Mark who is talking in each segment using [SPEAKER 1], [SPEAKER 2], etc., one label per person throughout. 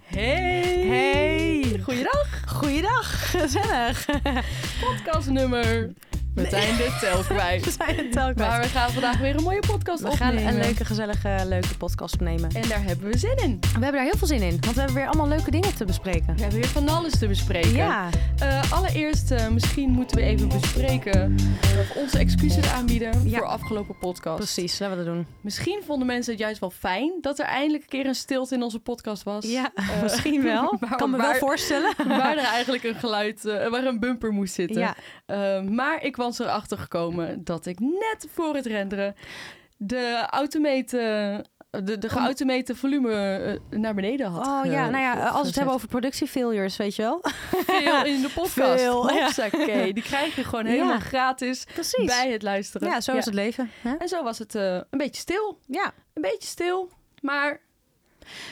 [SPEAKER 1] Hey!
[SPEAKER 2] Hey!
[SPEAKER 1] Goeiedag!
[SPEAKER 2] Goeiedag, gezellig.
[SPEAKER 1] Podcastnummer. We
[SPEAKER 2] Nee.
[SPEAKER 1] zijn de tel
[SPEAKER 2] We
[SPEAKER 1] kwijt.
[SPEAKER 2] zijn het telkens.
[SPEAKER 1] Maar we gaan vandaag weer een mooie podcast
[SPEAKER 2] we gaan
[SPEAKER 1] opnemen.
[SPEAKER 2] een leuke, gezellige, leuke podcast opnemen.
[SPEAKER 1] En daar hebben we zin in.
[SPEAKER 2] We hebben daar heel veel zin in, want we hebben weer allemaal leuke dingen te bespreken.
[SPEAKER 1] We hebben weer van alles te bespreken.
[SPEAKER 2] Ja,
[SPEAKER 1] Eh, allereerst, eh, misschien moeten we even bespreken of onze excuses aanbieden
[SPEAKER 2] Ja.
[SPEAKER 1] voor afgelopen podcast.
[SPEAKER 2] precies. Laten we dat doen.
[SPEAKER 1] Misschien vonden mensen het juist wel fijn dat er eindelijk een keer een stilte in onze podcast was.
[SPEAKER 2] Ja,
[SPEAKER 1] Eh,
[SPEAKER 2] misschien wel.
[SPEAKER 1] maar
[SPEAKER 2] kan me wel
[SPEAKER 1] waar-
[SPEAKER 2] voorstellen.
[SPEAKER 1] Waar er eigenlijk een geluid, eh, waar een bumper moest zitten.
[SPEAKER 2] Ja,
[SPEAKER 1] Eh, maar ik was erachter gekomen dat ik net voor het renderen de automate, de, de geautomate volume eh, naar beneden had.
[SPEAKER 2] oh ja,
[SPEAKER 1] eh,
[SPEAKER 2] nou ja, als we het
[SPEAKER 1] gezet.
[SPEAKER 2] hebben over productiefailures, weet je wel.
[SPEAKER 1] veel in de podcast.
[SPEAKER 2] Veel, ja.
[SPEAKER 1] Hopsakee, die krijg je gewoon
[SPEAKER 2] Ja.
[SPEAKER 1] helemaal gratis
[SPEAKER 2] Precies.
[SPEAKER 1] bij het luisteren.
[SPEAKER 2] Ja, zo is het leven. Hè?
[SPEAKER 1] En zo was het eh, een beetje stil,
[SPEAKER 2] Ja,
[SPEAKER 1] een beetje stil, maar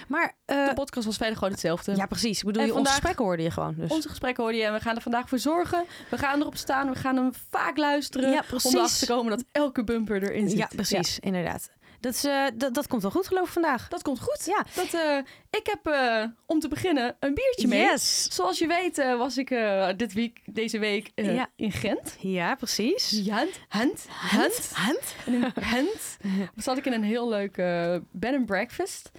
[SPEAKER 2] maar... eh,
[SPEAKER 1] de podcast was verder gewoon hetzelfde.
[SPEAKER 2] ja, precies. Ik bedoel,
[SPEAKER 1] En
[SPEAKER 2] je, ons
[SPEAKER 1] vandaag-
[SPEAKER 2] gesprek hoorde je gewoon. Dus.
[SPEAKER 1] Onze gesprekken hoorde je en we gaan er vandaag voor zorgen. We gaan erop staan, we gaan hem vaak luisteren.
[SPEAKER 2] Ja, precies.
[SPEAKER 1] Om erachter te komen dat elke bumper erin zit.
[SPEAKER 2] Ja, precies. Inderdaad. Dat, is, eh, dat, dat komt wel goed geloof ik vandaag.
[SPEAKER 1] Dat komt goed.
[SPEAKER 2] Ja.
[SPEAKER 1] Dat, eh, ik heb eh, om te beginnen een biertje mee.
[SPEAKER 2] Yes.
[SPEAKER 1] Zoals je weet eh, was ik eh, dit week, deze week eh,
[SPEAKER 2] Ja.
[SPEAKER 1] in Gent.
[SPEAKER 2] Ja, precies.
[SPEAKER 1] Gent, Gent, Gent. En in Gent zat ik in een heel leuk eh, bed and breakfast.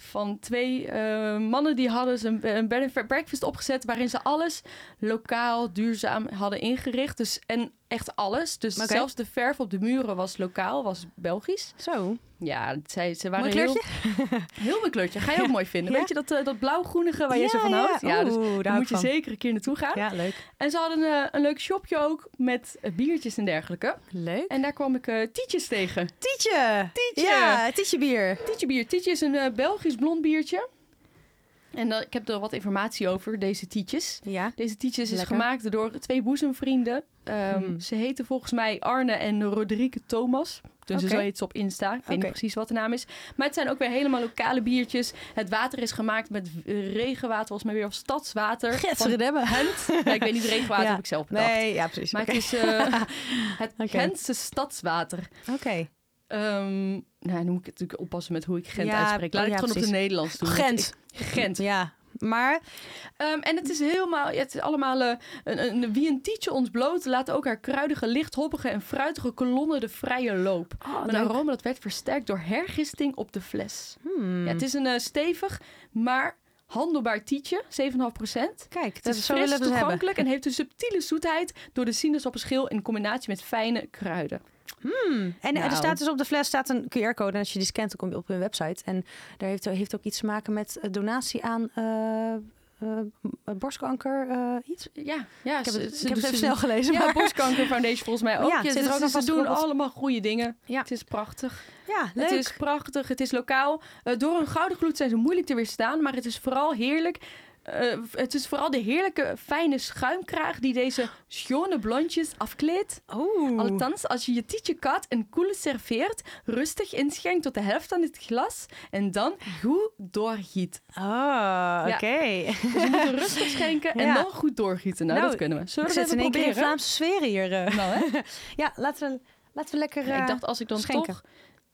[SPEAKER 1] Van twee eh, mannen die hadden ze een, een bed and breakfast opgezet... waarin ze alles lokaal, duurzaam hadden ingericht. Dus, en echt alles. Dus
[SPEAKER 2] Oké.
[SPEAKER 1] zelfs de verf op de muren was lokaal, was Belgisch.
[SPEAKER 2] Zo.
[SPEAKER 1] Ja, zij, ze waren
[SPEAKER 2] Mooi
[SPEAKER 1] heel...
[SPEAKER 2] kleurtje.
[SPEAKER 1] Heel mijn kleurtje. Ga je ook mooi vinden.
[SPEAKER 2] Ja.
[SPEAKER 1] Weet je dat, eh, dat blauw-groenige waar je zo van houdt? Ja, dus
[SPEAKER 2] Oeh, daar
[SPEAKER 1] daar
[SPEAKER 2] hou
[SPEAKER 1] moet
[SPEAKER 2] ik
[SPEAKER 1] je
[SPEAKER 2] van.
[SPEAKER 1] zeker een keer naartoe gaan.
[SPEAKER 2] Ja, leuk.
[SPEAKER 1] En ze hadden eh, een leuk shopje ook met eh, biertjes en dergelijke.
[SPEAKER 2] Leuk.
[SPEAKER 1] En daar kwam ik eh, Tietjes tegen.
[SPEAKER 2] Tietje.
[SPEAKER 1] Tietje.
[SPEAKER 2] Ja, Tietje bier.
[SPEAKER 1] Tietje bier. Tietje is een eh, Belgisch blond biertje. En eh, ik heb er wat informatie over, deze Tietjes.
[SPEAKER 2] Ja.
[SPEAKER 1] Deze Tietjes is
[SPEAKER 2] Lekker.
[SPEAKER 1] gemaakt door twee boezemvrienden. Ehm,
[SPEAKER 2] Hmm.
[SPEAKER 1] Ze heten volgens mij Arne en Roderieke Thomas. Dus
[SPEAKER 2] Oké.
[SPEAKER 1] zo heet ze op Insta. Ik weet
[SPEAKER 2] Oké.
[SPEAKER 1] niet precies wat de naam is. Maar het zijn ook weer helemaal lokale biertjes. Het water is gemaakt met eh, regenwater, volgens mij weer of stadswater. Van
[SPEAKER 2] hebben.
[SPEAKER 1] Gent. Ja, ik weet niet, regenwater
[SPEAKER 2] Ja.
[SPEAKER 1] heb ik zelf bedacht.
[SPEAKER 2] Nee, ja, precies.
[SPEAKER 1] Maar
[SPEAKER 2] Oké.
[SPEAKER 1] het is eh, het
[SPEAKER 2] Oké.
[SPEAKER 1] Gentse stadswater.
[SPEAKER 2] Oké.
[SPEAKER 1] Ehm, nou, nu moet ik natuurlijk oppassen met hoe ik Gent
[SPEAKER 2] Ja,
[SPEAKER 1] uitspreek. Laat
[SPEAKER 2] oh,
[SPEAKER 1] ik
[SPEAKER 2] ja,
[SPEAKER 1] het gewoon op
[SPEAKER 2] precies.
[SPEAKER 1] de Nederlands doen. want
[SPEAKER 2] Gent.
[SPEAKER 1] ik- Gent.
[SPEAKER 2] Ja. Maar,
[SPEAKER 1] Ehm, en het is helemaal, het is allemaal eh, een, een, wie een tietje ons bloot, laat ook haar kruidige, lichthoppige en fruitige kolonne de vrije loop.
[SPEAKER 2] Oh,
[SPEAKER 1] Een aroma dat werd versterkt door hergisting op de fles.
[SPEAKER 2] Hmm.
[SPEAKER 1] Ja, het is een eh, stevig, maar handelbaar tietje, 7,5
[SPEAKER 2] Kijk, het
[SPEAKER 1] Het
[SPEAKER 2] is
[SPEAKER 1] is
[SPEAKER 2] zo
[SPEAKER 1] fris,
[SPEAKER 2] willen we het hebben.
[SPEAKER 1] toegankelijk en heeft een subtiele zoetheid door de sinaasappelschil in combinatie met fijne kruiden.
[SPEAKER 2] Hmm. En eh, er
[SPEAKER 1] Nou.
[SPEAKER 2] staat dus op de fles staat een QR-code. En als je die scant, dan kom je op hun website. En daar heeft, heeft ook iets te maken met eh, donatie aan eh, eh, borstkanker eh, iets.
[SPEAKER 1] Ja, ja
[SPEAKER 2] Ik heb het,
[SPEAKER 1] ze-
[SPEAKER 2] ik
[SPEAKER 1] ze-
[SPEAKER 2] heb het
[SPEAKER 1] ze-
[SPEAKER 2] even snel gelezen.
[SPEAKER 1] Ja,
[SPEAKER 2] maar-
[SPEAKER 1] Borstkanker Foundation volgens mij ook.
[SPEAKER 2] Ja,
[SPEAKER 1] Ja,
[SPEAKER 2] het zit er
[SPEAKER 1] dus
[SPEAKER 2] ook aan
[SPEAKER 1] ze doen
[SPEAKER 2] vastgekoppeld.
[SPEAKER 1] allemaal goede dingen.
[SPEAKER 2] Ja.
[SPEAKER 1] Het is prachtig.
[SPEAKER 2] ja
[SPEAKER 1] Het is prachtig, het is lokaal. Eh, door een gouden gloed zijn ze moeilijk te weerstaan, maar het is vooral heerlijk. eh, het is vooral de heerlijke, fijne schuimkraag die deze schone blondjes afkleedt.
[SPEAKER 2] Oeh.
[SPEAKER 1] Althans, als je je tietje kat en koele serveert, rustig inschenkt tot de helft van het glas en dan goed doorgiet.
[SPEAKER 2] Oh,
[SPEAKER 1] Ja.
[SPEAKER 2] oké.
[SPEAKER 1] Dus we moeten rustig schenken en
[SPEAKER 2] Ja.
[SPEAKER 1] dan goed doorgieten. Nou,
[SPEAKER 2] Nou,
[SPEAKER 1] dat kunnen we. Zullen
[SPEAKER 2] Ik
[SPEAKER 1] we dat
[SPEAKER 2] zit
[SPEAKER 1] even
[SPEAKER 2] in één keer in
[SPEAKER 1] proberen?
[SPEAKER 2] Vlaamse sfeer hier. eh.
[SPEAKER 1] Nou, hè?
[SPEAKER 2] Ja, laten we, laten we lekker...
[SPEAKER 1] Ja,
[SPEAKER 2] eh,
[SPEAKER 1] ik dacht, als ik dan
[SPEAKER 2] schenken.
[SPEAKER 1] toch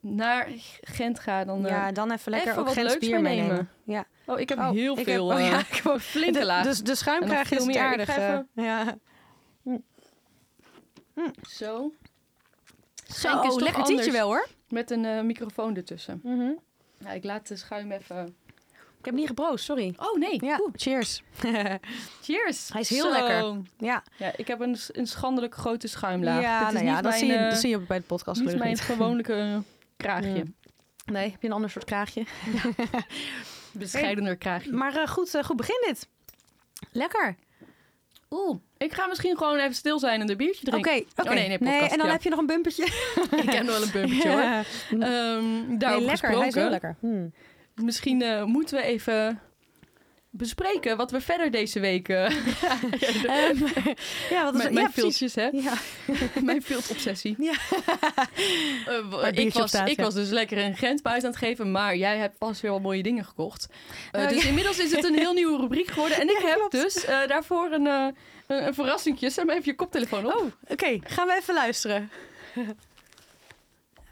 [SPEAKER 1] naar Gent ga, dan... eh,
[SPEAKER 2] ja, dan even lekker
[SPEAKER 1] even
[SPEAKER 2] ook
[SPEAKER 1] wat
[SPEAKER 2] Gens
[SPEAKER 1] leuks
[SPEAKER 2] bier
[SPEAKER 1] meenemen.
[SPEAKER 2] meenemen. Ja.
[SPEAKER 1] Oh, ik heb
[SPEAKER 2] Oh,
[SPEAKER 1] heel
[SPEAKER 2] ik heb-
[SPEAKER 1] veel...
[SPEAKER 2] oh,
[SPEAKER 1] eh,
[SPEAKER 2] ja.
[SPEAKER 1] gewoon flinke laag.
[SPEAKER 2] Dus de schuimkraag
[SPEAKER 1] En nog veel
[SPEAKER 2] is het
[SPEAKER 1] meer.
[SPEAKER 2] aardig.
[SPEAKER 1] Ik ga
[SPEAKER 2] eh,
[SPEAKER 1] even-
[SPEAKER 2] ja.
[SPEAKER 1] Zo. Oh,
[SPEAKER 2] Zo,
[SPEAKER 1] is toch
[SPEAKER 2] Oh, lekker
[SPEAKER 1] anders.
[SPEAKER 2] tietje wel hoor.
[SPEAKER 1] Met een eh, microfoon ertussen.
[SPEAKER 2] Mhm.
[SPEAKER 1] Ja, ik laat de schuim even...
[SPEAKER 2] Ik heb niet geproost, sorry.
[SPEAKER 1] Oh, nee.
[SPEAKER 2] Ja, cheers.
[SPEAKER 1] Cheers.
[SPEAKER 2] Hij is heel
[SPEAKER 1] Zo.
[SPEAKER 2] lekker. ja,
[SPEAKER 1] Ja, ik heb een, s- een schandelijk grote schuimlaag.
[SPEAKER 2] ja,
[SPEAKER 1] Dit is
[SPEAKER 2] nou
[SPEAKER 1] niet
[SPEAKER 2] ja dat,
[SPEAKER 1] mijn,
[SPEAKER 2] zie je,
[SPEAKER 1] eh,
[SPEAKER 2] dat zie je bij de podcast
[SPEAKER 1] niet
[SPEAKER 2] gelukkig
[SPEAKER 1] mijn gewone eh, kraagje.
[SPEAKER 2] Mm. Nee, heb je een ander soort kraagje.
[SPEAKER 1] Bescheidener kraagje.
[SPEAKER 2] Maar eh, goed, eh, goed begin dit. Lekker.
[SPEAKER 1] Oeh. Ik ga misschien gewoon even stil zijn en een biertje
[SPEAKER 2] Oké,
[SPEAKER 1] drinken.
[SPEAKER 2] oké.
[SPEAKER 1] Oh, nee, nee, podcast,
[SPEAKER 2] en dan
[SPEAKER 1] ja.
[SPEAKER 2] heb je nog een bumpertje.
[SPEAKER 1] Ik heb wel een bumpertje hoor.
[SPEAKER 2] Ja.
[SPEAKER 1] Ehm
[SPEAKER 2] Nee,
[SPEAKER 1] daarover
[SPEAKER 2] lekker. Hij is
[SPEAKER 1] gesproken.
[SPEAKER 2] heel lekker. Hmm.
[SPEAKER 1] Misschien eh, moeten we even bespreken wat we verder deze week... eh,
[SPEAKER 2] Ehm, ja,
[SPEAKER 1] mijn
[SPEAKER 2] wat is ja,
[SPEAKER 1] mijn
[SPEAKER 2] precies.
[SPEAKER 1] filtjes, hè?
[SPEAKER 2] Ja.
[SPEAKER 1] Mijn filtobsessie.
[SPEAKER 2] Ja.
[SPEAKER 1] Eh, w-
[SPEAKER 2] Waar
[SPEAKER 1] ik
[SPEAKER 2] biertje op
[SPEAKER 1] was,
[SPEAKER 2] staat,
[SPEAKER 1] ik
[SPEAKER 2] ja.
[SPEAKER 1] was dus lekker een Gent buiten aan het geven, maar jij hebt pas weer wat mooie dingen gekocht. Eh,
[SPEAKER 2] Nou,
[SPEAKER 1] dus inmiddels is het een heel nieuwe rubriek geworden. En ik
[SPEAKER 2] Ja,
[SPEAKER 1] heb
[SPEAKER 2] klopt.
[SPEAKER 1] dus eh, daarvoor een, eh een, een verrassingje. Zet maar even je koptelefoon op.
[SPEAKER 2] Oh, oké. Gaan we even luisteren.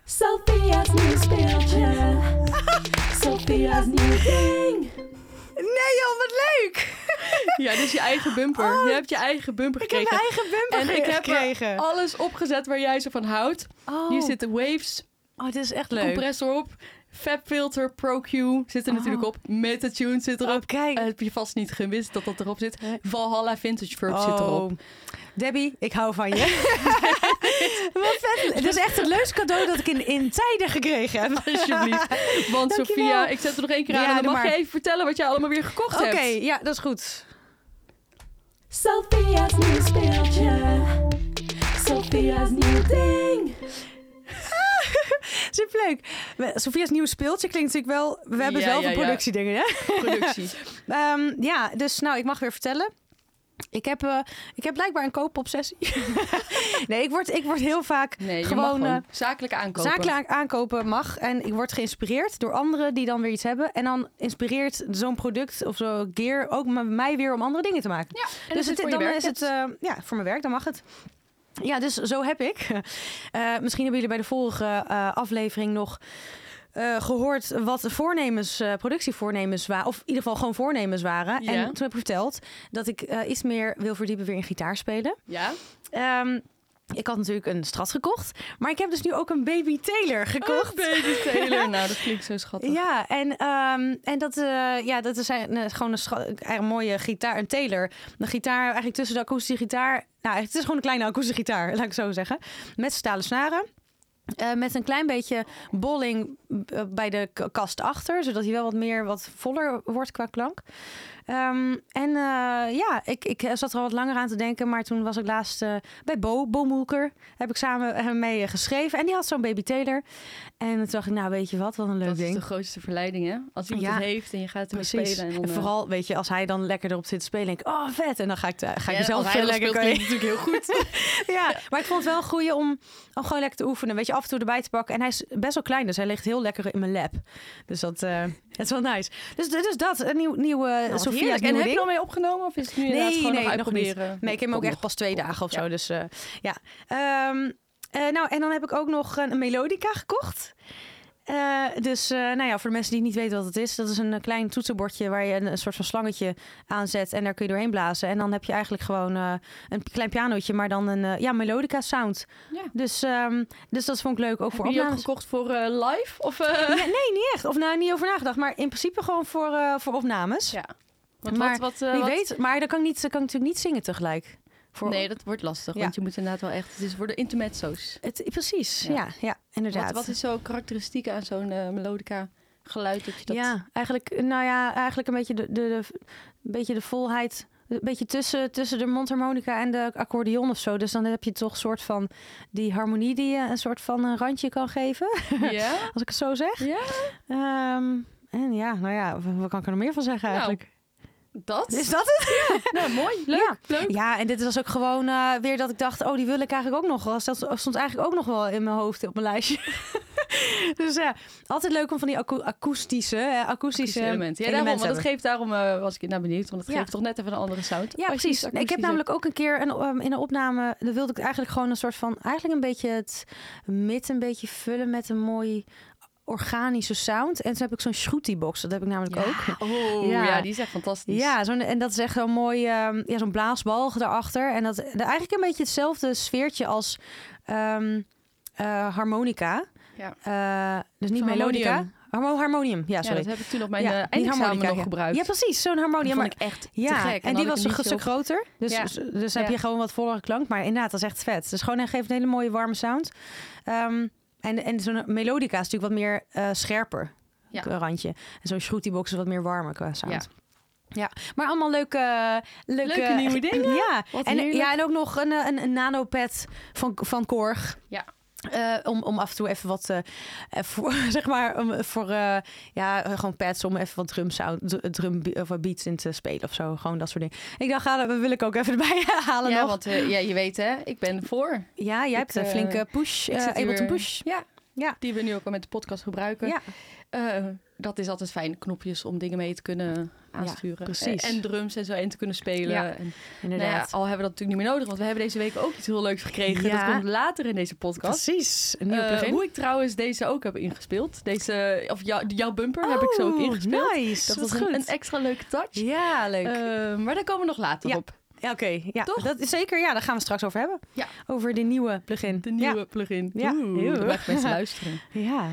[SPEAKER 3] Sophia's nieuw speeltje. Sophia's nieuw ding.
[SPEAKER 2] nee joh, wat leuk!
[SPEAKER 1] Ja, dus je eigen bumper.
[SPEAKER 2] Oh,
[SPEAKER 1] je hebt je eigen bumper
[SPEAKER 2] Ik heb
[SPEAKER 1] gekregen.
[SPEAKER 2] mijn eigen bumper
[SPEAKER 1] en ik heb er
[SPEAKER 2] gekregen.
[SPEAKER 1] alles opgezet waar jij zo van houdt.
[SPEAKER 2] oh.
[SPEAKER 1] Hier zitten waves,
[SPEAKER 2] oh, dit is echt leuk.
[SPEAKER 1] compressor op, Fab Filter, Pro Q zit er
[SPEAKER 2] Oh.
[SPEAKER 1] natuurlijk op, Metatune zit
[SPEAKER 2] Oh,
[SPEAKER 1] erop.
[SPEAKER 2] kijk.
[SPEAKER 1] Eh, heb je vast niet gewist dat dat erop zit.
[SPEAKER 2] Nee.
[SPEAKER 1] Valhalla Vintage Verb zit erop.
[SPEAKER 2] Oh. Debbie, ik hou van je. Wat vet. Dit is echt het leukste cadeau dat ik in, in tijden gekregen heb.
[SPEAKER 1] Alsjeblieft. Want
[SPEAKER 2] Dankjewel.
[SPEAKER 1] Sophia, ik zet er nog één keer aan
[SPEAKER 2] Ja,
[SPEAKER 1] en dan
[SPEAKER 2] doe
[SPEAKER 1] mag
[SPEAKER 2] maar.
[SPEAKER 1] je even vertellen wat jij allemaal weer gekocht
[SPEAKER 2] Oké,
[SPEAKER 1] hebt.
[SPEAKER 2] ja, dat is goed.
[SPEAKER 3] Sophia's new speeltje. Sophia's new ding.
[SPEAKER 2] Superleuk. We- Sophia's nieuw speeltje klinkt natuurlijk wel... We hebben
[SPEAKER 1] Ja,
[SPEAKER 2] het
[SPEAKER 1] ja,
[SPEAKER 2] wel van
[SPEAKER 1] ja.
[SPEAKER 2] productiedingen, hè?
[SPEAKER 1] Productie.
[SPEAKER 2] Ehm, ja, dus nou, ik mag weer vertellen. Ik heb, eh, ik heb blijkbaar een koopobsessie. nee, ik word, ik word heel vaak
[SPEAKER 1] Nee, je
[SPEAKER 2] gewoon...
[SPEAKER 1] mag gewoon
[SPEAKER 2] eh,
[SPEAKER 1] zakelijk aankopen.
[SPEAKER 2] Zakelijk aankopen mag en ik word geïnspireerd door anderen die dan weer iets hebben. En dan inspireert zo'n product of zo'n gear ook m- mij weer om andere dingen te maken.
[SPEAKER 1] Ja, en dat
[SPEAKER 2] dus
[SPEAKER 1] is
[SPEAKER 2] het-
[SPEAKER 1] voor je
[SPEAKER 2] dan
[SPEAKER 1] werk.
[SPEAKER 2] is het eh, ja, voor mijn werk, dan mag het. Ja, dus zo heb ik. Eh, misschien hebben jullie bij de vorige eh, aflevering nog eh, gehoord wat de voornemens, eh, productievoornemens waren. Of in ieder geval gewoon voornemens waren.
[SPEAKER 1] Ja.
[SPEAKER 2] En toen heb ik verteld dat ik eh, iets meer wil verdiepen weer in gitaar spelen.
[SPEAKER 1] Ja?
[SPEAKER 2] Ehm, ik had natuurlijk een strat gekocht, maar ik heb dus nu ook een baby Taylor gekocht.
[SPEAKER 1] Oh, baby Taylor. Nou, dat klinkt zo schattig.
[SPEAKER 2] Ja, en, ehm, en dat, eh, ja, dat is een, eh, gewoon een, scha- eigenlijk een mooie gitaar, een Taylor. Een gitaar eigenlijk tussen de akoestische gitaar. Nou, het is gewoon een kleine akoestische gitaar, laat ik het zo zeggen. Met stalen snaren. Eh, met een klein beetje bolling eh, bij de k- kast achter, zodat hij wel wat meer wat voller wordt qua klank. Ehm, en eh, ja, ik, ik zat er al wat langer aan te denken, maar toen was ik laatst eh, bij Bo, Bo Moelker, heb ik samen eh, mee eh, geschreven. En die had zo'n baby Taylor. En toen dacht ik, nou weet je wat, wat een leuk
[SPEAKER 1] Dat is
[SPEAKER 2] ding.
[SPEAKER 1] de grootste verleiding, hè? Als iemand
[SPEAKER 2] Ja.
[SPEAKER 1] het heeft en je gaat ermee
[SPEAKER 2] Precies.
[SPEAKER 1] spelen.
[SPEAKER 2] En,
[SPEAKER 1] En, dan, eh,
[SPEAKER 2] vooral, weet je, als hij dan lekker erop zit te spelen, denk ik, oh vet. En dan ga ik, te- ga ik
[SPEAKER 1] ja,
[SPEAKER 2] mezelf
[SPEAKER 1] als
[SPEAKER 2] veel
[SPEAKER 1] hij dat
[SPEAKER 2] lekker
[SPEAKER 1] speelt, klinkt het natuurlijk heel goed.
[SPEAKER 2] ja, maar ik vond het wel een goeie om, om gewoon lekker te oefenen. Weet je, af en toe erbij te pakken. En hij is best wel klein, dus hij ligt heel lekker in mijn lap. Dus dat, eh, dat is wel nice. Dus, dus dat, een nieuw, nieuwe
[SPEAKER 1] Nou, wat
[SPEAKER 2] Sophia's
[SPEAKER 1] heerlijk.
[SPEAKER 2] nieuwe
[SPEAKER 1] En heb je
[SPEAKER 2] ding.
[SPEAKER 1] al mee opgenomen? Of is het nu inderdaad
[SPEAKER 2] Nee,
[SPEAKER 1] gewoon
[SPEAKER 2] nee,
[SPEAKER 1] nog
[SPEAKER 2] nog niet.
[SPEAKER 1] uitproberen?
[SPEAKER 2] Nee, ik heb hem ook
[SPEAKER 1] Komt
[SPEAKER 2] echt pas twee dagen of
[SPEAKER 1] Ja.
[SPEAKER 2] zo. Dus eh, ja. Ehm, eh, nou, en dan heb ik ook nog een melodica gekocht. Eh, dus eh, nou ja, voor de mensen die niet weten wat het is, dat is een eh, klein toetsenbordje waar je een, een soort van slangetje aanzet en daar kun je doorheen blazen. En dan heb je eigenlijk gewoon eh, een klein pianootje, maar dan een eh, ja, melodica sound.
[SPEAKER 1] Ja.
[SPEAKER 2] Dus, ehm, dus dat vond ik leuk ook voor
[SPEAKER 1] Heb je die ook
[SPEAKER 2] opnames.
[SPEAKER 1] gekocht voor eh, live? Of, eh,
[SPEAKER 2] Ja, nee, niet echt. Of nou, niet over nagedacht, maar in principe gewoon voor, eh, voor opnames.
[SPEAKER 1] Ja. want
[SPEAKER 2] maar
[SPEAKER 1] wat, wat, eh,
[SPEAKER 2] Wie
[SPEAKER 1] wat-
[SPEAKER 2] weet, maar dan kan ik, niet, dan kan ik natuurlijk niet zingen tegelijk. Voor
[SPEAKER 1] Nee, dat wordt lastig.
[SPEAKER 2] Ja.
[SPEAKER 1] Want je moet inderdaad wel echt... Het is worden intermezzo's.
[SPEAKER 2] Het, precies,
[SPEAKER 1] Ja.
[SPEAKER 2] ja, ja, inderdaad.
[SPEAKER 1] Wat, wat is zo karakteristiek aan zo'n eh, melodica geluid? Dat je dat...
[SPEAKER 2] Ja, eigenlijk, nou ja, eigenlijk een beetje de, de, de- een beetje de volheid. Een beetje tussen, tussen de mondharmonica en de accordeon of zo. Dus dan heb je toch een soort van die harmonie die je een soort van een randje kan geven.
[SPEAKER 1] Ja?
[SPEAKER 2] Als ik het zo zeg.
[SPEAKER 1] Ja?
[SPEAKER 2] Ehm, en ja, nou ja, w- wat kan ik er nog meer van zeggen
[SPEAKER 1] Nou,
[SPEAKER 2] eigenlijk?
[SPEAKER 1] Dat?
[SPEAKER 2] is dat het?
[SPEAKER 1] Nou, mooi. Leuk. Leuk.
[SPEAKER 2] Ja, en dit was ook gewoon eh, weer dat ik dacht, oh, die wil ik eigenlijk ook nog wel. Dus Dat stond eigenlijk ook nog wel in mijn hoofd op mijn lijstje. dus ja, altijd leuk om van die ako- akoestische, eh, akoestische
[SPEAKER 1] Akoestische elementen. Ja, daarom, want
[SPEAKER 2] elementen
[SPEAKER 1] dat geeft, daarom eh, was ik naar benieuwd. Want het
[SPEAKER 2] Ja.
[SPEAKER 1] geeft toch net even een andere sound.
[SPEAKER 2] Ja,
[SPEAKER 1] Als je iets
[SPEAKER 2] precies. Ik heb
[SPEAKER 1] akoestisch
[SPEAKER 2] namelijk ook een keer een, ehm, in een opname, dan wilde ik eigenlijk gewoon een soort van, eigenlijk een beetje het mid een beetje vullen met een mooi organische sound. En toen heb ik zo'n Shruti box, dat heb ik namelijk ook.
[SPEAKER 1] hebt. Oh, ja.
[SPEAKER 2] Ja.
[SPEAKER 1] die is echt fantastisch.
[SPEAKER 2] Ja, zo'n, en dat is echt zo'n mooi ehm, ja, zo'n blaasbalg daarachter. En dat de- eigenlijk een beetje hetzelfde sfeertje als ehm, eh, harmonica.
[SPEAKER 1] Ja.
[SPEAKER 2] Eh, dus niet
[SPEAKER 1] Zo'n
[SPEAKER 2] melodica.
[SPEAKER 1] harmonium.
[SPEAKER 2] Harmo- harmonium, ja, sorry.
[SPEAKER 1] dat heb ik toen op mijn
[SPEAKER 2] Ja,
[SPEAKER 1] eh,
[SPEAKER 2] niet
[SPEAKER 1] eindexamen nog
[SPEAKER 2] ja.
[SPEAKER 1] gebruikt.
[SPEAKER 2] Ja, precies, zo'n harmonium.
[SPEAKER 1] Die
[SPEAKER 2] Maar
[SPEAKER 1] vond ik echt te
[SPEAKER 2] ja,
[SPEAKER 1] gek.
[SPEAKER 2] en
[SPEAKER 1] dan
[SPEAKER 2] die
[SPEAKER 1] had
[SPEAKER 2] was
[SPEAKER 1] ik
[SPEAKER 2] een
[SPEAKER 1] niet
[SPEAKER 2] stuk
[SPEAKER 1] zo-
[SPEAKER 2] groter. Dus,
[SPEAKER 1] Ja.
[SPEAKER 2] dus dus heb
[SPEAKER 1] Ja.
[SPEAKER 2] je gewoon wat vollere klank. Maar inderdaad, dat is echt vet. Dus gewoon, hij geeft een hele mooie warme sound. Ehm, en en zo'n melodica is natuurlijk wat meer eh, scherper.
[SPEAKER 1] Ja.
[SPEAKER 2] Qua randje. En zo'n shruti-box is wat meer warmer qua
[SPEAKER 1] Ja.
[SPEAKER 2] sound. Ja. maar allemaal leuke... Leuke,
[SPEAKER 1] Leuke nieuwe dingen.
[SPEAKER 2] Ja.
[SPEAKER 1] Wat
[SPEAKER 2] En, eh,
[SPEAKER 1] heerlijk.
[SPEAKER 2] ja, en ook nog een, eh, een, een nanopad van, van Korg.
[SPEAKER 1] Ja.
[SPEAKER 2] Eh, om, om af en toe even wat, eh, eh, voor, zeg maar, om, voor eh, ja, eh, gewoon pads om even wat drum, sound, dr- drum be- of wat beats in te spelen of zo. Gewoon dat soort dingen. Ik dacht, ah, dat wil ik ook even erbij halen
[SPEAKER 1] Ja,
[SPEAKER 2] nog.
[SPEAKER 1] want eh, ja, je weet hè, ik ben voor.
[SPEAKER 2] ja, jij hebt
[SPEAKER 1] ik,
[SPEAKER 2] een
[SPEAKER 1] eh,
[SPEAKER 2] flinke push,
[SPEAKER 1] ik
[SPEAKER 2] eh,
[SPEAKER 1] zit hier eh,
[SPEAKER 2] Ableton
[SPEAKER 1] weer-
[SPEAKER 2] push.
[SPEAKER 1] Ja.
[SPEAKER 2] Ja.
[SPEAKER 1] Die we nu ook al met de podcast gebruiken.
[SPEAKER 2] Ja.
[SPEAKER 1] Eh, dat is altijd fijn, knopjes om dingen mee te kunnen aansturen.
[SPEAKER 2] precies.
[SPEAKER 1] En, en drums en zo in te kunnen spelen.
[SPEAKER 2] Ja,
[SPEAKER 1] En, nou ja,
[SPEAKER 2] Inderdaad.
[SPEAKER 1] al hebben we dat natuurlijk niet meer nodig, want we hebben deze week ook iets heel leuks gekregen.
[SPEAKER 2] Ja.
[SPEAKER 1] Dat komt later in deze podcast.
[SPEAKER 2] precies. Een nieuw
[SPEAKER 1] Eh,
[SPEAKER 2] plugin.
[SPEAKER 1] hoe ik trouwens deze ook heb ingespeeld. Deze, of jou- jouw bumper heb ik zo ook
[SPEAKER 2] Oh,
[SPEAKER 1] ingespeeld.
[SPEAKER 2] Nice.
[SPEAKER 1] Dat
[SPEAKER 2] Wat
[SPEAKER 1] was een,
[SPEAKER 2] goed.
[SPEAKER 1] een extra leuke touch.
[SPEAKER 2] Ja, leuk.
[SPEAKER 1] Eh, maar daar komen we nog later
[SPEAKER 2] Ja.
[SPEAKER 1] op.
[SPEAKER 2] ja, Oké, ja,
[SPEAKER 1] toch?
[SPEAKER 2] dat is zeker. Ja, daar gaan we het straks over hebben.
[SPEAKER 1] Ja.
[SPEAKER 2] Over de nieuwe plugin.
[SPEAKER 1] De nieuwe plugin.
[SPEAKER 2] Ja.
[SPEAKER 1] Oeh,
[SPEAKER 2] Eeuw.
[SPEAKER 1] dat mag mensen luisteren.
[SPEAKER 2] Ja. ja.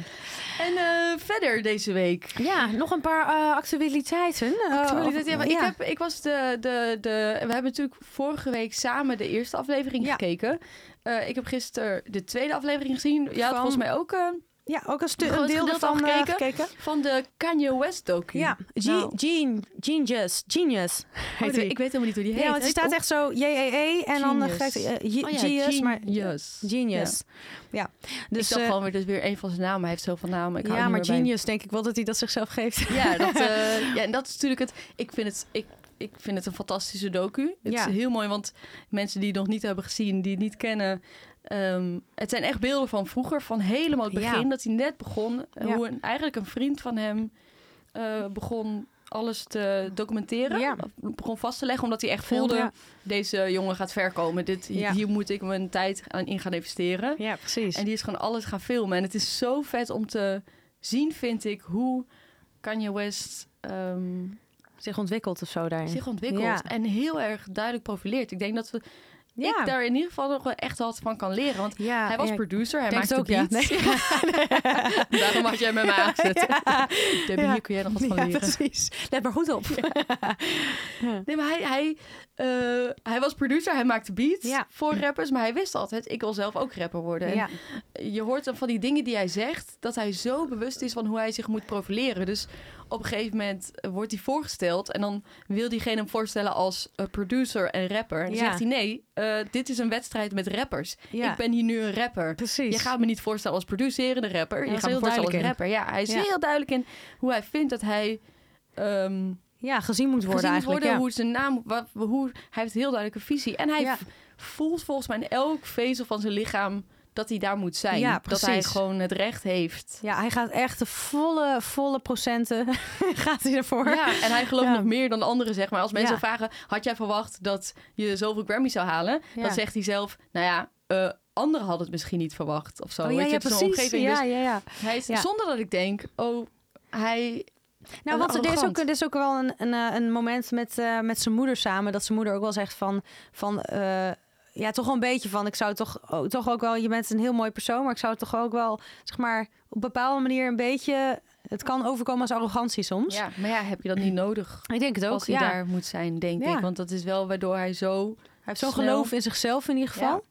[SPEAKER 1] En eh, verder deze week.
[SPEAKER 2] Ja, nog een paar eh, actualiteiten. Eh,
[SPEAKER 1] Actualiteit, Oh, ja, maar
[SPEAKER 2] ja.
[SPEAKER 1] Ik, heb, ik was de, de, de. We hebben natuurlijk vorige week samen de eerste aflevering
[SPEAKER 2] Ja.
[SPEAKER 1] gekeken. Eh, ik heb gisteren de tweede aflevering gezien. Ja,
[SPEAKER 2] Van-
[SPEAKER 1] volgens mij ook eh,
[SPEAKER 2] Ja, ook een, stu-
[SPEAKER 1] Groot
[SPEAKER 2] een deel
[SPEAKER 1] gedeelte
[SPEAKER 2] ervan eh,
[SPEAKER 1] afgekeken.
[SPEAKER 2] gekeken.
[SPEAKER 1] van de Kanye West docu.
[SPEAKER 2] Ja, Ge-
[SPEAKER 1] Nou.
[SPEAKER 2] Gene- Genius. Genius.
[SPEAKER 1] Oh,
[SPEAKER 2] Heet
[SPEAKER 1] de-
[SPEAKER 2] die.
[SPEAKER 1] ik weet helemaal niet hoe die heet.
[SPEAKER 2] ja, want
[SPEAKER 1] hè?
[SPEAKER 2] het staat echt zo JEE en dan
[SPEAKER 1] Genius.
[SPEAKER 2] grijpt eh, Ge-
[SPEAKER 1] Oh ja,
[SPEAKER 2] Genius, maar
[SPEAKER 1] Genius.
[SPEAKER 2] Genius. Ja.
[SPEAKER 1] Dus ik
[SPEAKER 2] Dus,
[SPEAKER 1] dacht
[SPEAKER 2] eh,
[SPEAKER 1] gewoon weer, dus weer een van zijn namen. Hij heeft zoveel namen. Ik hou
[SPEAKER 2] ja,
[SPEAKER 1] niet
[SPEAKER 2] maar
[SPEAKER 1] meer bij.
[SPEAKER 2] Genius denk ik wel dat hij dat zichzelf geeft.
[SPEAKER 1] Ja, dat, eh, ja, en dat is natuurlijk het. Ik vind het, ik, ik vind het een fantastische docu. Het
[SPEAKER 2] Ja.
[SPEAKER 1] is heel mooi, want mensen die het nog niet hebben gezien, die het niet kennen. ehm, het zijn echt beelden van vroeger, van helemaal het begin,
[SPEAKER 2] Ja.
[SPEAKER 1] dat hij net begon. eh,
[SPEAKER 2] Ja.
[SPEAKER 1] Hoe een, eigenlijk een vriend van hem eh, begon alles te documenteren.
[SPEAKER 2] Ja.
[SPEAKER 1] Of Begon vast te leggen, omdat hij echt voelde,
[SPEAKER 2] Ja,
[SPEAKER 1] deze jongen gaat ver komen. Dit,
[SPEAKER 2] Ja.
[SPEAKER 1] Hier moet ik mijn tijd aan in gaan investeren.
[SPEAKER 2] ja precies.
[SPEAKER 1] En die is gewoon alles gaan filmen. En het is zo vet om te zien, vind ik, hoe Kanye West ehm,
[SPEAKER 2] zich ontwikkelt of zo daarin.
[SPEAKER 1] zich ontwikkelt.
[SPEAKER 2] Ja.
[SPEAKER 1] En heel erg duidelijk profileert. Ik denk dat we,
[SPEAKER 2] ja.
[SPEAKER 1] ik daar in ieder geval nog wel echt wat van kan leren. Want
[SPEAKER 2] ja,
[SPEAKER 1] hij was
[SPEAKER 2] ja, ik
[SPEAKER 1] producer, hij
[SPEAKER 2] denk het
[SPEAKER 1] maakte ook,
[SPEAKER 2] ja.
[SPEAKER 1] beats.
[SPEAKER 2] Nee.
[SPEAKER 1] Daarom had jij met mij aangezet.
[SPEAKER 2] Ja.
[SPEAKER 1] Debbie,
[SPEAKER 2] Ja.
[SPEAKER 1] hier kun jij nog wat van
[SPEAKER 2] Ja,
[SPEAKER 1] leren.
[SPEAKER 2] precies. Let maar goed op.
[SPEAKER 1] Nee, maar hij, hij, eh, hij was producer, hij maakte beats
[SPEAKER 2] Ja.
[SPEAKER 1] voor rappers. Maar hij wist altijd, ik wil zelf ook rapper worden. En
[SPEAKER 2] Ja.
[SPEAKER 1] je hoort dan van die dingen die hij zegt, dat hij zo bewust is van hoe hij zich moet profileren. Dus op een gegeven moment eh, wordt hij voorgesteld en dan wil diegene hem voorstellen als eh, producer en rapper. En dan
[SPEAKER 2] Ja.
[SPEAKER 1] zegt hij nee, eh, dit is een wedstrijd met rappers.
[SPEAKER 2] Ja.
[SPEAKER 1] Ik ben hier nu een rapper.
[SPEAKER 2] Precies.
[SPEAKER 1] Je gaat me niet voorstellen als producerende rapper.
[SPEAKER 2] Hij
[SPEAKER 1] je
[SPEAKER 2] was
[SPEAKER 1] gaat me
[SPEAKER 2] heel
[SPEAKER 1] voorstellen als
[SPEAKER 2] duidelijk
[SPEAKER 1] rapper. Ja, hij is
[SPEAKER 2] Ja.
[SPEAKER 1] heel duidelijk in hoe hij vindt dat hij ehm
[SPEAKER 2] ja, gezien moet worden
[SPEAKER 1] gezien moet
[SPEAKER 2] eigenlijk.
[SPEAKER 1] worden,
[SPEAKER 2] ja.
[SPEAKER 1] hoe zijn naam, wat, hoe, hij heeft heel duidelijk een visie. En hij
[SPEAKER 2] Ja.
[SPEAKER 1] v- voelt volgens mij in elk vezel van zijn lichaam dat hij daar moet zijn.
[SPEAKER 2] Ja,
[SPEAKER 1] dat hij
[SPEAKER 2] precies.
[SPEAKER 1] gewoon het recht heeft.
[SPEAKER 2] Ja, hij gaat echt de volle, volle procenten gaat hij ervoor.
[SPEAKER 1] Ja, en hij gelooft
[SPEAKER 2] Ja.
[SPEAKER 1] nog meer dan anderen, zeg maar. Als mensen
[SPEAKER 2] Ja.
[SPEAKER 1] vragen, had jij verwacht dat je zoveel Grammys zou halen?
[SPEAKER 2] Ja.
[SPEAKER 1] Dan zegt hij zelf, nou ja, eh, anderen hadden het misschien niet verwacht of zo.
[SPEAKER 2] Oh,
[SPEAKER 1] Weet
[SPEAKER 2] ja,
[SPEAKER 1] je,
[SPEAKER 2] ja,
[SPEAKER 1] het is zo'n
[SPEAKER 2] precies.
[SPEAKER 1] omgeving.
[SPEAKER 2] Ja,
[SPEAKER 1] Dus
[SPEAKER 2] ja, ja.
[SPEAKER 1] hij is,
[SPEAKER 2] Ja.
[SPEAKER 1] Zonder dat ik denk, oh, hij...
[SPEAKER 2] Nou,
[SPEAKER 1] En
[SPEAKER 2] want er is,
[SPEAKER 1] arrogant.
[SPEAKER 2] ook, er is ook wel een, een, eh, een moment met, eh, met zijn moeder samen. Dat zijn moeder ook wel zegt van... van eh, ja, toch wel een beetje van... Ik zou toch, ook- toch ook wel... Je bent een heel mooi persoon, maar ik zou het toch ook wel... Zeg maar, op een bepaalde manier een beetje... Het kan overkomen als arrogantie soms.
[SPEAKER 1] Ja, maar ja, heb je dat niet nodig?
[SPEAKER 2] Ik denk het ook.
[SPEAKER 1] Als hij
[SPEAKER 2] ja. Hij
[SPEAKER 1] daar moet zijn, denk
[SPEAKER 2] Ja.
[SPEAKER 1] ik. Want dat is wel waardoor hij zo...
[SPEAKER 2] heeft zo'n
[SPEAKER 1] snel-
[SPEAKER 2] geloof in zichzelf in ieder geval.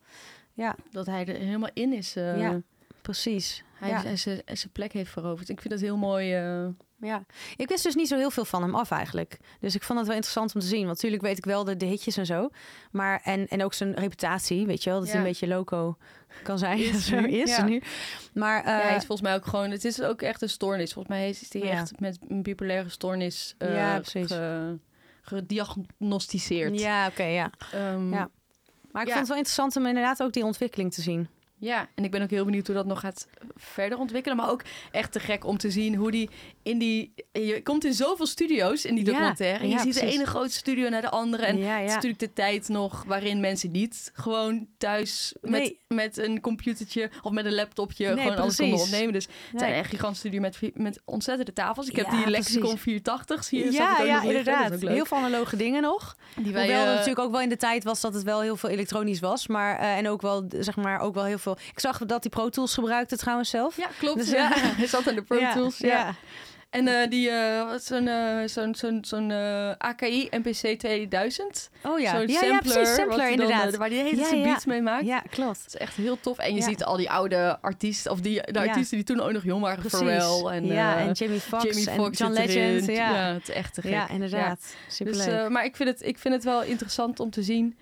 [SPEAKER 1] dat hij er helemaal in is. eh,
[SPEAKER 2] Ja. Precies.
[SPEAKER 1] Hij
[SPEAKER 2] ja.
[SPEAKER 1] is- hij is- zijn plek heeft veroverd. Ik vind dat heel mooi. eh,
[SPEAKER 2] Ja, ik wist dus niet zo heel veel van hem af eigenlijk. Dus ik vond het wel interessant om te zien. Want natuurlijk weet ik wel de, de hitjes en zo. Maar en, en ook zijn reputatie, weet je wel, dat hij
[SPEAKER 1] Ja.
[SPEAKER 2] een beetje loco kan zijn.
[SPEAKER 1] Is
[SPEAKER 2] Zo
[SPEAKER 1] nu,
[SPEAKER 2] is
[SPEAKER 1] ja.
[SPEAKER 2] nu. Maar
[SPEAKER 1] ja,
[SPEAKER 2] eh,
[SPEAKER 1] hij is volgens mij ook gewoon. Het is ook echt een stoornis. Volgens mij is hij
[SPEAKER 2] Ja.
[SPEAKER 1] echt met een bipolaire stoornis eh,
[SPEAKER 2] Ja, precies.
[SPEAKER 1] ge- gediagnosticeerd.
[SPEAKER 2] ja, oké, ja.
[SPEAKER 1] Ehm,
[SPEAKER 2] Ja.
[SPEAKER 1] ja.
[SPEAKER 2] Maar ik
[SPEAKER 1] Ja.
[SPEAKER 2] vond het wel interessant om inderdaad ook die ontwikkeling te zien.
[SPEAKER 1] en ik ben ook heel benieuwd hoe dat nog gaat verder ontwikkelen. Maar ook echt te gek om te zien hoe die in die. Je komt in zoveel studio's in die
[SPEAKER 2] Ja,
[SPEAKER 1] documentaire. en je
[SPEAKER 2] ja,
[SPEAKER 1] ziet de
[SPEAKER 2] precies.
[SPEAKER 1] ene grote studio naar de andere. En
[SPEAKER 2] ja,
[SPEAKER 1] Het is natuurlijk de tijd nog waarin mensen niet gewoon thuis
[SPEAKER 2] Nee.
[SPEAKER 1] met, met een computertje of met een laptopje
[SPEAKER 2] Nee,
[SPEAKER 1] gewoon alles konden
[SPEAKER 2] precies.
[SPEAKER 1] opnemen. Dus het
[SPEAKER 2] Nee.
[SPEAKER 1] zijn echt gigantische studio met, vi- met ontzettende tafels. Ik heb
[SPEAKER 2] Ja,
[SPEAKER 1] die
[SPEAKER 2] precies.
[SPEAKER 1] Lexicon 480 hier. zag ik
[SPEAKER 2] ja,
[SPEAKER 1] ook
[SPEAKER 2] ja
[SPEAKER 1] nog liggen. Dat is
[SPEAKER 2] inderdaad.
[SPEAKER 1] ook leuk.
[SPEAKER 2] Heel veel analoge dingen nog.
[SPEAKER 1] Die wij,
[SPEAKER 2] Hoewel het
[SPEAKER 1] eh,
[SPEAKER 2] natuurlijk ook wel in de tijd was dat het wel heel veel elektronisch was. Maar, eh, en ook wel, zeg maar, ook wel heel veel... Ik zag dat die Pro Tools gebruikte trouwens zelf.
[SPEAKER 1] Ja, klopt.
[SPEAKER 2] Dus,
[SPEAKER 1] ja.
[SPEAKER 2] ja.
[SPEAKER 1] Hij zat aan de Pro Tools. Ja.
[SPEAKER 2] ja.
[SPEAKER 1] En eh, die, eh, wat is zo'n eh, zo'n zo'n zo'n eh, AKI MPC 2000.
[SPEAKER 2] Oh ja,
[SPEAKER 1] Zo'n
[SPEAKER 2] ja,
[SPEAKER 1] sampler,
[SPEAKER 2] ja, precies,
[SPEAKER 1] wat
[SPEAKER 2] sampler
[SPEAKER 1] hij dan,
[SPEAKER 2] inderdaad.
[SPEAKER 1] eh, waar die hele
[SPEAKER 2] Ja,
[SPEAKER 1] tijd zijn
[SPEAKER 2] ja.
[SPEAKER 1] beats mee maakt.
[SPEAKER 2] Ja, klopt.
[SPEAKER 1] Het is echt heel tof. En je
[SPEAKER 2] Ja.
[SPEAKER 1] ziet al die oude artiesten, of die, de
[SPEAKER 2] Ja.
[SPEAKER 1] artiesten die toen ook nog jong waren.
[SPEAKER 2] Precies.
[SPEAKER 1] Pharrell en,
[SPEAKER 2] ja,
[SPEAKER 1] eh,
[SPEAKER 2] en Jamie Foxx
[SPEAKER 1] Jamie
[SPEAKER 2] en
[SPEAKER 1] Foxx
[SPEAKER 2] John
[SPEAKER 1] zit erin.
[SPEAKER 2] Legend. Ja, ja,
[SPEAKER 1] het is echt te gek.
[SPEAKER 2] inderdaad.
[SPEAKER 1] Ja.
[SPEAKER 2] Superleuk.
[SPEAKER 1] Dus, eh, maar ik vind, het, ik vind het wel interessant om te zien.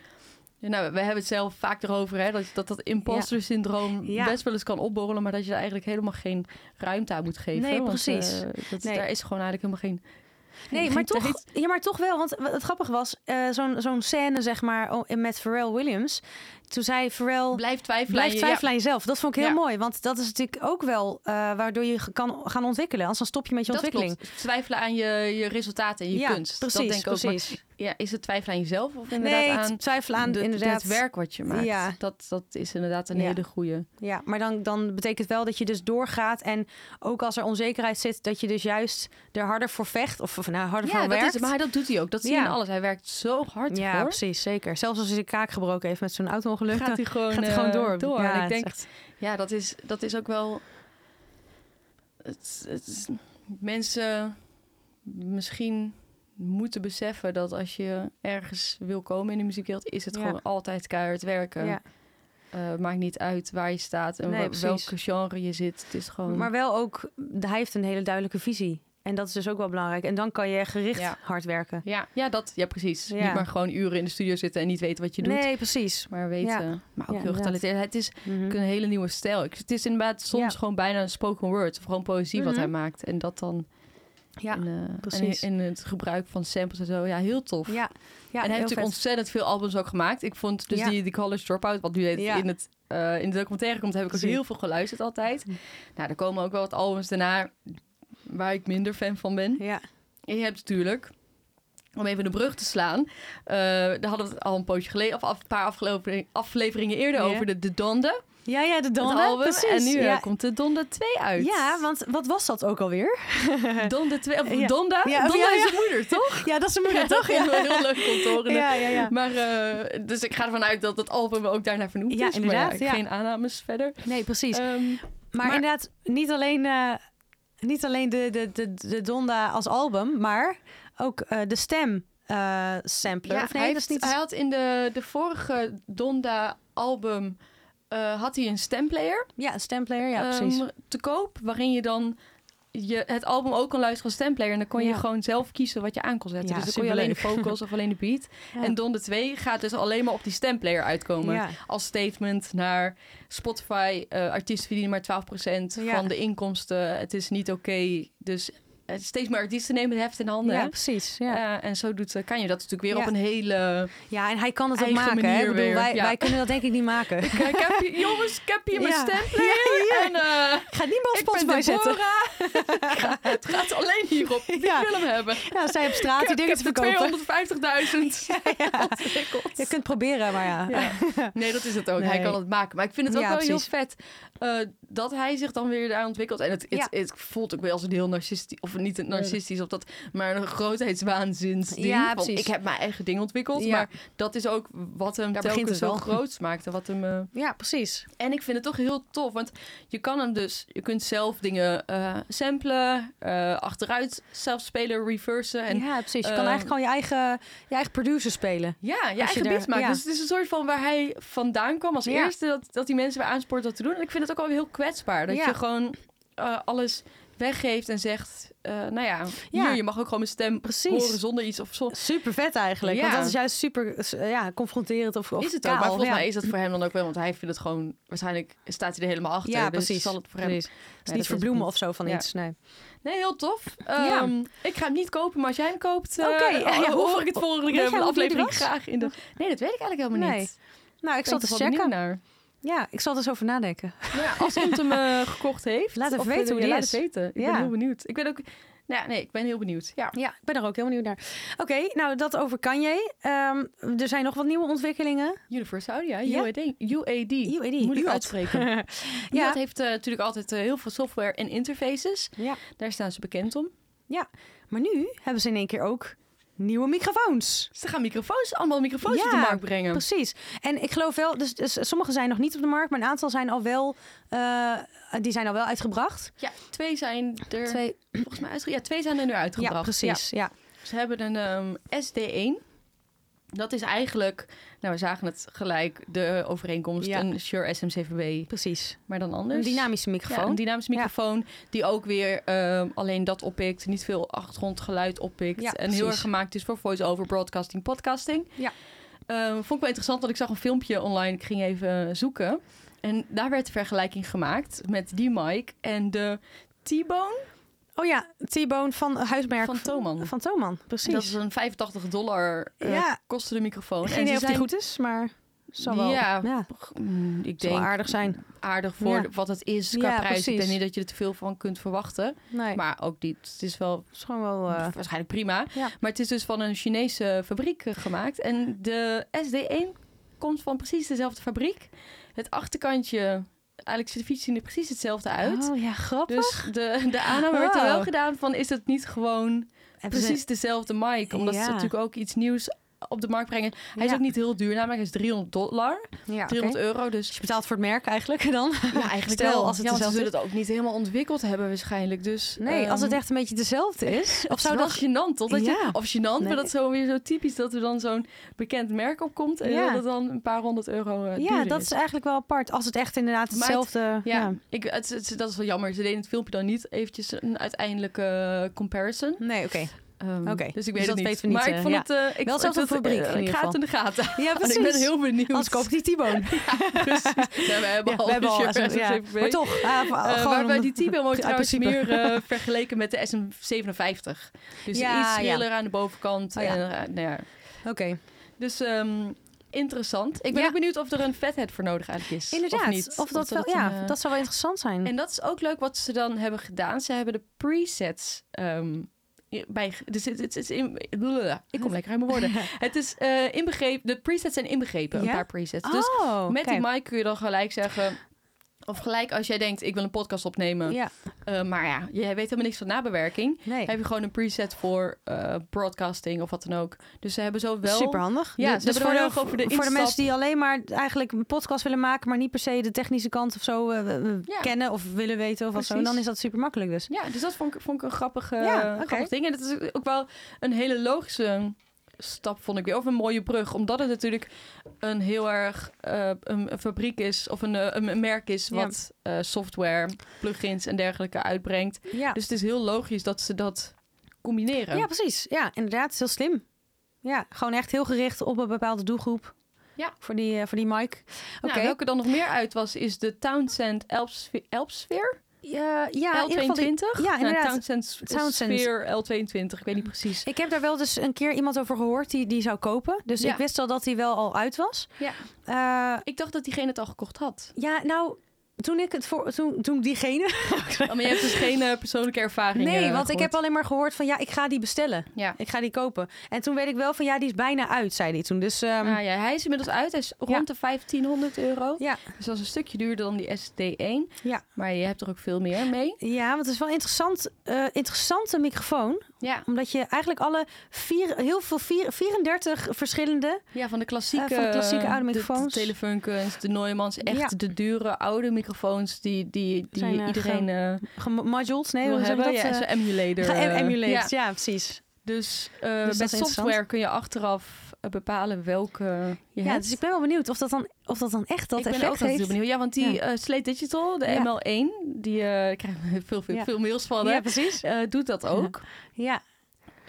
[SPEAKER 1] Ja, nou, we hebben het zelf vaak erover, hè, dat dat, dat imposter syndroom
[SPEAKER 2] Ja.
[SPEAKER 1] best wel eens kan opborrelen, maar dat je er eigenlijk helemaal geen ruimte aan moet geven.
[SPEAKER 2] Nee,
[SPEAKER 1] want,
[SPEAKER 2] precies.
[SPEAKER 1] eh, dat,
[SPEAKER 2] Nee.
[SPEAKER 1] Daar is gewoon eigenlijk helemaal geen
[SPEAKER 2] Nee,
[SPEAKER 1] Geen
[SPEAKER 2] maar toch,
[SPEAKER 1] tijd.
[SPEAKER 2] ja, maar toch wel. Want wat het grappige was, eh, zo'n zo'n scène zeg maar oh, met Pharrell Williams. Toen zei Pharrell,
[SPEAKER 1] Blijf twijfelen.
[SPEAKER 2] blijf
[SPEAKER 1] aan je-
[SPEAKER 2] twijfelen aan jezelf. Dat vond ik heel
[SPEAKER 1] Ja.
[SPEAKER 2] mooi. Want dat is natuurlijk ook wel eh, waardoor je ge- kan gaan ontwikkelen. Anders dan stop je met je
[SPEAKER 1] Ja, dat
[SPEAKER 2] ontwikkeling.
[SPEAKER 1] klopt. Twijfelen aan je, je resultaten en je
[SPEAKER 2] ja,
[SPEAKER 1] kunst.
[SPEAKER 2] precies.
[SPEAKER 1] dat denk ik ook. Maar
[SPEAKER 2] precies.
[SPEAKER 1] ja, is het twijfelen aan jezelf of inderdaad
[SPEAKER 2] nee,
[SPEAKER 1] aan,
[SPEAKER 2] twijfel aan
[SPEAKER 1] de-
[SPEAKER 2] inderdaad.
[SPEAKER 1] het werk wat je maakt?
[SPEAKER 2] Ja.
[SPEAKER 1] Dat, dat is inderdaad een
[SPEAKER 2] Ja.
[SPEAKER 1] hele goede.
[SPEAKER 2] Ja, maar dan, dan betekent wel dat je dus doorgaat. En ook als er onzekerheid zit, dat je dus juist er harder voor vecht. Of, of nou, harder
[SPEAKER 1] Ja,
[SPEAKER 2] voor
[SPEAKER 1] dat
[SPEAKER 2] werkt.
[SPEAKER 1] is, maar dat doet hij ook. Dat zie je
[SPEAKER 2] Ja.
[SPEAKER 1] in alles. Hij werkt zo hard
[SPEAKER 2] ja,
[SPEAKER 1] voor.
[SPEAKER 2] precies, zeker. Zelfs als hij zijn kaak gebroken heeft met zo'n auto-ongeluk,
[SPEAKER 1] Gaat
[SPEAKER 2] dan
[SPEAKER 1] hij gewoon,
[SPEAKER 2] gaat hij gewoon
[SPEAKER 1] eh,
[SPEAKER 2] door. Ja,
[SPEAKER 1] en
[SPEAKER 2] het
[SPEAKER 1] ik
[SPEAKER 2] is
[SPEAKER 1] denk,
[SPEAKER 2] echt-
[SPEAKER 1] ja, dat is, dat is ook wel. Het, het is- mensen misschien moeten beseffen dat als je ergens wil komen in de muziekwereld, is het
[SPEAKER 2] Ja.
[SPEAKER 1] gewoon altijd keihard werken.
[SPEAKER 2] ja.
[SPEAKER 1] Eh, maakt niet uit waar je staat en
[SPEAKER 2] Nee,
[SPEAKER 1] wel-
[SPEAKER 2] precies.
[SPEAKER 1] welke genre je zit. Het is gewoon.
[SPEAKER 2] Maar wel ook, hij heeft een hele duidelijke visie. En dat is dus ook wel belangrijk. En dan kan je gericht
[SPEAKER 1] Ja.
[SPEAKER 2] hard werken.
[SPEAKER 1] ja, ja, dat, ja, precies.
[SPEAKER 2] Ja.
[SPEAKER 1] Niet maar gewoon uren in de studio zitten en niet weten wat je doet.
[SPEAKER 2] Nee, precies.
[SPEAKER 1] Maar weten, maar ook
[SPEAKER 2] Ja,
[SPEAKER 1] heel
[SPEAKER 2] inderdaad.
[SPEAKER 1] getalenteerd. Het is
[SPEAKER 2] Mhm.
[SPEAKER 1] ook een hele nieuwe stijl. Ik- Het is inderdaad soms
[SPEAKER 2] Ja.
[SPEAKER 1] gewoon bijna een spoken word. Of gewoon poëzie wat
[SPEAKER 2] Mhm.
[SPEAKER 1] hij maakt. En dat dan
[SPEAKER 2] Ja,
[SPEAKER 1] in, eh,
[SPEAKER 2] precies.
[SPEAKER 1] en in het gebruik van samples en zo. Ja, heel tof.
[SPEAKER 2] ja. ja
[SPEAKER 1] en hij
[SPEAKER 2] heel
[SPEAKER 1] heeft natuurlijk
[SPEAKER 2] vet.
[SPEAKER 1] ontzettend veel albums ook gemaakt. Ik vond dus
[SPEAKER 2] Ja.
[SPEAKER 1] die, die College Dropout, wat nu heet
[SPEAKER 2] Ja.
[SPEAKER 1] in, het, eh, in de documentaire komt, heb ik ook
[SPEAKER 2] Precies. Mhm.
[SPEAKER 1] heel veel geluisterd altijd. Nou, er komen ook wel wat albums daarna waar ik minder fan van ben.
[SPEAKER 2] Ja,
[SPEAKER 1] En je hebt natuurlijk, om even de brug te slaan, eh, daar hadden we het al een pootje geleden, of af- een paar afgelopen afleveringen eerder
[SPEAKER 2] Ja.
[SPEAKER 1] over de, de Donde,
[SPEAKER 2] ja, ja de
[SPEAKER 1] het
[SPEAKER 2] Donde.
[SPEAKER 1] album.
[SPEAKER 2] precies.
[SPEAKER 1] En nu eh,
[SPEAKER 2] ja.
[SPEAKER 1] komt de Donde 2 uit.
[SPEAKER 2] ja, want wat was dat ook alweer?
[SPEAKER 1] Donde 2, of
[SPEAKER 2] Ja.
[SPEAKER 1] Donda,
[SPEAKER 2] Ja,
[SPEAKER 1] Donda
[SPEAKER 2] ja, ja.
[SPEAKER 1] is zijn moeder, toch?
[SPEAKER 2] Ja, dat is een moeder,
[SPEAKER 1] dat
[SPEAKER 2] toch?
[SPEAKER 1] vind ik wel
[SPEAKER 2] Ja.
[SPEAKER 1] heel leuk om te horen.
[SPEAKER 2] Ja, ja, ja.
[SPEAKER 1] Maar, eh, dus ik ga ervan uit dat het album ook daarna vernoemd
[SPEAKER 2] Ja,
[SPEAKER 1] is. maar
[SPEAKER 2] inderdaad, ja.
[SPEAKER 1] Geen aannames verder.
[SPEAKER 2] Nee, precies.
[SPEAKER 1] Ehm,
[SPEAKER 2] Maar,
[SPEAKER 1] Maar-
[SPEAKER 2] inderdaad, niet alleen, eh, niet alleen de, de, de, de Donda als album, maar ook eh, de stem eh, sampler.
[SPEAKER 1] ja,
[SPEAKER 2] of nee,
[SPEAKER 1] hij,
[SPEAKER 2] dat is
[SPEAKER 1] heeft-
[SPEAKER 2] niet...
[SPEAKER 1] hij had in de, de vorige Donda-album eh, had hij een stemplayer.
[SPEAKER 2] Ja, een stemplayer, ja,
[SPEAKER 1] ehm,
[SPEAKER 2] precies.
[SPEAKER 1] te koop. Waarin je dan je, het album ook kon luisteren als stemplayer. En dan kon je
[SPEAKER 2] Ja.
[SPEAKER 1] gewoon zelf kiezen wat je aan kon zetten.
[SPEAKER 2] Ja,
[SPEAKER 1] dus dan kon je alleen de
[SPEAKER 2] superleuk.
[SPEAKER 1] vocals of alleen de beat.
[SPEAKER 2] Ja.
[SPEAKER 1] En Don de 2 gaat dus alleen maar op die stemplayer uitkomen.
[SPEAKER 2] Ja.
[SPEAKER 1] Als statement naar Spotify. eh artiesten verdienen maar 12%
[SPEAKER 2] Ja.
[SPEAKER 1] van de inkomsten. Het is niet oké. Dus eh, steeds meer artiesten nemen het heft in handen.
[SPEAKER 2] ja,
[SPEAKER 1] hè?
[SPEAKER 2] precies. Ja.
[SPEAKER 1] Eh, en zo doet, eh, kan je dat natuurlijk weer
[SPEAKER 2] Ja.
[SPEAKER 1] op een hele...
[SPEAKER 2] Ja, en hij kan het ook
[SPEAKER 1] Eigen
[SPEAKER 2] maken. Hè?
[SPEAKER 1] manier
[SPEAKER 2] Ik bedoel,
[SPEAKER 1] weer,
[SPEAKER 2] wij,
[SPEAKER 1] ja.
[SPEAKER 2] wij kunnen dat denk ik niet maken. Ik
[SPEAKER 1] Kijk, ik heb hier- jongens, ik heb hier mijn
[SPEAKER 2] Ja.
[SPEAKER 1] stemplayer. En, eh,
[SPEAKER 2] ga het niet meer op
[SPEAKER 1] ik ben
[SPEAKER 2] Spotify zetten.
[SPEAKER 1] Deborah. het gaat alleen hierop. Ik
[SPEAKER 2] Ja.
[SPEAKER 1] wil hem hebben.
[SPEAKER 2] Ja, zij op straat die
[SPEAKER 1] ik
[SPEAKER 2] dingen
[SPEAKER 1] heb
[SPEAKER 2] te
[SPEAKER 1] de
[SPEAKER 2] verkopen.
[SPEAKER 1] 250.000 ontwikkeld.
[SPEAKER 2] Je kunt het proberen, maar ja.
[SPEAKER 1] Ja. Nee, dat is het ook. Hij
[SPEAKER 2] Nee.
[SPEAKER 1] kan het maken. Maar ik vind het ook
[SPEAKER 2] Ja,
[SPEAKER 1] wel
[SPEAKER 2] precies.
[SPEAKER 1] heel vet eh, dat hij zich dan weer daar ontwikkelt. En het, het,
[SPEAKER 2] Ja.
[SPEAKER 1] het voelt ook wel als een heel narcistisch, of niet een narcistisch op dat, maar een grootheidswaanzinsding.
[SPEAKER 2] Ja,
[SPEAKER 1] Van,
[SPEAKER 2] precies.
[SPEAKER 1] ik heb mijn eigen ding ontwikkeld,
[SPEAKER 2] Ja.
[SPEAKER 1] maar dat is ook wat hem
[SPEAKER 2] Daar begint
[SPEAKER 1] telkens
[SPEAKER 2] het
[SPEAKER 1] zo
[SPEAKER 2] wel.
[SPEAKER 1] groot maakt. En, wat hem, eh,
[SPEAKER 2] Ja, precies.
[SPEAKER 1] en ik vind het toch heel tof, want je kan hem dus, je kunt zelf dingen eh, samplen, eh, achteruit zelf spelen, reversen. En
[SPEAKER 2] ja, precies. Je kan
[SPEAKER 1] ehm,
[SPEAKER 2] eigenlijk gewoon je eigen, je eigen producer spelen.
[SPEAKER 1] Ja, je
[SPEAKER 2] Als je
[SPEAKER 1] eigen
[SPEAKER 2] daar-
[SPEAKER 1] beat maken.
[SPEAKER 2] ja.
[SPEAKER 1] Dus het is een soort van waar hij vandaan kwam als
[SPEAKER 2] Ja.
[SPEAKER 1] eerste. Dat, dat die mensen weer aanspoort dat te doen. En ik vind het ook wel heel kwetsbaar. Dat
[SPEAKER 2] Ja.
[SPEAKER 1] je gewoon eh, alles weggeeft en zegt... eh, nou ja,
[SPEAKER 2] Ja.
[SPEAKER 1] hier, je mag ook gewoon mijn stem
[SPEAKER 2] Precies.
[SPEAKER 1] horen zonder iets of zo.
[SPEAKER 2] Super vet eigenlijk.
[SPEAKER 1] Ja.
[SPEAKER 2] Want dat is juist super eh, ja, confronterend of, of
[SPEAKER 1] Is het ook,
[SPEAKER 2] kaal.
[SPEAKER 1] maar volgens
[SPEAKER 2] ja.
[SPEAKER 1] mij is dat voor hem dan ook wel. Want hij vindt het gewoon... Waarschijnlijk staat hij er helemaal achter.
[SPEAKER 2] Ja,
[SPEAKER 1] dus
[SPEAKER 2] precies.
[SPEAKER 1] zal het voor hem...
[SPEAKER 2] Precies.
[SPEAKER 1] Ja,
[SPEAKER 2] Het
[SPEAKER 1] dat
[SPEAKER 2] is niet Nou, verbloemen
[SPEAKER 1] het
[SPEAKER 2] of zo van
[SPEAKER 1] Ja.
[SPEAKER 2] iets. Nee.
[SPEAKER 1] niet. Nee, heel tof.
[SPEAKER 2] Ja.
[SPEAKER 1] Ehm, Ik ga hem niet kopen, maar als jij hem koopt... eh,
[SPEAKER 2] Oké,
[SPEAKER 1] oh,
[SPEAKER 2] ja,
[SPEAKER 1] hoor
[SPEAKER 2] hoe-
[SPEAKER 1] ik het volgende
[SPEAKER 2] weet
[SPEAKER 1] keer
[SPEAKER 2] jij
[SPEAKER 1] in de
[SPEAKER 2] hoe duur die
[SPEAKER 1] aflevering
[SPEAKER 2] was?
[SPEAKER 1] graag in de... Nee, dat weet ik eigenlijk helemaal
[SPEAKER 2] Nee.
[SPEAKER 1] niet.
[SPEAKER 2] Nou, ik
[SPEAKER 1] ben
[SPEAKER 2] zal
[SPEAKER 1] er
[SPEAKER 2] het
[SPEAKER 1] wel
[SPEAKER 2] eens
[SPEAKER 1] benieuwd
[SPEAKER 2] checken.
[SPEAKER 1] naar.
[SPEAKER 2] Ja, ik zal er eens over nadenken.
[SPEAKER 1] Nou ja, als iemand hem eh, gekocht heeft.
[SPEAKER 2] Laat even
[SPEAKER 1] of,
[SPEAKER 2] weten
[SPEAKER 1] eh,
[SPEAKER 2] hoe
[SPEAKER 1] ja,
[SPEAKER 2] die
[SPEAKER 1] laat
[SPEAKER 2] is.
[SPEAKER 1] het weten. Ik ben
[SPEAKER 2] Ja.
[SPEAKER 1] heel benieuwd. Ik ben ook... Nou, ja, nee, ik ben heel benieuwd. Ja.
[SPEAKER 2] Ja, ik ben er ook heel benieuwd naar. Oké, nou dat over Kanye. Ehm, er zijn nog wat nieuwe ontwikkelingen.
[SPEAKER 1] Universaudia,
[SPEAKER 2] Ja.
[SPEAKER 1] UAD. UAD.
[SPEAKER 2] UAD,
[SPEAKER 1] Moeilijk
[SPEAKER 2] UAD.
[SPEAKER 1] uitspreken. ja.
[SPEAKER 2] Ja.
[SPEAKER 1] UAD heeft eh, natuurlijk altijd eh, heel veel software en interfaces.
[SPEAKER 2] Ja.
[SPEAKER 1] Daar staan ze bekend om.
[SPEAKER 2] Maar nu hebben ze in één keer ook nieuwe microfoons.
[SPEAKER 1] Dus Ze gaan microfoons, allemaal microfoons
[SPEAKER 2] Ja,
[SPEAKER 1] op de markt brengen.
[SPEAKER 2] Precies. En ik geloof wel, dus, dus sommige zijn nog niet op de markt, maar een aantal zijn al wel, eh, die zijn al wel uitgebracht.
[SPEAKER 1] Ja, twee zijn er
[SPEAKER 2] Twee,
[SPEAKER 1] volgens mij uitgebracht. Ja, twee zijn er nu uitgebracht.
[SPEAKER 2] ja, precies. Ja.
[SPEAKER 1] Ja. Ze hebben een ehm, SD1. Dat is eigenlijk, nou we zagen het gelijk, de overeenkomst.
[SPEAKER 2] Ja.
[SPEAKER 1] Een Shure SM7B,
[SPEAKER 2] precies.
[SPEAKER 1] maar dan
[SPEAKER 2] Een
[SPEAKER 1] anders.
[SPEAKER 2] dynamische microfoon.
[SPEAKER 1] Dus- Ja, een dynamische
[SPEAKER 2] Ja.
[SPEAKER 1] microfoon die ook weer ehm, alleen dat oppikt, niet veel achtergrondgeluid oppikt.
[SPEAKER 2] Ja,
[SPEAKER 1] en
[SPEAKER 2] precies.
[SPEAKER 1] heel erg gemaakt is voor voice-over, broadcasting, podcasting.
[SPEAKER 2] Ja.
[SPEAKER 1] Ehm, vond ik wel interessant, want ik zag een filmpje online. Ik ging even eh, zoeken. En daar werd de vergelijking gemaakt met die mic en de T-Bone.
[SPEAKER 2] Oh ja, T-Bone van Huismerk.
[SPEAKER 1] Van Thomann.
[SPEAKER 2] Van Thoman, precies.
[SPEAKER 1] Dat is een 85 dollar eh,
[SPEAKER 2] Ja.
[SPEAKER 1] kostte de microfoon.
[SPEAKER 2] Geen idee
[SPEAKER 1] ze
[SPEAKER 2] of die goed is, maar zal wel.
[SPEAKER 1] Ja.
[SPEAKER 2] ja.
[SPEAKER 1] Mm, Ik
[SPEAKER 2] Zal wel
[SPEAKER 1] denk
[SPEAKER 2] aardig zijn.
[SPEAKER 1] aardig voor
[SPEAKER 2] Ja.
[SPEAKER 1] de- wat het is qua
[SPEAKER 2] Ja,
[SPEAKER 1] prijs. Ik
[SPEAKER 2] precies.
[SPEAKER 1] denk niet dat je er te veel van kunt verwachten.
[SPEAKER 2] Nee, maar
[SPEAKER 1] Maar ook niet. Het is wel
[SPEAKER 2] het is gewoon wel. eh,
[SPEAKER 1] waarschijnlijk prima.
[SPEAKER 2] ja.
[SPEAKER 1] Maar het is dus van een Chinese fabriek eh, gemaakt. En de SD1 komt van precies dezelfde fabriek. Het achterkantje, eigenlijk ziet de fiets zien er precies hetzelfde uit.
[SPEAKER 2] Oh ja, grappig.
[SPEAKER 1] Dus de, de aanname werd er
[SPEAKER 2] Wow.
[SPEAKER 1] wel gedaan van is het niet gewoon
[SPEAKER 2] Hebben ze-
[SPEAKER 1] Dus precies dezelfde mic? Omdat
[SPEAKER 2] Ja.
[SPEAKER 1] ze natuurlijk ook iets nieuws op de markt brengen. Hij is
[SPEAKER 2] Ja.
[SPEAKER 1] ook niet heel duur, namelijk hij is 300 dollar,
[SPEAKER 2] ja, oké.
[SPEAKER 1] 300 euro.
[SPEAKER 2] Dus
[SPEAKER 1] Dus
[SPEAKER 2] je betaalt voor het merk eigenlijk dan.
[SPEAKER 1] ja, eigenlijk
[SPEAKER 2] Stel,
[SPEAKER 1] wel. ja, want
[SPEAKER 2] als het
[SPEAKER 1] ze
[SPEAKER 2] dezelfde
[SPEAKER 1] zullen het ook niet helemaal ontwikkeld hebben waarschijnlijk. Dus,
[SPEAKER 2] Nee, als het
[SPEAKER 1] ehm,
[SPEAKER 2] echt een beetje dezelfde is. Of
[SPEAKER 1] Of
[SPEAKER 2] zou dat...
[SPEAKER 1] gênant, toch? Dat
[SPEAKER 2] Ja.
[SPEAKER 1] je, of gênant,
[SPEAKER 2] Nee.
[SPEAKER 1] maar dat is zo weer zo typisch dat er dan zo'n bekend merk opkomt en
[SPEAKER 2] Ja.
[SPEAKER 1] dat het dan een paar honderd euro eh,
[SPEAKER 2] Ja,
[SPEAKER 1] duurder
[SPEAKER 2] dat is eigenlijk wel apart. Als het echt inderdaad
[SPEAKER 1] Maar het-
[SPEAKER 2] hetzelfde...
[SPEAKER 1] Ja, Ik, het, het- dat is wel jammer. Ze deden in het filmpje dan niet eventjes een uiteindelijke comparison.
[SPEAKER 2] Nee, oké.
[SPEAKER 1] Ehm,
[SPEAKER 2] Oké,
[SPEAKER 1] Dus
[SPEAKER 2] dus
[SPEAKER 1] ik weet het
[SPEAKER 2] dat
[SPEAKER 1] niet.
[SPEAKER 2] weten we niet,
[SPEAKER 1] Maar ik
[SPEAKER 2] eh,
[SPEAKER 1] vond
[SPEAKER 2] ja.
[SPEAKER 1] het... eh, ik
[SPEAKER 2] Wel
[SPEAKER 1] vond
[SPEAKER 2] hetzelfde
[SPEAKER 1] het,
[SPEAKER 2] fabriek in
[SPEAKER 1] eh,
[SPEAKER 2] ieder
[SPEAKER 1] ik ga
[SPEAKER 2] geval.
[SPEAKER 1] het in de gaten.
[SPEAKER 2] Ja,
[SPEAKER 1] Want
[SPEAKER 2] precies.
[SPEAKER 1] Oh, ik ben heel benieuwd.
[SPEAKER 2] Anders koop ik die T-Bone.
[SPEAKER 1] Precies. Ja, we hebben
[SPEAKER 2] Ja,
[SPEAKER 1] al
[SPEAKER 2] we hebben al
[SPEAKER 1] een
[SPEAKER 2] SM,
[SPEAKER 1] shirt
[SPEAKER 2] ja.
[SPEAKER 1] SMCP.
[SPEAKER 2] Maar toch, eh,
[SPEAKER 1] Eh,
[SPEAKER 2] gewoon
[SPEAKER 1] maar bij
[SPEAKER 2] om-
[SPEAKER 1] die T-Bone wordt
[SPEAKER 2] Ja,
[SPEAKER 1] trouwens
[SPEAKER 2] principe.
[SPEAKER 1] meer eh, vergeleken met de SM57. Dus
[SPEAKER 2] Ja,
[SPEAKER 1] iets
[SPEAKER 2] ja.
[SPEAKER 1] schriller aan de bovenkant.
[SPEAKER 2] Oh, ja.
[SPEAKER 1] en, eh, nou ja.
[SPEAKER 2] Oké,
[SPEAKER 1] Dus ehm, interessant. Ik ben
[SPEAKER 2] Ja.
[SPEAKER 1] ook benieuwd of er een vethead voor nodig eigenlijk is.
[SPEAKER 2] inderdaad.
[SPEAKER 1] Of, niet.
[SPEAKER 2] dat, wel,
[SPEAKER 1] een,
[SPEAKER 2] ja,
[SPEAKER 1] eh,
[SPEAKER 2] dat zou wel interessant zijn.
[SPEAKER 1] En dat is ook leuk wat ze dan hebben gedaan. Ze hebben de presets ehm, i- bij. Dus het, het, het is in, blablabla. ik kom lekker uit mijn woorden. Het is eh, inbegrepen. De presets zijn inbegrepen.
[SPEAKER 2] Ja?
[SPEAKER 1] Een paar presets. Dus
[SPEAKER 2] oh,
[SPEAKER 1] met
[SPEAKER 2] kijk.
[SPEAKER 1] die mic kun je dan gelijk zeggen. Of gelijk als jij denkt, ik wil een podcast opnemen.
[SPEAKER 2] Ja,
[SPEAKER 1] eh, maar ja, jij weet helemaal niks van nabewerking.
[SPEAKER 2] nee.
[SPEAKER 1] Heb je gewoon een preset voor eh, broadcasting of wat dan ook. Dus ze hebben zo wel...
[SPEAKER 2] Super handig. Dus
[SPEAKER 1] Ja, ze hebben er heel erg over de
[SPEAKER 2] voor de
[SPEAKER 1] instap-
[SPEAKER 2] mensen die alleen maar eigenlijk een podcast willen maken, maar niet per se de technische kant of zo eh, eh,
[SPEAKER 1] Ja.
[SPEAKER 2] kennen of willen weten of wat zo,
[SPEAKER 1] Precies.
[SPEAKER 2] dan is dat super makkelijk dus.
[SPEAKER 1] Ja, dus dat vond ik, vond ik een grappige,
[SPEAKER 2] Ja, oké.
[SPEAKER 1] grappig ding. En dat is ook wel een hele logische stap, vond ik weer. Of een mooie brug. Omdat het natuurlijk een heel erg eh, een, een fabriek is, of een, eh, een, een merk is,
[SPEAKER 2] Ja.
[SPEAKER 1] wat eh, software, plugins en dergelijke uitbrengt.
[SPEAKER 2] Ja,
[SPEAKER 1] Dus het is heel logisch dat ze dat combineren.
[SPEAKER 2] ja precies. Ja, inderdaad, het is heel slim. Ja, gewoon echt heel gericht op een bepaalde doelgroep.
[SPEAKER 1] Ja.
[SPEAKER 2] Voor die, eh, voor die mic. Oké.
[SPEAKER 1] Nou, welke dan nog meer uit was, is de Townsend Elpsfe- Elpsfeer?
[SPEAKER 2] ja, ja, in ieder
[SPEAKER 1] L22?
[SPEAKER 2] geval die- ja,
[SPEAKER 1] Nou,
[SPEAKER 2] inderdaad.
[SPEAKER 1] Townsend,
[SPEAKER 2] Townsend.
[SPEAKER 1] Sphere L22, ik weet niet precies.
[SPEAKER 2] Ik heb daar wel dus een keer iemand over gehoord die die zou kopen. Dus
[SPEAKER 1] Ja.
[SPEAKER 2] ik wist al dat die wel al uit was.
[SPEAKER 1] Ja.
[SPEAKER 2] Eh,
[SPEAKER 1] Ik dacht dat diegene het al gekocht had.
[SPEAKER 2] ja, nou, toen ik het voor... Toen, toen diegene...
[SPEAKER 1] Oh, maar je hebt dus geen eh, persoonlijke ervaring
[SPEAKER 2] nee,
[SPEAKER 1] eh,
[SPEAKER 2] want ik
[SPEAKER 1] gehoord.
[SPEAKER 2] heb alleen maar gehoord van... Ja, ik ga die bestellen.
[SPEAKER 1] Ja.
[SPEAKER 2] Ik ga die kopen. En toen weet ik wel van... Ja, die is bijna uit, zei hij toen. Dus... ehm,
[SPEAKER 1] Ah, ja, hij is inmiddels uit. Hij is rond
[SPEAKER 2] Ja.
[SPEAKER 1] de 1500 euro.
[SPEAKER 2] Ja.
[SPEAKER 1] Dus dat is een stukje duurder dan die SD1.
[SPEAKER 2] Ja.
[SPEAKER 1] Maar je hebt er ook veel meer mee.
[SPEAKER 2] Ja, want het is wel een interessant, eh, interessante microfoon.
[SPEAKER 1] Ja,
[SPEAKER 2] Omdat je eigenlijk alle vier, heel veel, vier, 34 verschillende.
[SPEAKER 1] ja van de klassieke,
[SPEAKER 2] Eh, van de klassieke oude
[SPEAKER 1] de-
[SPEAKER 2] microfoons.
[SPEAKER 1] De, Telefunkens, de Neumanns. Echt
[SPEAKER 2] Ja.
[SPEAKER 1] de dure oude microfoons die, die, die
[SPEAKER 2] Zijn, eh,
[SPEAKER 1] iedereen eh
[SPEAKER 2] Modules, nee,
[SPEAKER 1] wil
[SPEAKER 2] hoe zeg je
[SPEAKER 1] hebben.
[SPEAKER 2] dat?
[SPEAKER 1] ja,
[SPEAKER 2] Eh,
[SPEAKER 1] zo'n emulator.
[SPEAKER 2] Ga em-
[SPEAKER 1] eh,
[SPEAKER 2] emulate,
[SPEAKER 1] ja.
[SPEAKER 2] ja, precies.
[SPEAKER 1] Dus, eh,
[SPEAKER 2] dat is
[SPEAKER 1] met
[SPEAKER 2] interessant.
[SPEAKER 1] software kun je achteraf eh, bepalen welke je
[SPEAKER 2] Ja,
[SPEAKER 1] hebt.
[SPEAKER 2] dus ik ben wel benieuwd of dat dan, of dat dan echt dat
[SPEAKER 1] ik ben
[SPEAKER 2] effect
[SPEAKER 1] ook altijd heel
[SPEAKER 2] heeft.
[SPEAKER 1] benieuwd. Ja, want die eh, Slate Digital, de
[SPEAKER 2] Ja.
[SPEAKER 1] ML1, die eh krijgen we veel, veel,
[SPEAKER 2] Ja.
[SPEAKER 1] veel mails van. hè?
[SPEAKER 2] Ja, precies.
[SPEAKER 1] Eh, doet dat ook.
[SPEAKER 2] Ja,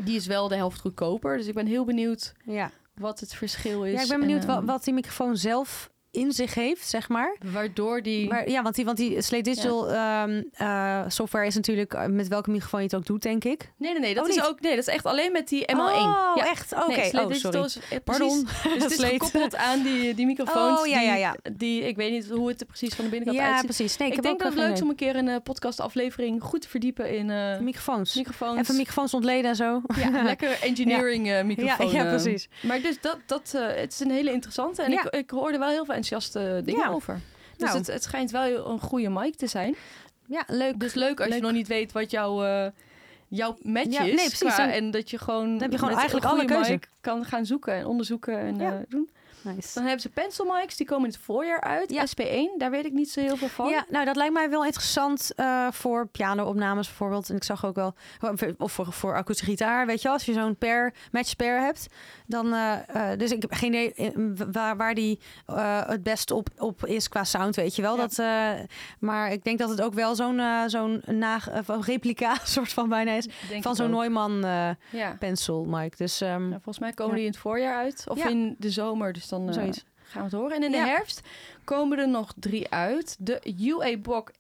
[SPEAKER 1] Die is wel de helft goedkoper. Dus ik ben heel benieuwd
[SPEAKER 2] ja.
[SPEAKER 1] wat het verschil is.
[SPEAKER 2] ja ik ben
[SPEAKER 1] en,
[SPEAKER 2] benieuwd wa-
[SPEAKER 1] ehm,
[SPEAKER 2] wat die microfoon zelf in zich heeft, zeg maar.
[SPEAKER 1] Waardoor die...
[SPEAKER 2] Maar ja, want die, want die Slate Digital ehm, eh, software is natuurlijk eh, met welke microfoon je het ook doet, denk ik.
[SPEAKER 1] Nee, nee, nee. Dat
[SPEAKER 2] Oh,
[SPEAKER 1] is
[SPEAKER 2] niet.
[SPEAKER 1] ook... Nee, dat is echt alleen met die ML1.
[SPEAKER 2] Oh,
[SPEAKER 1] ja.
[SPEAKER 2] echt? Oké,
[SPEAKER 1] Nee, Slate
[SPEAKER 2] oh,
[SPEAKER 1] Digital
[SPEAKER 2] sorry.
[SPEAKER 1] is, eh, precies-
[SPEAKER 2] Pardon.
[SPEAKER 1] Dus het is
[SPEAKER 2] Slate.
[SPEAKER 1] gekoppeld aan die, die microfoons.
[SPEAKER 2] Oh, ja, ja, ja.
[SPEAKER 1] Die, die- ik weet niet hoe het er precies van de binnenkant
[SPEAKER 2] Ja,
[SPEAKER 1] uitziet.
[SPEAKER 2] precies. Nee, ik,
[SPEAKER 1] ik
[SPEAKER 2] heb
[SPEAKER 1] denk
[SPEAKER 2] ook
[SPEAKER 1] dat het
[SPEAKER 2] geen
[SPEAKER 1] leuk is
[SPEAKER 2] idee.
[SPEAKER 1] om een keer een eh, podcastaflevering goed te verdiepen in eh,
[SPEAKER 2] Microfoons.
[SPEAKER 1] microfoons.
[SPEAKER 2] Even microfoons ontleden en zo.
[SPEAKER 1] ja, lekker engineering eh, microfoon.
[SPEAKER 2] ja, ja,
[SPEAKER 1] eh.
[SPEAKER 2] precies.
[SPEAKER 1] Maar dus dat, dat eh, het is een hele interessante. En
[SPEAKER 2] Ja.
[SPEAKER 1] ik, ik hoorde wel heel veel enthousiaste eh, dingen
[SPEAKER 2] Ja.
[SPEAKER 1] over. Dus
[SPEAKER 2] Nou.
[SPEAKER 1] het, het schijnt wel heel- een goede mic te zijn.
[SPEAKER 2] Ja, leuk.
[SPEAKER 1] Dus leuk als je
[SPEAKER 2] Leuk.
[SPEAKER 1] nog niet weet wat jouw, eh, jouw match
[SPEAKER 2] Ja,
[SPEAKER 1] is.
[SPEAKER 2] nee, precies.
[SPEAKER 1] qua-
[SPEAKER 2] Dan-
[SPEAKER 1] en dat je gewoon,
[SPEAKER 2] heb je gewoon
[SPEAKER 1] met
[SPEAKER 2] eigenlijk
[SPEAKER 1] een
[SPEAKER 2] alle
[SPEAKER 1] goede
[SPEAKER 2] keuze.
[SPEAKER 1] mic kan gaan zoeken en onderzoeken en
[SPEAKER 2] Ja.
[SPEAKER 1] eh, doen.
[SPEAKER 2] Nice.
[SPEAKER 1] Dan hebben ze pencil mics, die komen in het voorjaar uit.
[SPEAKER 2] Ja.
[SPEAKER 1] SP1, daar weet ik niet zo heel veel van.
[SPEAKER 2] Ja, nou dat lijkt mij wel interessant eh, voor piano-opnames bijvoorbeeld. En ik zag ook wel, of voor, voor akoestische gitaar, weet je wel. Als je zo'n pair, match pair hebt, dan... eh, eh, dus ik heb geen idee eh, waar, waar die eh, het best op, op is qua sound, weet je wel.
[SPEAKER 1] Ja.
[SPEAKER 2] Dat, eh, maar ik denk dat het ook wel zo'n eh, zo'n na- of een replica soort van bijna is.
[SPEAKER 1] Denk
[SPEAKER 2] van
[SPEAKER 1] ik
[SPEAKER 2] zo'n
[SPEAKER 1] ook.
[SPEAKER 2] Neumann eh,
[SPEAKER 1] Ja.
[SPEAKER 2] pencil, Mike. Dus ehm,
[SPEAKER 1] Nou, volgens mij komen
[SPEAKER 2] Ja.
[SPEAKER 1] die in het voorjaar uit. Of
[SPEAKER 2] Ja.
[SPEAKER 1] in de zomer, dus dan eh,
[SPEAKER 2] zoiets.
[SPEAKER 1] gaan we het horen. En in
[SPEAKER 2] Ja.
[SPEAKER 1] de herfst komen er nog drie uit. De UA Box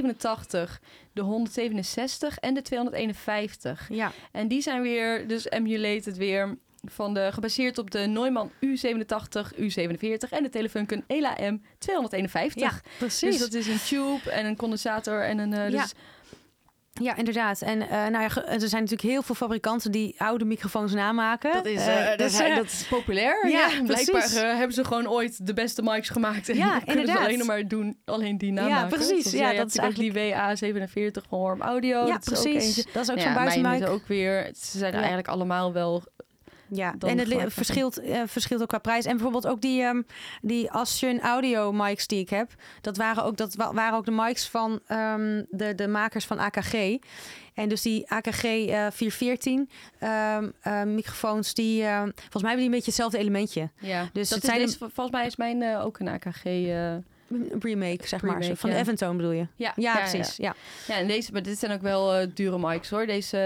[SPEAKER 1] 187, de 167 en de 251.
[SPEAKER 2] Ja.
[SPEAKER 1] En die zijn weer, dus emulated weer, van de, gebaseerd op de Neumann U87, U47 en de Telefunken ELA M251.
[SPEAKER 2] ja,
[SPEAKER 1] Dus
[SPEAKER 2] precies.
[SPEAKER 1] dat is een tube en een condensator en een... eh,
[SPEAKER 2] Ja.
[SPEAKER 1] dus,
[SPEAKER 2] Ja, inderdaad. En eh, nou ja, ge- er zijn natuurlijk heel veel fabrikanten die oude microfoons namaken.
[SPEAKER 1] dat, is,
[SPEAKER 2] Eh,
[SPEAKER 1] eh, dat,
[SPEAKER 2] dus,
[SPEAKER 1] is,
[SPEAKER 2] eh,
[SPEAKER 1] dat is populair.
[SPEAKER 2] Ja,
[SPEAKER 1] Ja,
[SPEAKER 2] precies.
[SPEAKER 1] blijkbaar eh, hebben ze gewoon ooit de beste mics gemaakt. En
[SPEAKER 2] Ja,
[SPEAKER 1] kunnen ze
[SPEAKER 2] inderdaad.
[SPEAKER 1] alleen nog maar doen, alleen die naam maken.
[SPEAKER 2] precies.
[SPEAKER 1] Dus, eh,
[SPEAKER 2] Ja,
[SPEAKER 1] je
[SPEAKER 2] dat
[SPEAKER 1] hebt
[SPEAKER 2] is
[SPEAKER 1] natuurlijk ook die WA47 van Warm Audio.
[SPEAKER 2] ja,
[SPEAKER 1] dat is ook
[SPEAKER 2] precies.
[SPEAKER 1] eentje.
[SPEAKER 2] dat is ook
[SPEAKER 1] Nou
[SPEAKER 2] zo'n
[SPEAKER 1] ja, mijn
[SPEAKER 2] buitenmuik.
[SPEAKER 1] is ook weer. Ze zijn
[SPEAKER 2] Ja.
[SPEAKER 1] eigenlijk allemaal wel.
[SPEAKER 2] Ja,
[SPEAKER 1] dan
[SPEAKER 2] en het li-
[SPEAKER 1] gemaakt.
[SPEAKER 2] verschilt, eh, verschilt ook qua prijs. En bijvoorbeeld ook die, ehm die Asjen audio mics die ik heb. Dat waren ook, dat wa- waren ook de mics van ehm, de, de makers van AKG. En dus die AKG eh 414 ehm, eh, microfoons, die, ehm, volgens mij hebben die een beetje hetzelfde elemententje.
[SPEAKER 1] Ja.
[SPEAKER 2] Dus
[SPEAKER 1] Dus
[SPEAKER 2] het
[SPEAKER 1] dat
[SPEAKER 2] zijn
[SPEAKER 1] is deze, volgens mij is mijn eh, ook een AKG. eh,
[SPEAKER 2] Een Remake, zeg maar.
[SPEAKER 1] Remake,
[SPEAKER 2] van de
[SPEAKER 1] ja.
[SPEAKER 2] Eventone bedoel je?
[SPEAKER 1] ja,
[SPEAKER 2] Ja, precies. Ja.
[SPEAKER 1] Ja. en deze, maar dit zijn ook wel eh, dure mics hoor. Deze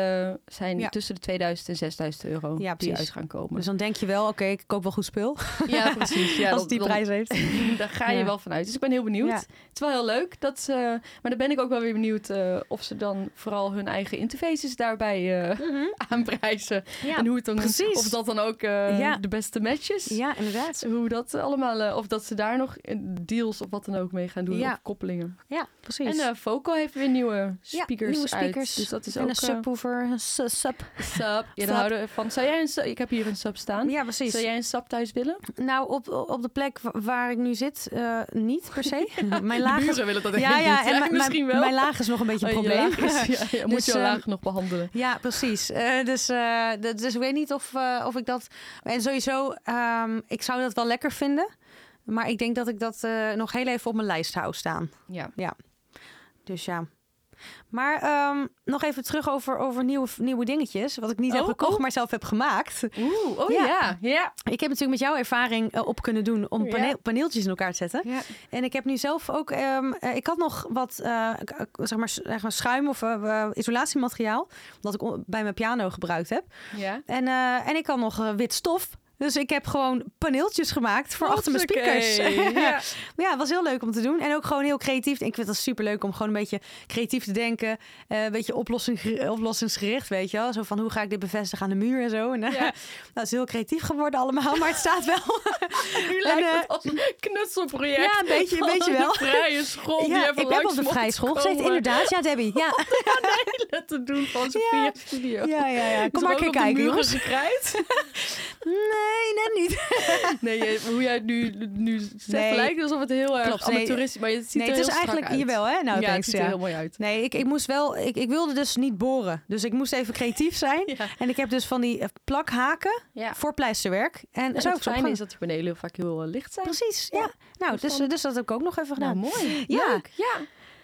[SPEAKER 1] eh, zijn
[SPEAKER 2] Ja.
[SPEAKER 1] tussen de 2000 en 6000 euro
[SPEAKER 2] Ja,
[SPEAKER 1] die
[SPEAKER 2] precies.
[SPEAKER 1] uit gaan komen.
[SPEAKER 2] Dus dan denk je wel, oké, ik koop wel goed spul.
[SPEAKER 1] ja, precies. Ja,
[SPEAKER 2] als
[SPEAKER 1] dat-
[SPEAKER 2] het die
[SPEAKER 1] dan-
[SPEAKER 2] prijs heeft.
[SPEAKER 1] Daar ga je
[SPEAKER 2] Ja.
[SPEAKER 1] wel van uit. Dus ik ben heel benieuwd.
[SPEAKER 2] Ja.
[SPEAKER 1] Het is wel heel leuk. Dat ze, maar dan ben ik ook wel weer benieuwd eh, of ze dan vooral hun eigen interfaces daarbij eh aanprijzen.
[SPEAKER 2] Ja.
[SPEAKER 1] en hoe het dan
[SPEAKER 2] precies.
[SPEAKER 1] Of dat dan ook eh,
[SPEAKER 2] Ja.
[SPEAKER 1] de beste match is.
[SPEAKER 2] ja, inderdaad.
[SPEAKER 1] Hoe dat allemaal, eh, of dat ze daar nog eh, deals of wat dan ook mee gaan doen,
[SPEAKER 2] Ja.
[SPEAKER 1] of koppelingen.
[SPEAKER 2] Ja,
[SPEAKER 1] En
[SPEAKER 2] precies.
[SPEAKER 1] eh Vocal heeft weer nieuwe
[SPEAKER 2] Ja,
[SPEAKER 1] speakers,
[SPEAKER 2] nieuwe speakers.
[SPEAKER 1] uit. Dus dat is
[SPEAKER 2] en
[SPEAKER 1] ook
[SPEAKER 2] een
[SPEAKER 1] eh,
[SPEAKER 2] subwoofer, een su- sub.
[SPEAKER 1] sub. Ja, daar
[SPEAKER 2] Sub.
[SPEAKER 1] houden we van. Zou jij een sub, ik heb hier een sub staan.
[SPEAKER 2] Ja, precies.
[SPEAKER 1] Zou jij een sub thuis willen?
[SPEAKER 2] Nou, op, op de plek wa- waar ik nu zit, eh, niet per se. Nou, mijn
[SPEAKER 1] De
[SPEAKER 2] laag is...
[SPEAKER 1] buren willen dat
[SPEAKER 2] Ja, ja, en mijn,
[SPEAKER 1] misschien
[SPEAKER 2] mijn,
[SPEAKER 1] wel.
[SPEAKER 2] mijn laag is nog een beetje een
[SPEAKER 1] Oh, je
[SPEAKER 2] probleem.
[SPEAKER 1] laag is- ja, ja, moet
[SPEAKER 2] Dus,
[SPEAKER 1] je
[SPEAKER 2] ehm,
[SPEAKER 1] laag nog behandelen.
[SPEAKER 2] Ja, precies. Eh, dus, eh, d- dus ik weet niet of, eh, of ik dat. En sowieso, ehm, ik zou dat wel lekker vinden. Maar ik denk dat ik dat eh, nog heel even op mijn lijst hou staan.
[SPEAKER 1] Ja.
[SPEAKER 2] Dus ja. Maar ehm, nog even terug over, over nieuwe, nieuwe dingetjes. Wat ik niet heb
[SPEAKER 1] Oh,
[SPEAKER 2] gekocht,
[SPEAKER 1] oh.
[SPEAKER 2] maar zelf heb gemaakt.
[SPEAKER 1] Oeh, oh
[SPEAKER 2] Ja.
[SPEAKER 1] ja. Ja. ja.
[SPEAKER 2] Ik heb natuurlijk met jouw ervaring eh, op kunnen doen om
[SPEAKER 1] Ja.
[SPEAKER 2] paneel- paneeltjes in elkaar te zetten. En ik heb nu zelf ook, ehm, eh, ik had nog wat eh, k- k- zeg maar, s- zeg maar schuim of eh, eh, isolatiemateriaal. Dat ik o- bij mijn piano gebruikt heb. En, eh, en ik had nog eh, wit stof. Dus ik heb gewoon paneeltjes gemaakt voor achter mijn speakers.
[SPEAKER 1] Hoppakee. Ja.
[SPEAKER 2] Maar ja, het was heel leuk om te doen. En ook gewoon heel creatief. Ik vind dat super leuk om gewoon een beetje creatief te denken. Eh, een beetje oplossing, oplossingsgericht, weet je wel. Zo van, hoe ga ik dit bevestigen aan de muur en zo. En, eh,
[SPEAKER 1] Ja.
[SPEAKER 2] nou, het is heel creatief geworden allemaal, maar het staat wel.
[SPEAKER 1] Nu lijkt
[SPEAKER 2] eh,
[SPEAKER 1] het als een knutselproject.
[SPEAKER 2] ja, een beetje, een
[SPEAKER 1] van
[SPEAKER 2] beetje wel.
[SPEAKER 1] Een vrije school die
[SPEAKER 2] ja,
[SPEAKER 1] even
[SPEAKER 2] ik heb
[SPEAKER 1] langs
[SPEAKER 2] op de
[SPEAKER 1] mocht
[SPEAKER 2] vrije school gezeten,
[SPEAKER 1] komen. Oh,
[SPEAKER 2] inderdaad. Ja, Debbie. Ja,
[SPEAKER 1] te doen van Sophia's
[SPEAKER 2] Ja.
[SPEAKER 1] studio.
[SPEAKER 2] ja, ja. ja. Kom maar een keer kijken, jongens. Nee, net niet.
[SPEAKER 1] Nee, je- hoe jij het nu, nu zegt,
[SPEAKER 2] Nee.
[SPEAKER 1] lijkt alsof het heel erg
[SPEAKER 2] Klopt, nee.
[SPEAKER 1] amateuristisch Maar het ziet
[SPEAKER 2] nee,
[SPEAKER 1] er
[SPEAKER 2] het is
[SPEAKER 1] heel strak
[SPEAKER 2] eigenlijk...
[SPEAKER 1] uit.
[SPEAKER 2] Jawel, hè? Nou,
[SPEAKER 1] ja, het
[SPEAKER 2] thanks,
[SPEAKER 1] ziet er
[SPEAKER 2] ja.
[SPEAKER 1] heel mooi uit.
[SPEAKER 2] Nee, ik, ik moest wel... Ik, ik wilde dus niet boren. Dus ik moest even creatief zijn.
[SPEAKER 1] Ja.
[SPEAKER 2] En ik heb dus van die eh, plakhaken
[SPEAKER 1] Ja.
[SPEAKER 2] voor pleisterwerk. En
[SPEAKER 1] En het
[SPEAKER 2] zo ook zo
[SPEAKER 1] fijne
[SPEAKER 2] opgehangen.
[SPEAKER 1] is dat die panelen vaak heel eh, licht zijn.
[SPEAKER 2] Precies, ja.
[SPEAKER 1] Ja.
[SPEAKER 2] Nou, dus,
[SPEAKER 1] van-
[SPEAKER 2] eh, dus dat heb ik ook nog even
[SPEAKER 1] Nou,
[SPEAKER 2] gedaan.
[SPEAKER 1] mooi.
[SPEAKER 2] Ja.
[SPEAKER 1] Leuk. Ja.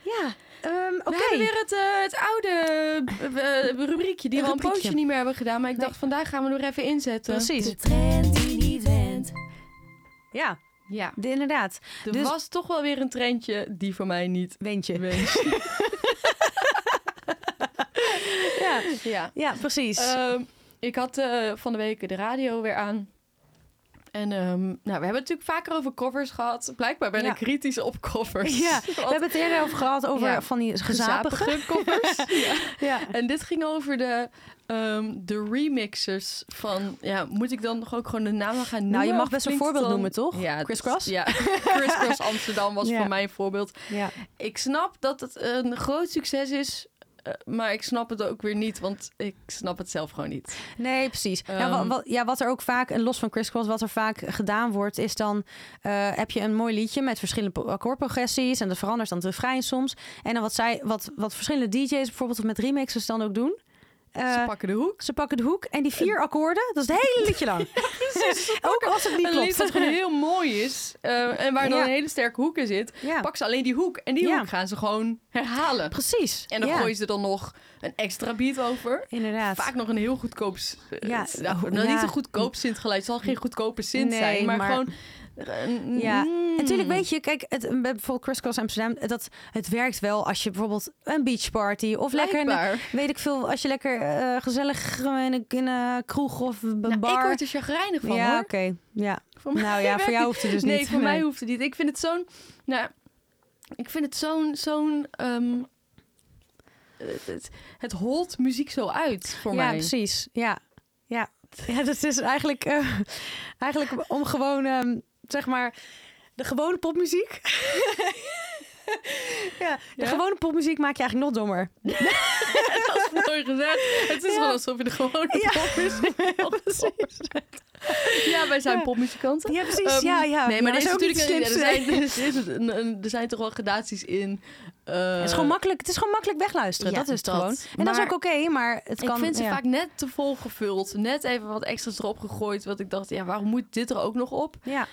[SPEAKER 2] ja, Ehm, oké.
[SPEAKER 1] We hebben weer het, eh, het oude eh, eh, rubriekje die we al een
[SPEAKER 2] Rubriekje.
[SPEAKER 1] poosje niet meer hebben gedaan. Maar ik
[SPEAKER 2] Nee.
[SPEAKER 1] dacht, vandaag gaan we hem er even inzetten.
[SPEAKER 2] Precies.
[SPEAKER 3] De trend die niet went.
[SPEAKER 2] Ja,
[SPEAKER 1] Ja,
[SPEAKER 2] de- inderdaad.
[SPEAKER 1] er
[SPEAKER 2] Dus-
[SPEAKER 1] was toch wel weer een trendje die voor mij niet
[SPEAKER 2] Wendje.
[SPEAKER 1] wees.
[SPEAKER 2] Ja, Eh,
[SPEAKER 1] ja.
[SPEAKER 2] ja precies.
[SPEAKER 1] Ehm, ik had eh, van de week de radio weer aan. En ehm, nou, we hebben het natuurlijk vaker over covers gehad. Blijkbaar ben
[SPEAKER 2] Ja.
[SPEAKER 1] ik kritisch op covers.
[SPEAKER 2] ja, we
[SPEAKER 1] Want
[SPEAKER 2] hebben het eerder over gehad over
[SPEAKER 1] Ja.
[SPEAKER 2] van die gezapige.
[SPEAKER 1] gezapige covers. ja.
[SPEAKER 2] Ja.
[SPEAKER 1] En dit ging over de, ehm, de remixers van... Ja, moet ik dan nog ook gewoon de namen gaan noemen?
[SPEAKER 2] Nou, je mag
[SPEAKER 1] Of
[SPEAKER 2] best een
[SPEAKER 1] klinkt het
[SPEAKER 2] voorbeeld
[SPEAKER 1] dan-
[SPEAKER 2] noemen, toch?
[SPEAKER 1] Ja,
[SPEAKER 2] Criss
[SPEAKER 1] dus-
[SPEAKER 2] Cross?
[SPEAKER 1] Ja, Criss Cross Amsterdam was
[SPEAKER 2] Ja.
[SPEAKER 1] voor mij een voorbeeld.
[SPEAKER 2] Ja.
[SPEAKER 1] Ik snap dat het een groot succes is, eh, maar ik snap het ook weer niet, want ik snap het zelf gewoon niet.
[SPEAKER 2] Nee, precies. Nou, wa-
[SPEAKER 1] Ehm.
[SPEAKER 2] wa- ja, wat er ook vaak, en los van crisscross, wat er vaak gedaan wordt, is dan eh, heb je een mooi liedje met verschillende po- akkoordprogressies en dat verandert dan de refrein soms. En dan wat, zij, wat, wat verschillende DJ's bijvoorbeeld of met remixers dan ook doen. eh,
[SPEAKER 1] Ze pakken de hoek.
[SPEAKER 2] ze pakken de hoek en die vier akkoorden, dat is het hele liedje lang. ook als het niet
[SPEAKER 1] Een lied dat
[SPEAKER 2] klopt.
[SPEAKER 1] gewoon heel mooi is eh, en waar dan
[SPEAKER 2] Ja.
[SPEAKER 1] een hele sterke hoek in zit,
[SPEAKER 2] Ja,
[SPEAKER 1] pak ze alleen die hoek en die
[SPEAKER 2] Ja.
[SPEAKER 1] hoek gaan ze gewoon herhalen.
[SPEAKER 2] precies.
[SPEAKER 1] En dan
[SPEAKER 2] ja.
[SPEAKER 1] gooien ze er dan nog een extra beat over.
[SPEAKER 2] Inderdaad.
[SPEAKER 1] Vaak nog een heel goedkoop... s- eh,
[SPEAKER 2] Ja, oh,
[SPEAKER 1] s- nou,
[SPEAKER 2] ja.
[SPEAKER 1] nou, Niet een goedkoop Sint-geluid. Het zal geen goedkope Sint
[SPEAKER 2] Nee,
[SPEAKER 1] zijn, maar,
[SPEAKER 2] maar-
[SPEAKER 1] gewoon... eh,
[SPEAKER 2] Ja,
[SPEAKER 1] mm.
[SPEAKER 2] En natuurlijk weet je, kijk, het, bij bijvoorbeeld crisscross Amsterdam, dat, het werkt wel als je bijvoorbeeld een beachparty of lekker een
[SPEAKER 1] Blijkbaar.
[SPEAKER 2] Weet ik veel, als je lekker eh, gezellig in een, in een kroeg of een
[SPEAKER 1] Nou, ik
[SPEAKER 2] bar...
[SPEAKER 1] word er chagrijnig van,
[SPEAKER 2] ja,
[SPEAKER 1] hoor.
[SPEAKER 2] oké. Ja.
[SPEAKER 1] Voor mij
[SPEAKER 2] Nou ja,
[SPEAKER 1] werkt
[SPEAKER 2] voor jou hoeft het dus
[SPEAKER 1] nee,
[SPEAKER 2] niet.
[SPEAKER 1] voor mij hoeft het niet. Ik vind het zo'n. Nou, Ik vind het zo'n... zo'n ehm, het, het, het holt muziek zo uit voor
[SPEAKER 2] ja,
[SPEAKER 1] mij.
[SPEAKER 2] precies. Ja, ja. ja dat is eigenlijk, eh, eigenlijk om gewoon, ehm, zeg maar, de gewone popmuziek. ja, de
[SPEAKER 1] Ja?
[SPEAKER 2] gewone popmuziek maak je eigenlijk nog dommer.
[SPEAKER 1] Dat is mooi gezegd. Het is
[SPEAKER 2] Ja.
[SPEAKER 1] wel alsof je de gewone
[SPEAKER 2] Ja.
[SPEAKER 1] popmuziek... Ja, wij zijn
[SPEAKER 2] Ja.
[SPEAKER 1] popmuzikanten.
[SPEAKER 2] Ja, precies.
[SPEAKER 1] Ehm,
[SPEAKER 2] ja, ja.
[SPEAKER 1] Nee, maar
[SPEAKER 2] Ja,
[SPEAKER 1] er, is
[SPEAKER 2] ook
[SPEAKER 1] natuurlijk
[SPEAKER 2] niet
[SPEAKER 1] een-
[SPEAKER 2] het
[SPEAKER 1] er,
[SPEAKER 2] slimste.
[SPEAKER 1] zijn, er, is een- een- er zijn toch wel gradaties in. eh,
[SPEAKER 2] het, is gewoon makkelijk, het is gewoon makkelijk wegluisteren.
[SPEAKER 1] ja,
[SPEAKER 2] dat is het
[SPEAKER 1] dat.
[SPEAKER 2] gewoon. En dat is
[SPEAKER 1] Maar
[SPEAKER 2] ook oké, maar het kan...
[SPEAKER 1] ik vind ze
[SPEAKER 2] ja.
[SPEAKER 1] vaak net te vol gevuld. Net even wat extra's erop gegooid. Wat ik dacht, ja, waarom moet dit er ook nog op?
[SPEAKER 2] Ja.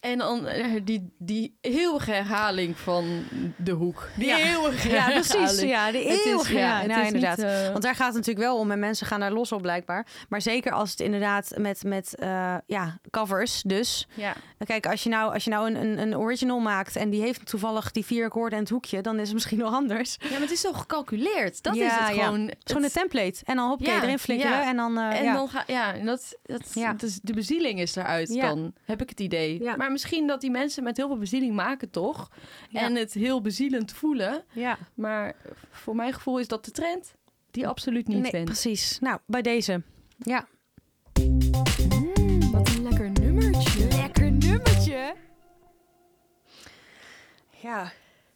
[SPEAKER 1] En dan eh, die, die eeuwige herhaling van de hoek. Die
[SPEAKER 2] Ja.
[SPEAKER 1] eeuwige
[SPEAKER 2] ja,
[SPEAKER 1] herhaling.
[SPEAKER 2] precies. Ja, de
[SPEAKER 1] Het is-
[SPEAKER 2] eeuwige. Ja,
[SPEAKER 1] het
[SPEAKER 2] nou,
[SPEAKER 1] is
[SPEAKER 2] inderdaad.
[SPEAKER 1] niet, eh,
[SPEAKER 2] Want daar gaat het natuurlijk wel om en mensen gaan daar los op blijkbaar. Maar zeker als het inderdaad met, met eh, ja, covers dus.
[SPEAKER 1] ja.
[SPEAKER 2] Kijk, als je nou, als je nou een, een, een original maakt en die heeft toevallig die vier akkoorden en het hoekje, dan is het misschien wel anders. Het
[SPEAKER 1] ja, maar het is zo gecalculeerd. Dat
[SPEAKER 2] Ja,
[SPEAKER 1] is het
[SPEAKER 2] ja.
[SPEAKER 1] gewoon.
[SPEAKER 2] is gewoon een template. En dan hop,
[SPEAKER 1] Ja,
[SPEAKER 2] erin flikkeren
[SPEAKER 1] ja.
[SPEAKER 2] en dan... eh,
[SPEAKER 1] En
[SPEAKER 2] ja.
[SPEAKER 1] dan ga, ja, en dat, dat,
[SPEAKER 2] Ja.
[SPEAKER 1] dus de bezieling is eruit
[SPEAKER 2] Ja.
[SPEAKER 1] dan, heb ik het idee.
[SPEAKER 2] Ja.
[SPEAKER 1] Maar misschien dat die mensen met heel veel bezieling maken toch?
[SPEAKER 2] Ja.
[SPEAKER 1] En het heel bezielend voelen.
[SPEAKER 2] ja.
[SPEAKER 1] Maar voor mijn gevoel is dat de trend die absoluut niet
[SPEAKER 2] nee,
[SPEAKER 1] wint.
[SPEAKER 2] precies. Nou, bij deze. Ja.
[SPEAKER 3] Mm, wat een lekker nummertje. Lekker nummertje.
[SPEAKER 2] Ja.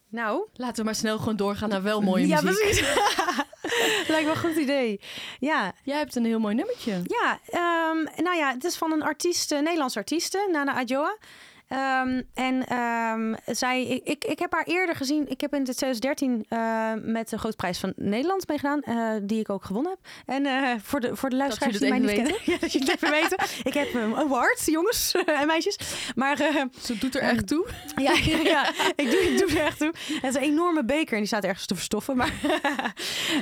[SPEAKER 2] Nou,
[SPEAKER 1] Laten we maar snel gewoon doorgaan naar wel mooie
[SPEAKER 2] ja,
[SPEAKER 1] muziek.
[SPEAKER 2] precies. Lijkt wel een goed idee. Ja,
[SPEAKER 1] Jij hebt een heel mooi nummertje.
[SPEAKER 2] Ja, ehm, nou ja, het is van een artiest, een Nederlands artieste, Nana Adjoa. Ehm, en ehm, zij, ik, ik, ik heb haar eerder gezien. Ik heb in 2013 eh, met de Grootprijs van Nederland meegedaan, eh, die ik ook gewonnen heb. En eh, voor, de, voor de luisteraars
[SPEAKER 1] jullie
[SPEAKER 2] die mij
[SPEAKER 1] het
[SPEAKER 2] niet
[SPEAKER 1] even
[SPEAKER 2] kennen, ja, dat jullie het even weten. Ik heb een award, jongens en meisjes. Maar eh,
[SPEAKER 1] Ze doet er
[SPEAKER 2] Ehm,
[SPEAKER 1] echt toe.
[SPEAKER 2] ja, ja ik, doe, ik doe er echt toe. Het is een enorme beker en die staat ergens te verstoffen. Maar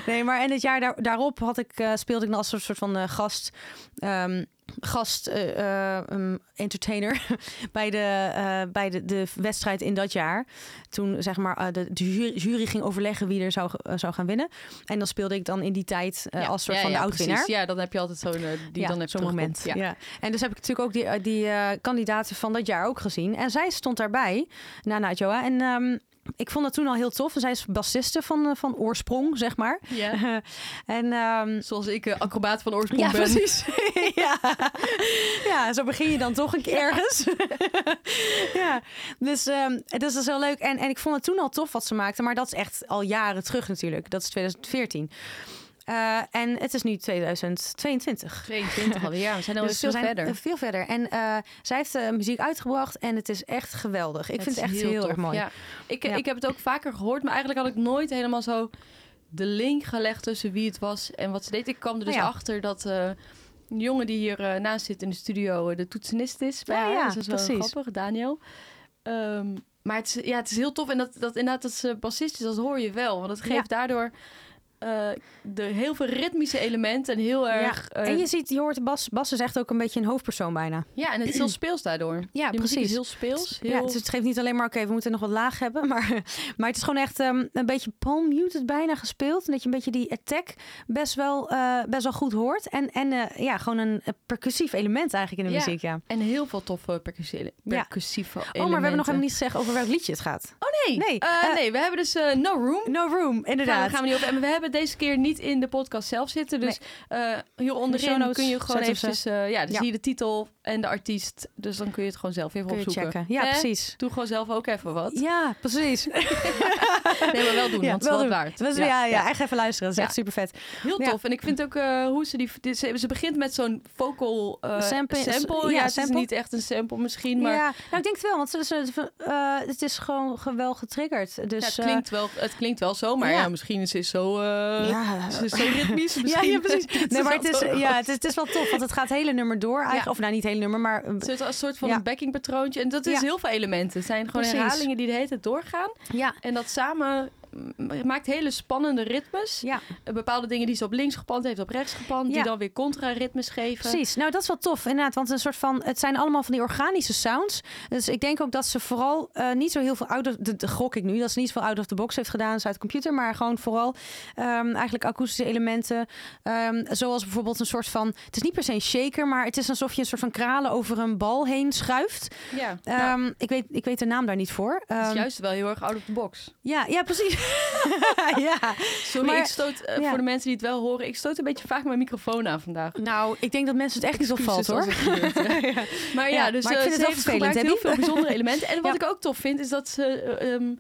[SPEAKER 2] nee, maar en het jaar daar, daarop had ik, eh, speelde ik dan als een soort van eh, gast. ehm, gast eh, eh, ehm, entertainer bij, de, eh, bij de, de wedstrijd in dat jaar. Toen zeg maar eh, de, de jury, jury ging overleggen wie er zou, eh, zou gaan winnen. En dan speelde ik dan in die tijd eh, als soort van de oud-winnaar.
[SPEAKER 1] precies. Ja, dan heb je altijd zo'n eh, die
[SPEAKER 2] Ja,
[SPEAKER 1] dan heb
[SPEAKER 2] zo'n
[SPEAKER 1] terugkomt.
[SPEAKER 2] moment. Ja.
[SPEAKER 1] Ja.
[SPEAKER 2] En dus heb ik natuurlijk ook die, eh, die eh, kandidaten van dat jaar ook gezien. En zij stond daarbij, Nana Joa. En ehm, ik vond dat toen al heel tof. En zij is bassiste van, eh, van oorsprong, zeg maar.
[SPEAKER 1] Ja.
[SPEAKER 2] en ehm,
[SPEAKER 1] Zoals ik eh, acrobaat van oorsprong
[SPEAKER 2] ja,
[SPEAKER 1] ben.
[SPEAKER 2] precies. ja. ja, zo begin je dan toch een keer ergens. ja, dus, ehm, dus dat is wel leuk. En, en ik vond het toen al tof wat ze maakten, maar dat is echt al jaren terug natuurlijk. Dat is 2014. Eh, en het is nu 2022.
[SPEAKER 1] 22 alweer. Ja, we zijn al
[SPEAKER 2] Dus
[SPEAKER 1] veel
[SPEAKER 2] we zijn
[SPEAKER 1] verder.
[SPEAKER 2] eh, Veel verder. En eh, zij heeft eh, muziek uitgebracht en het is echt geweldig. Ik vind
[SPEAKER 1] is
[SPEAKER 2] het echt heel,
[SPEAKER 1] tof,
[SPEAKER 2] erg mooi.
[SPEAKER 1] ja. Ik,
[SPEAKER 2] Ja.
[SPEAKER 1] ik heb het ook vaker gehoord, maar eigenlijk had ik nooit helemaal zo de link gelegd tussen wie het was en wat ze deed. Ik kwam er dus
[SPEAKER 2] Ah, ja.
[SPEAKER 1] achter dat eh een jongen die hier eh, naast zit in de studio eh, de toetsenist is bij
[SPEAKER 2] Ah,
[SPEAKER 1] haar.
[SPEAKER 2] ja,
[SPEAKER 1] dus dat is wel
[SPEAKER 2] precies.
[SPEAKER 1] grappig, Daniel. Ehm, maar het is, ja, het is heel tof en dat, dat inderdaad dat ze bassist is, dat hoor je wel. Want dat geeft
[SPEAKER 2] Ja.
[SPEAKER 1] daardoor eh, de heel veel ritmische elementen en heel
[SPEAKER 2] Ja.
[SPEAKER 1] erg... eh,
[SPEAKER 2] En je ziet, je hoort Bas, Bas is echt ook een beetje een hoofdpersoon bijna.
[SPEAKER 1] ja, en het is heel speels daardoor.
[SPEAKER 2] Ja,
[SPEAKER 1] Die muziek is
[SPEAKER 2] precies.
[SPEAKER 1] heel speels. Heel...
[SPEAKER 2] Ja, dus het geeft niet alleen maar, oké, we moeten nog wat laag hebben. Maar, maar het is gewoon echt ehm, een beetje palm muted bijna gespeeld. En dat je een beetje die attack best wel, eh, best wel goed hoort. En, en eh, ja, gewoon een eh, percussief element eigenlijk in de
[SPEAKER 1] Ja.
[SPEAKER 2] muziek, ja.
[SPEAKER 1] En heel veel toffe percussieve,
[SPEAKER 2] Ja.
[SPEAKER 1] percussieve elementen.
[SPEAKER 2] Oh, maar we hebben nog helemaal niet gezegd over welk liedje het gaat.
[SPEAKER 1] Nee,
[SPEAKER 2] Nee,
[SPEAKER 1] nee.
[SPEAKER 2] eh,
[SPEAKER 1] nee we hebben dus eh, No Room.
[SPEAKER 2] No Room,
[SPEAKER 1] Daar
[SPEAKER 2] inderdaad.
[SPEAKER 1] gaan we niet over. En we hebben deze keer niet in de podcast zelf zitten. Dus eh, hier
[SPEAKER 2] show
[SPEAKER 1] onderin
[SPEAKER 2] notes
[SPEAKER 1] kun je gewoon
[SPEAKER 2] zetten we
[SPEAKER 1] eventjes... eh, ja, dus
[SPEAKER 2] Ja.
[SPEAKER 1] hier de titel en de artiest. Dus dan kun je het gewoon zelf even
[SPEAKER 2] Kun je
[SPEAKER 1] opzoeken.
[SPEAKER 2] checken. Ja,
[SPEAKER 1] Hè?
[SPEAKER 2] precies.
[SPEAKER 1] Doe gewoon zelf ook even wat.
[SPEAKER 2] Ja, precies.
[SPEAKER 1] Nee, maar wel doen,
[SPEAKER 2] Ja,
[SPEAKER 1] want het is
[SPEAKER 2] wel
[SPEAKER 1] wel het
[SPEAKER 2] doen.
[SPEAKER 1] waard.
[SPEAKER 2] Dat is- ja, ja, echt even luisteren. Dat
[SPEAKER 1] Ja.
[SPEAKER 2] is echt super vet.
[SPEAKER 1] Heel
[SPEAKER 2] Ja.
[SPEAKER 1] tof. En ik vind ook eh, hoe ze die... dit- Ze, ze begint met zo'n vocal eh,
[SPEAKER 2] Sample-
[SPEAKER 1] sample.
[SPEAKER 2] ja,
[SPEAKER 1] Ja, het
[SPEAKER 2] sample.
[SPEAKER 1] is niet echt een sample misschien, maar...
[SPEAKER 2] Ja, nou, ik denk het wel, want ze, ze- eh, het is gewoon ge- wel getriggerd. Dus,
[SPEAKER 1] ja, het, klinkt wel, het klinkt wel zo, maar
[SPEAKER 2] ja.
[SPEAKER 1] ja, misschien is het zo, eh,
[SPEAKER 2] eh, ja.
[SPEAKER 1] ze is zo ritmisch.
[SPEAKER 2] Ja,
[SPEAKER 1] Misschien
[SPEAKER 2] ja, precies. Nee, maar het is,
[SPEAKER 1] wel-
[SPEAKER 2] ja, het, is, het is wel tof, want het gaat het hele nummer door. Eigenlijk,
[SPEAKER 1] Ja.
[SPEAKER 2] Of nou, niet het hele nummer, maar... eh,
[SPEAKER 1] Het is een soort van
[SPEAKER 2] Ja.
[SPEAKER 1] een backingpatroontje. En dat is
[SPEAKER 2] Ja.
[SPEAKER 1] heel veel elementen. Het zijn gewoon
[SPEAKER 2] Precies.
[SPEAKER 1] herhalingen die de hele tijd doorgaan.
[SPEAKER 2] Ja,
[SPEAKER 1] En dat samen m- maakt hele spannende ritmes.
[SPEAKER 2] Ja,
[SPEAKER 1] Eh, Bepaalde dingen die ze op links gepand heeft, op rechts gepand.
[SPEAKER 2] Ja.
[SPEAKER 1] Die dan weer contra-ritmes geven.
[SPEAKER 2] precies. Nou, dat is wel tof inderdaad. Want een soort van, het zijn allemaal van die organische sounds. Dus ik denk ook dat ze vooral eh, niet zo heel veel out of... De, de- gok ik nu, dat ze niet zoveel out of the box heeft gedaan. Dus uit de computer, maar gewoon vooral ehm, eigenlijk akoestische elementen. Ehm, zoals bijvoorbeeld een soort van... Het is niet per se een shaker, maar het is alsof je een soort van kralen over een bal heen schuift.
[SPEAKER 1] Ja.
[SPEAKER 2] Ehm,
[SPEAKER 1] Ja.
[SPEAKER 2] ik, weet, ik weet de naam daar niet voor.
[SPEAKER 1] Het is
[SPEAKER 2] Ehm,
[SPEAKER 1] juist wel heel erg out of the box.
[SPEAKER 2] Ja, ja, precies. ja.
[SPEAKER 1] Sorry,
[SPEAKER 2] maar-
[SPEAKER 1] ik stoot, eh,
[SPEAKER 2] ja.
[SPEAKER 1] voor de mensen die het wel horen, ik stoot een beetje vaak mijn microfoon aan vandaag.
[SPEAKER 2] Nou, ik denk dat mensen het echt niet opvalt
[SPEAKER 1] Excuses
[SPEAKER 2] hoor.
[SPEAKER 1] als het gebeurt, hè.
[SPEAKER 2] Ja.
[SPEAKER 1] Maar ja,
[SPEAKER 2] Ja,
[SPEAKER 1] dus
[SPEAKER 2] maar ik
[SPEAKER 1] eh,
[SPEAKER 2] vind
[SPEAKER 1] ze
[SPEAKER 2] het wel
[SPEAKER 1] heeft
[SPEAKER 2] vervelend,
[SPEAKER 1] gebruikt
[SPEAKER 2] hè,
[SPEAKER 1] heel
[SPEAKER 2] Dien?
[SPEAKER 1] veel bijzondere elementen. En wat
[SPEAKER 2] Ja.
[SPEAKER 1] ik ook tof vind, is dat ze eh, ehm,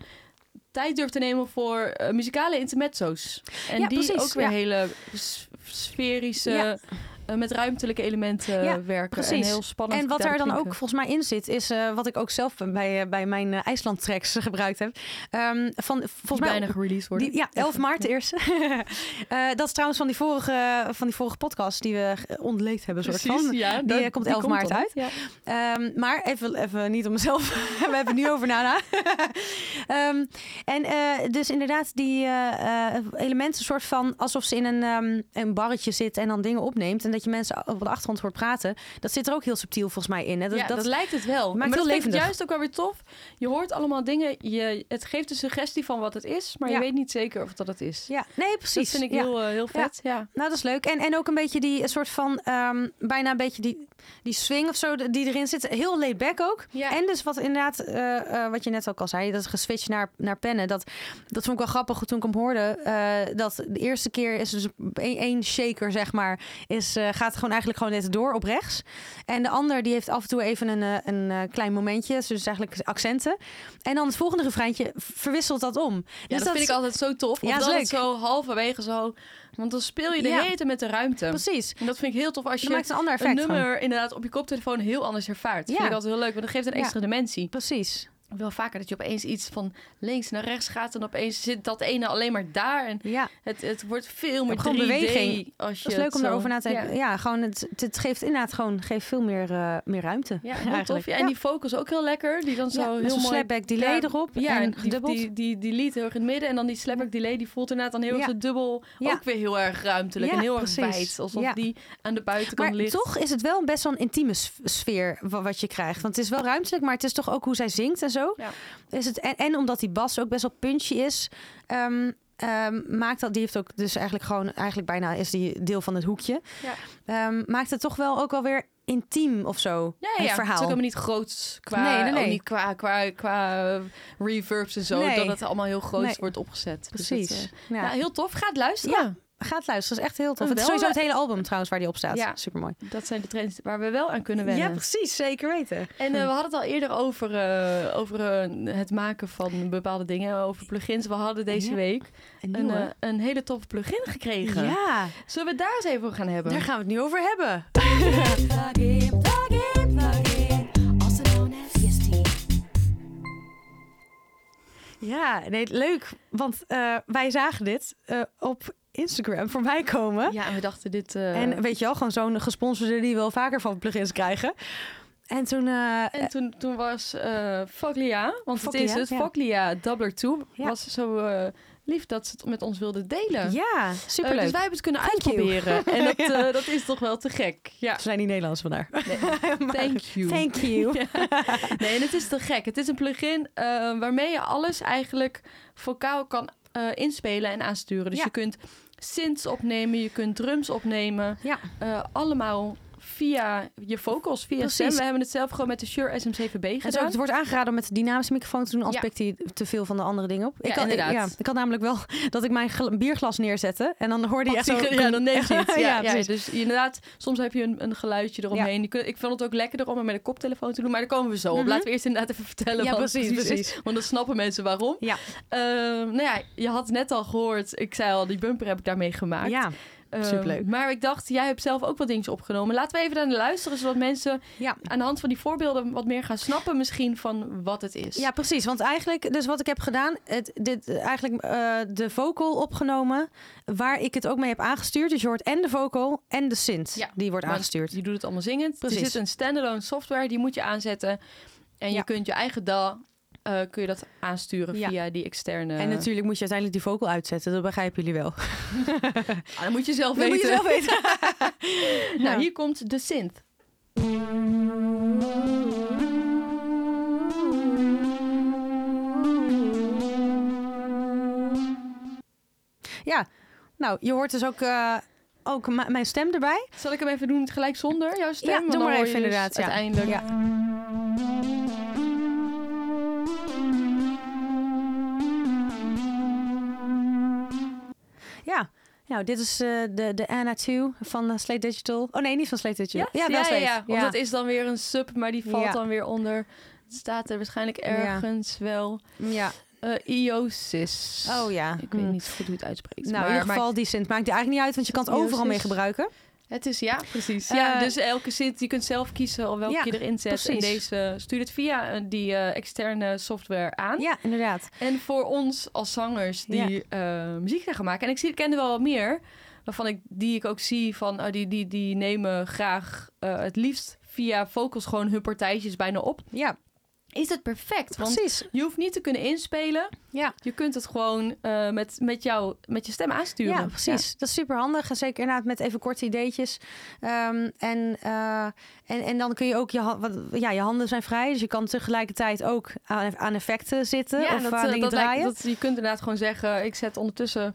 [SPEAKER 1] tijd durft te nemen voor eh, muzikale intermezzo's. En
[SPEAKER 2] Ja,
[SPEAKER 1] die
[SPEAKER 2] precies,
[SPEAKER 1] ook weer
[SPEAKER 2] ja.
[SPEAKER 1] hele s- sferische,
[SPEAKER 2] Ja.
[SPEAKER 1] eh, met ruimtelijke elementen
[SPEAKER 2] Ja,
[SPEAKER 1] werken. En
[SPEAKER 2] precies.
[SPEAKER 1] heel spannend.
[SPEAKER 2] En wat daar
[SPEAKER 1] daar
[SPEAKER 2] dan ook volgens mij in zit, is eh, wat ik ook zelf bij, eh, bij mijn eh, IJsland-tracks eh, gebruikt heb. Ehm, van, volgens mij
[SPEAKER 1] bijna gereleased worden.
[SPEAKER 2] Die, ja, 11 maart de eerste. Eh, dat is trouwens van die vorige, van die vorige podcast die we eh, ontleed hebben, soort van.
[SPEAKER 1] ja,
[SPEAKER 2] die, eh, komt 11 maart
[SPEAKER 1] dan.
[SPEAKER 2] uit.
[SPEAKER 1] Ja.
[SPEAKER 2] Ehm, maar even, even niet om mezelf. We hebben het nu over Nana. Ehm, en eh, dus inderdaad, die eh, eh, elementen, soort van alsof ze in een, ehm, een barretje zit en dan dingen opneemt. En dat je mensen op de achtergrond hoort praten. Dat zit er ook heel subtiel volgens mij in. Hè? Dat,
[SPEAKER 1] ja, dat,
[SPEAKER 2] dat-
[SPEAKER 1] lijkt het wel. maar
[SPEAKER 2] het
[SPEAKER 1] dat vind
[SPEAKER 2] heel
[SPEAKER 1] ik
[SPEAKER 2] levendig.
[SPEAKER 1] juist ook wel weer tof. Je hoort allemaal dingen. Je, het geeft een suggestie van wat het is, maar je
[SPEAKER 2] Ja.
[SPEAKER 1] weet niet zeker of dat het is.
[SPEAKER 2] ja, nee,
[SPEAKER 1] Dat
[SPEAKER 2] precies.
[SPEAKER 1] vind ik
[SPEAKER 2] Ja.
[SPEAKER 1] heel, eh, heel
[SPEAKER 2] Ja.
[SPEAKER 1] vet. Ja.
[SPEAKER 2] Nou, dat is leuk. En, en ook een beetje die soort van, ehm, bijna een beetje die, die swing of zo de- die erin zit. Heel laid back ook.
[SPEAKER 1] Ja.
[SPEAKER 2] En dus wat inderdaad, eh, eh, wat je net ook al zei, dat geswitcht naar, naar pennen. Dat, dat vond ik wel grappig toen ik hem hoorde. eh, dat de eerste keer is dus één één shaker, zeg maar, is, eh, gaat gewoon eigenlijk gewoon net door op rechts. En de ander die heeft af en toe even een, eh, een eh, klein momentje. Dus eigenlijk accenten. En dan het volgende refreintje verwisselt Dus dat om.
[SPEAKER 1] Ja, dat, vind ik altijd zo tof.
[SPEAKER 2] Ja,
[SPEAKER 1] Of
[SPEAKER 2] dat is
[SPEAKER 1] dan
[SPEAKER 2] leuk.
[SPEAKER 1] het zo halverwege zo. Want dan speel je de
[SPEAKER 2] Ja.
[SPEAKER 1] hele tijd met de ruimte.
[SPEAKER 2] Precies.
[SPEAKER 1] En dat vind ik heel tof als
[SPEAKER 2] Dat
[SPEAKER 1] je
[SPEAKER 2] maakt een ander
[SPEAKER 1] een
[SPEAKER 2] effect van.
[SPEAKER 1] nummer inderdaad op je koptelefoon heel anders ervaart. Dat
[SPEAKER 2] Ja.
[SPEAKER 1] vind ik altijd heel leuk, want dat geeft een
[SPEAKER 2] Ja.
[SPEAKER 1] extra dimensie.
[SPEAKER 2] Precies.
[SPEAKER 1] Wel vaker dat je opeens iets van links naar rechts gaat en opeens zit dat ene alleen maar daar. En
[SPEAKER 2] Ja.
[SPEAKER 1] het, het wordt veel meer 3D.
[SPEAKER 2] Gewoon beweging.
[SPEAKER 1] Als je
[SPEAKER 2] Dat is leuk
[SPEAKER 1] het
[SPEAKER 2] om
[SPEAKER 1] zo-
[SPEAKER 2] daarover na te
[SPEAKER 1] Ja.
[SPEAKER 2] denken. Ja, gewoon het, het geeft inderdaad gewoon geeft veel meer, eh, meer ruimte.
[SPEAKER 1] Ja, heel
[SPEAKER 2] eigenlijk.
[SPEAKER 1] tof. Ja, en
[SPEAKER 2] Ja.
[SPEAKER 1] die focus ook heel lekker. Die dan
[SPEAKER 2] Ja,
[SPEAKER 1] zo
[SPEAKER 2] met
[SPEAKER 1] heel
[SPEAKER 2] zo'n
[SPEAKER 1] mooi...
[SPEAKER 2] slapback delay
[SPEAKER 1] Ja,
[SPEAKER 2] erop.
[SPEAKER 1] Ja,
[SPEAKER 2] en
[SPEAKER 1] en die,
[SPEAKER 2] gedubbeld.
[SPEAKER 1] die, die, die lied heel erg in het midden. En dan die slapback delay, die voelt inderdaad dan heel erg
[SPEAKER 2] Ja.
[SPEAKER 1] zo dubbel.
[SPEAKER 2] Ja.
[SPEAKER 1] Ook weer heel erg ruimtelijk
[SPEAKER 2] Ja,
[SPEAKER 1] en heel erg
[SPEAKER 2] precies.
[SPEAKER 1] wijd. Alsof
[SPEAKER 2] Ja.
[SPEAKER 1] die aan de buitenkant
[SPEAKER 2] maar
[SPEAKER 1] ligt.
[SPEAKER 2] toch is het wel best wel een intieme s- sfeer wa- wat je krijgt. Want het is wel ruimtelijk, maar het is toch ook hoe zij zingt en zo.
[SPEAKER 1] Ja.
[SPEAKER 2] Is het, en, en omdat die bas ook best wel punchy is, ehm, ehm, maakt dat, die heeft ook dus eigenlijk gewoon, eigenlijk bijna is die deel van het hoekje.
[SPEAKER 1] Ja.
[SPEAKER 2] Ehm, maakt het toch wel ook wel weer intiem of zo,
[SPEAKER 1] Ja, ja, ja.
[SPEAKER 2] het
[SPEAKER 1] Het is ook
[SPEAKER 2] verhaal.
[SPEAKER 1] helemaal niet groot qua,
[SPEAKER 2] Nee, nee, nee.
[SPEAKER 1] ook niet qua, qua, qua eh, reverbs en zo.
[SPEAKER 2] Nee.
[SPEAKER 1] Dat het allemaal heel groot
[SPEAKER 2] Nee.
[SPEAKER 1] wordt opgezet. Dus dat,
[SPEAKER 2] Precies.
[SPEAKER 1] eh,
[SPEAKER 2] Ja. Oh,
[SPEAKER 1] ja. heel tof. Ga het luisteren.
[SPEAKER 2] Ja. Ga het luisteren, is echt heel tof.
[SPEAKER 1] Een
[SPEAKER 2] Het is
[SPEAKER 1] wel-
[SPEAKER 2] sowieso het hele album trouwens waar die op staat.
[SPEAKER 1] Ja.
[SPEAKER 2] Supermooi.
[SPEAKER 1] Dat zijn de trends waar we wel aan kunnen wennen.
[SPEAKER 2] precies. Zeker weten.
[SPEAKER 1] En eh, we hadden het al eerder over, eh, over eh, het maken van bepaalde dingen. Over plugins. We hadden deze
[SPEAKER 2] Ja.
[SPEAKER 1] week
[SPEAKER 2] En
[SPEAKER 1] een, eh, een hele toffe plugin gekregen.
[SPEAKER 2] eh, ja,
[SPEAKER 1] Zullen we het daar eens even over gaan hebben?
[SPEAKER 2] daar gaan we het nu over hebben.
[SPEAKER 3] Plug in, plug in, plug in. Also known as EST.
[SPEAKER 2] Ja, nee, leuk. Want eh, wij zagen dit eh, op Instagram voorbij komen.
[SPEAKER 1] Ja, en we dachten dit... eh,
[SPEAKER 2] En weet je wel, gewoon zo'n gesponsorde die wel vaker van plugins krijgen. En toen... eh,
[SPEAKER 1] en toen, toen was eh Foglia, want het is
[SPEAKER 2] Foglia,
[SPEAKER 1] het
[SPEAKER 2] ja.
[SPEAKER 1] Foglia Doubler 2,
[SPEAKER 2] Ja.
[SPEAKER 1] was zo eh, lief dat ze het met ons wilden delen.
[SPEAKER 2] ja,
[SPEAKER 1] Eh,
[SPEAKER 2] superleuk.
[SPEAKER 1] dus wij hebben het kunnen
[SPEAKER 2] Thank you.
[SPEAKER 1] uitproberen. En dat,
[SPEAKER 2] Ja.
[SPEAKER 1] eh, dat is toch wel te gek. Ja.
[SPEAKER 2] Ze zijn niet Nederlands vandaar.
[SPEAKER 1] Nee,
[SPEAKER 2] Maar-
[SPEAKER 1] thank you.
[SPEAKER 2] Thank you.
[SPEAKER 1] Nee, en het is te gek. Het is een plugin eh, waarmee je alles eigenlijk vocaal kan eh, inspelen en aansturen. Dus
[SPEAKER 2] Ja.
[SPEAKER 1] je kunt synths opnemen, je kunt drums opnemen.
[SPEAKER 2] Ja.
[SPEAKER 1] Eh, allemaal via je vocals, via
[SPEAKER 2] Precies.
[SPEAKER 1] stem. We hebben het zelf gewoon met de Shure SM7B
[SPEAKER 2] En zo,
[SPEAKER 1] gedaan.
[SPEAKER 2] het wordt aangeraden om met de dynamische microfoon te doen, anders
[SPEAKER 1] Ja.
[SPEAKER 2] pikt hij te veel van de andere dingen op.
[SPEAKER 1] Ja,
[SPEAKER 2] ik, kan, ik,
[SPEAKER 1] inderdaad.
[SPEAKER 2] ja, ik had namelijk wel dat ik mijn gla- bierglas neerzette en dan hoorde je echt zo...
[SPEAKER 1] Pakt die- ja, dan neemt hij het. Ja,
[SPEAKER 2] Ja,
[SPEAKER 1] ja,
[SPEAKER 2] precies.
[SPEAKER 1] dus inderdaad, soms heb je een, een geluidje eromheen. Je kunt- ik vond het ook lekkerder om het met een koptelefoon te doen, maar daar komen we zo op.
[SPEAKER 2] Mhm.
[SPEAKER 1] Laten we eerst inderdaad even vertellen
[SPEAKER 2] Ja,
[SPEAKER 1] wat
[SPEAKER 2] precies,
[SPEAKER 1] het precies
[SPEAKER 2] precies.
[SPEAKER 1] is, want dan snappen mensen waarom.
[SPEAKER 2] Ja.
[SPEAKER 1] Ehm, nou ja, je had net al gehoord, ik zei al, die bumper heb ik daarmee gemaakt.
[SPEAKER 2] Ja,
[SPEAKER 1] Ehm,
[SPEAKER 2] superleuk.
[SPEAKER 1] maar ik dacht, jij hebt zelf ook wat dingetjes opgenomen. Laten we even naar luisteren, zodat mensen
[SPEAKER 2] ja.
[SPEAKER 1] aan de hand van die voorbeelden wat meer gaan snappen misschien van wat het is.
[SPEAKER 2] Ja, precies. Want eigenlijk, dus wat ik heb gedaan, het, dit, eigenlijk eh, de vocal opgenomen, waar ik het ook mee heb aangestuurd. Dus je hoort en de vocal en de synth,
[SPEAKER 1] Ja,
[SPEAKER 2] die wordt
[SPEAKER 1] want
[SPEAKER 2] aangestuurd.
[SPEAKER 1] Je doet het allemaal zingend.
[SPEAKER 2] Precies.
[SPEAKER 1] Er zit een standalone software, die moet je aanzetten. En je
[SPEAKER 2] Ja.
[SPEAKER 1] kunt je eigen DAW eh, kun je dat aansturen
[SPEAKER 2] Ja.
[SPEAKER 1] via die externe...
[SPEAKER 2] En natuurlijk moet je uiteindelijk die vocal uitzetten. Dat begrijpen jullie wel.
[SPEAKER 1] Ah, dat moet je zelf
[SPEAKER 2] Dat
[SPEAKER 1] weten.
[SPEAKER 2] moet je zelf weten.
[SPEAKER 1] Nou, hier komt de synth.
[SPEAKER 2] Ja, nou, je hoort dus ook, eh, ook m- mijn stem erbij.
[SPEAKER 1] Zal ik hem even doen gelijk zonder jouw stem?
[SPEAKER 2] Ja,
[SPEAKER 1] Want
[SPEAKER 2] doe
[SPEAKER 1] dan
[SPEAKER 2] maar
[SPEAKER 1] hoor je
[SPEAKER 2] even
[SPEAKER 1] dus
[SPEAKER 2] inderdaad, ja.
[SPEAKER 1] Uiteindelijk.
[SPEAKER 2] Ja. Ja. Nou, dit is eh, de, de Anna 2 van eh, Slate Digital. Oh nee, niet van Slate Digital. wel
[SPEAKER 1] ja,
[SPEAKER 2] Slate.
[SPEAKER 1] ja. Want dat is dan weer een sub, maar die valt
[SPEAKER 2] Ja.
[SPEAKER 1] dan weer onder... Het staat er waarschijnlijk
[SPEAKER 2] Ja.
[SPEAKER 1] ergens wel.
[SPEAKER 2] ja.
[SPEAKER 1] eh Iosis.
[SPEAKER 2] Oh ja.
[SPEAKER 1] Ik weet
[SPEAKER 2] Mm.
[SPEAKER 1] niet goed hoe het uitspreekt.
[SPEAKER 2] Nou,
[SPEAKER 1] maar,
[SPEAKER 2] in ieder
[SPEAKER 1] maar
[SPEAKER 2] geval die Sint maakt eigenlijk niet uit, want je kan het
[SPEAKER 1] Jezus.
[SPEAKER 2] overal mee gebruiken.
[SPEAKER 1] het is ja, precies. Ja,
[SPEAKER 2] Eh,
[SPEAKER 1] dus elke synth, je kunt zelf kiezen of welke
[SPEAKER 2] Ja,
[SPEAKER 1] je erin zet. En
[SPEAKER 2] precies.
[SPEAKER 1] deze stuurt het via eh, die eh, externe software aan.
[SPEAKER 2] Ja, inderdaad.
[SPEAKER 1] En voor ons als zangers die eh, muziek gaan maken. En ik, zie, ik ken er wel wat meer. Waarvan ik, die ik ook zie van oh, die, die, die nemen graag eh, het liefst via vocals gewoon hun partijtjes bijna op.
[SPEAKER 2] Ja,
[SPEAKER 1] Is het perfect? Want
[SPEAKER 2] precies.
[SPEAKER 1] je hoeft niet te kunnen inspelen.
[SPEAKER 2] Ja.
[SPEAKER 1] Je kunt het gewoon eh, met, met, jou, met je stem aansturen.
[SPEAKER 2] Ja, precies. Dat is super handig. En zeker inderdaad met even korte ideetjes. Ehm, en, eh, en, en dan kun je ook je, ha- wat, ja, je handen zijn vrij. Dus je kan tegelijkertijd ook aan, aan effecten zitten.
[SPEAKER 1] Ja,
[SPEAKER 2] of
[SPEAKER 1] dat,
[SPEAKER 2] aan
[SPEAKER 1] eh,
[SPEAKER 2] dingen
[SPEAKER 1] dat lijkt-
[SPEAKER 2] draaien.
[SPEAKER 1] dat- je kunt inderdaad gewoon zeggen, ik zet ondertussen,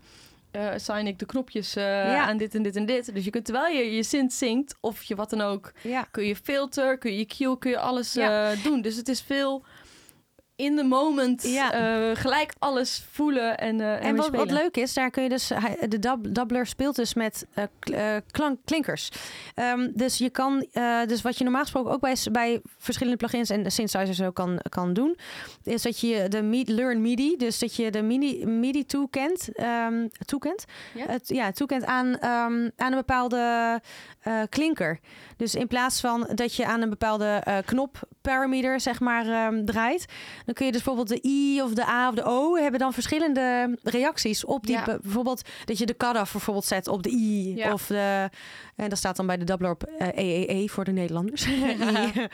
[SPEAKER 1] eh assign ik de knopjes eh,
[SPEAKER 2] Ja.
[SPEAKER 1] aan dit en dit en dit. Dus je kunt terwijl je je synth zingt, of je wat dan ook,
[SPEAKER 2] Ja.
[SPEAKER 1] kun je filter, kun je EQ, kun je alles
[SPEAKER 2] Ja.
[SPEAKER 1] eh, doen. Dus het is veel in the moment,
[SPEAKER 2] Ja.
[SPEAKER 1] eh, gelijk alles voelen en, eh en,
[SPEAKER 2] En
[SPEAKER 1] weer
[SPEAKER 2] wat, wat
[SPEAKER 1] spelen.
[SPEAKER 2] leuk is, daar kun je dus hij- de dab, dabbler speelt dus met eh, kl- eh, klank, klinkers. Ehm, dus je kan, eh, dus wat je normaal gesproken ook bij, s- bij verschillende plugins en synthesizers ook kan, kan doen, is dat je de mi- learn MIDI, dus dat je de mini, MIDI toekent, ehm, toekent,
[SPEAKER 1] Ja.
[SPEAKER 2] het, ja, toekent aan, ehm, aan een bepaalde eh, klinker. Dus in plaats van dat je aan een bepaalde eh, knop parameter zeg maar ehm, draait, dan kun je dus bijvoorbeeld de I of de A of de O hebben dan verschillende reacties op die.
[SPEAKER 1] Ja.
[SPEAKER 2] be- Bijvoorbeeld dat je de cutoff bijvoorbeeld zet op de I.
[SPEAKER 1] Ja.
[SPEAKER 2] Of de, en dat staat dan bij de dubbler op eh, EEE voor de Nederlanders. I.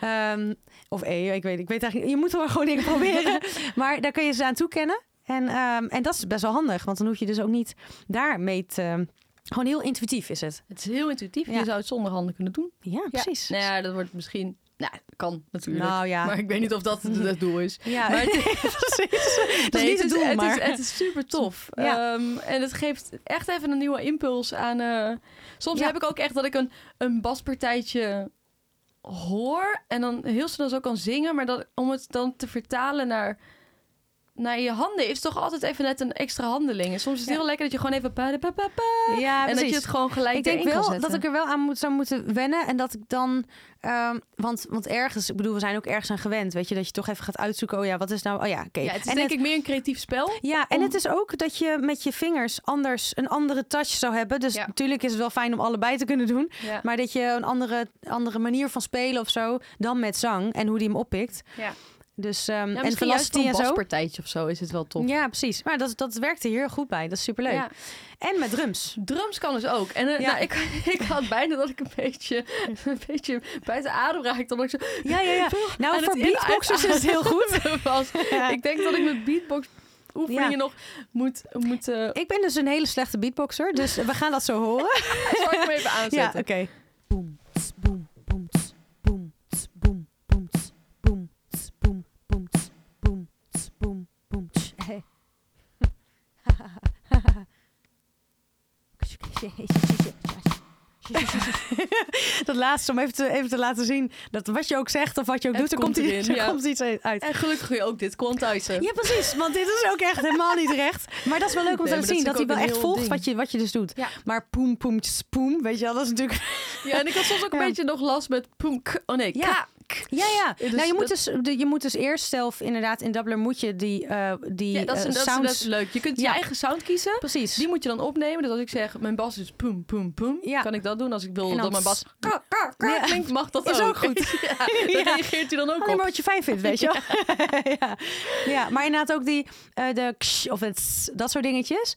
[SPEAKER 2] Ehm, of E, ik weet, ik weet eigenlijk niet. Je moet wel gewoon dingen proberen. maar daar kun je ze aan toekennen. En, ehm, en dat is best wel handig, want dan hoef je dus ook niet daarmee te... Gewoon heel intuïtief is het.
[SPEAKER 1] Het is heel intuïtief,
[SPEAKER 2] Ja.
[SPEAKER 1] je zou het zonder handen kunnen doen.
[SPEAKER 2] Ja, precies.
[SPEAKER 1] Nou ja, dat wordt misschien... Nou, kan natuurlijk.
[SPEAKER 2] Nou ja.
[SPEAKER 1] Maar ik weet niet of dat het doel is.
[SPEAKER 2] Ja,
[SPEAKER 1] Maar het-
[SPEAKER 2] precies. Dat is
[SPEAKER 1] Nee,
[SPEAKER 2] niet het doel,
[SPEAKER 1] is,
[SPEAKER 2] maar...
[SPEAKER 1] Het is, het is super tof.
[SPEAKER 2] Ja.
[SPEAKER 1] Ehm, en het geeft echt even een nieuwe impuls aan... eh, Soms
[SPEAKER 2] Ja.
[SPEAKER 1] heb ik ook echt dat ik een, een baspartijtje hoor... en dan heel snel zo kan zingen... maar dat, om het dan te vertalen naar, naar je handen... is toch altijd even net een extra handeling. En soms is het
[SPEAKER 2] Ja.
[SPEAKER 1] heel lekker dat je gewoon even... pa- pa- pa- pa-
[SPEAKER 2] ja,
[SPEAKER 1] en dat je het gewoon gelijk
[SPEAKER 2] ik denk
[SPEAKER 1] erin kan
[SPEAKER 2] wel
[SPEAKER 1] zetten.
[SPEAKER 2] dat ik er wel aan moet, zou moeten wennen. En dat ik dan. ehm, want, want ergens, ik bedoel, we zijn ook ergens aan gewend. Weet je, dat je toch even gaat uitzoeken. Oh ja, wat is nou. Oh ja, oké.
[SPEAKER 1] Ja, het is
[SPEAKER 2] en
[SPEAKER 1] denk
[SPEAKER 2] het-
[SPEAKER 1] ik meer een creatief spel.
[SPEAKER 2] ja, en
[SPEAKER 1] om-
[SPEAKER 2] het is ook dat je met je vingers anders een andere touch zou hebben. Dus
[SPEAKER 1] Ja.
[SPEAKER 2] natuurlijk is het wel fijn om allebei te kunnen doen.
[SPEAKER 1] Ja.
[SPEAKER 2] Maar dat je een andere, andere manier van spelen of zo. dan met zang en hoe die hem oppikt.
[SPEAKER 1] Ja.
[SPEAKER 2] Dus, ehm,
[SPEAKER 1] Ja,
[SPEAKER 2] en
[SPEAKER 1] misschien juist
[SPEAKER 2] velocity
[SPEAKER 1] voor een
[SPEAKER 2] en zo.
[SPEAKER 1] baspartijtje of zo is het wel tof.
[SPEAKER 2] Ja, precies. Maar dat, dat werkte hier goed bij. Dat is superleuk.
[SPEAKER 1] Ja.
[SPEAKER 2] En met drums.
[SPEAKER 1] Drums kan dus ook. En eh,
[SPEAKER 2] Ja.
[SPEAKER 1] nou, ik, ik had bijna dat ik een beetje, een beetje buiten adem raakte. Omdat ik zo
[SPEAKER 2] Ja, ja, ja.
[SPEAKER 1] aan
[SPEAKER 2] Nou,
[SPEAKER 1] het
[SPEAKER 2] voor
[SPEAKER 1] in-
[SPEAKER 2] beatboxers is het heel goed.
[SPEAKER 1] was. Ik denk dat ik met beatbox oefeningen
[SPEAKER 2] Ja.
[SPEAKER 1] nog moet... moet eh,
[SPEAKER 2] Ik ben dus een hele slechte beatboxer, dus we gaan dat zo horen.
[SPEAKER 1] zal ik hem even
[SPEAKER 2] Ja,
[SPEAKER 1] aanzetten?
[SPEAKER 2] oké.
[SPEAKER 4] boom, ts, boom, boom, ts, boom, ts, boom, boom, ts, boom, ts, boom, boom, ts, boom, ts, boom, boom, tsch. Hey.
[SPEAKER 2] Dat laatste om even te, even te laten zien dat wat je ook zegt of wat je ook
[SPEAKER 1] Het
[SPEAKER 2] doet, er
[SPEAKER 1] komt
[SPEAKER 2] komt,
[SPEAKER 1] erin,
[SPEAKER 2] iets, er
[SPEAKER 1] ja.
[SPEAKER 2] komt iets uit.
[SPEAKER 1] En gelukkig kun je ook dit kon thuis.
[SPEAKER 2] Ja, precies, want dit is ook echt helemaal niet recht. Maar dat is wel leuk om
[SPEAKER 1] Nee,
[SPEAKER 2] te
[SPEAKER 1] maar dat
[SPEAKER 2] laten zien,
[SPEAKER 1] is
[SPEAKER 2] dat hij
[SPEAKER 1] natuurlijk
[SPEAKER 2] wel
[SPEAKER 1] ook
[SPEAKER 2] echt
[SPEAKER 1] een heel
[SPEAKER 2] volgt
[SPEAKER 1] ding.
[SPEAKER 2] wat je, wat je dus doet.
[SPEAKER 1] Ja.
[SPEAKER 2] Maar poem, poem, tss, poem, weet je wel, dat is natuurlijk...
[SPEAKER 1] Ja, en ik had soms ook een
[SPEAKER 2] Ja.
[SPEAKER 1] beetje nog last met... poem, k- Oh nee,
[SPEAKER 2] Ja.
[SPEAKER 1] ka, k.
[SPEAKER 2] Ja, ja.
[SPEAKER 1] Dus
[SPEAKER 2] nou, je
[SPEAKER 1] dat-
[SPEAKER 2] moet, dus, de- je moet dus eerst zelf, inderdaad, in Dubbler moet je die, eh die
[SPEAKER 1] Ja, dat is, dat,
[SPEAKER 2] eh,
[SPEAKER 1] is, dat
[SPEAKER 2] sounds...
[SPEAKER 1] is leuk. Je kunt je
[SPEAKER 2] Ja.
[SPEAKER 1] eigen sound kiezen.
[SPEAKER 2] Precies.
[SPEAKER 1] Die moet je dan opnemen. Dus als ik zeg, mijn bas is poem, poem, poem.
[SPEAKER 2] Ja.
[SPEAKER 1] Kan ik dat doen? Als ik wil
[SPEAKER 2] En dan
[SPEAKER 1] dat mijn bas ka, ka, ka
[SPEAKER 2] Ja.
[SPEAKER 1] klinkt, mag dat
[SPEAKER 2] Is ook goed.
[SPEAKER 1] ja, daar
[SPEAKER 2] Ja.
[SPEAKER 1] reageert hij dan ook
[SPEAKER 2] Alleen
[SPEAKER 1] op.
[SPEAKER 2] maar wat je fijn vindt, weet je wel. ja. ja, maar inderdaad ook die eh, de ksh of het s, dat soort dingetjes.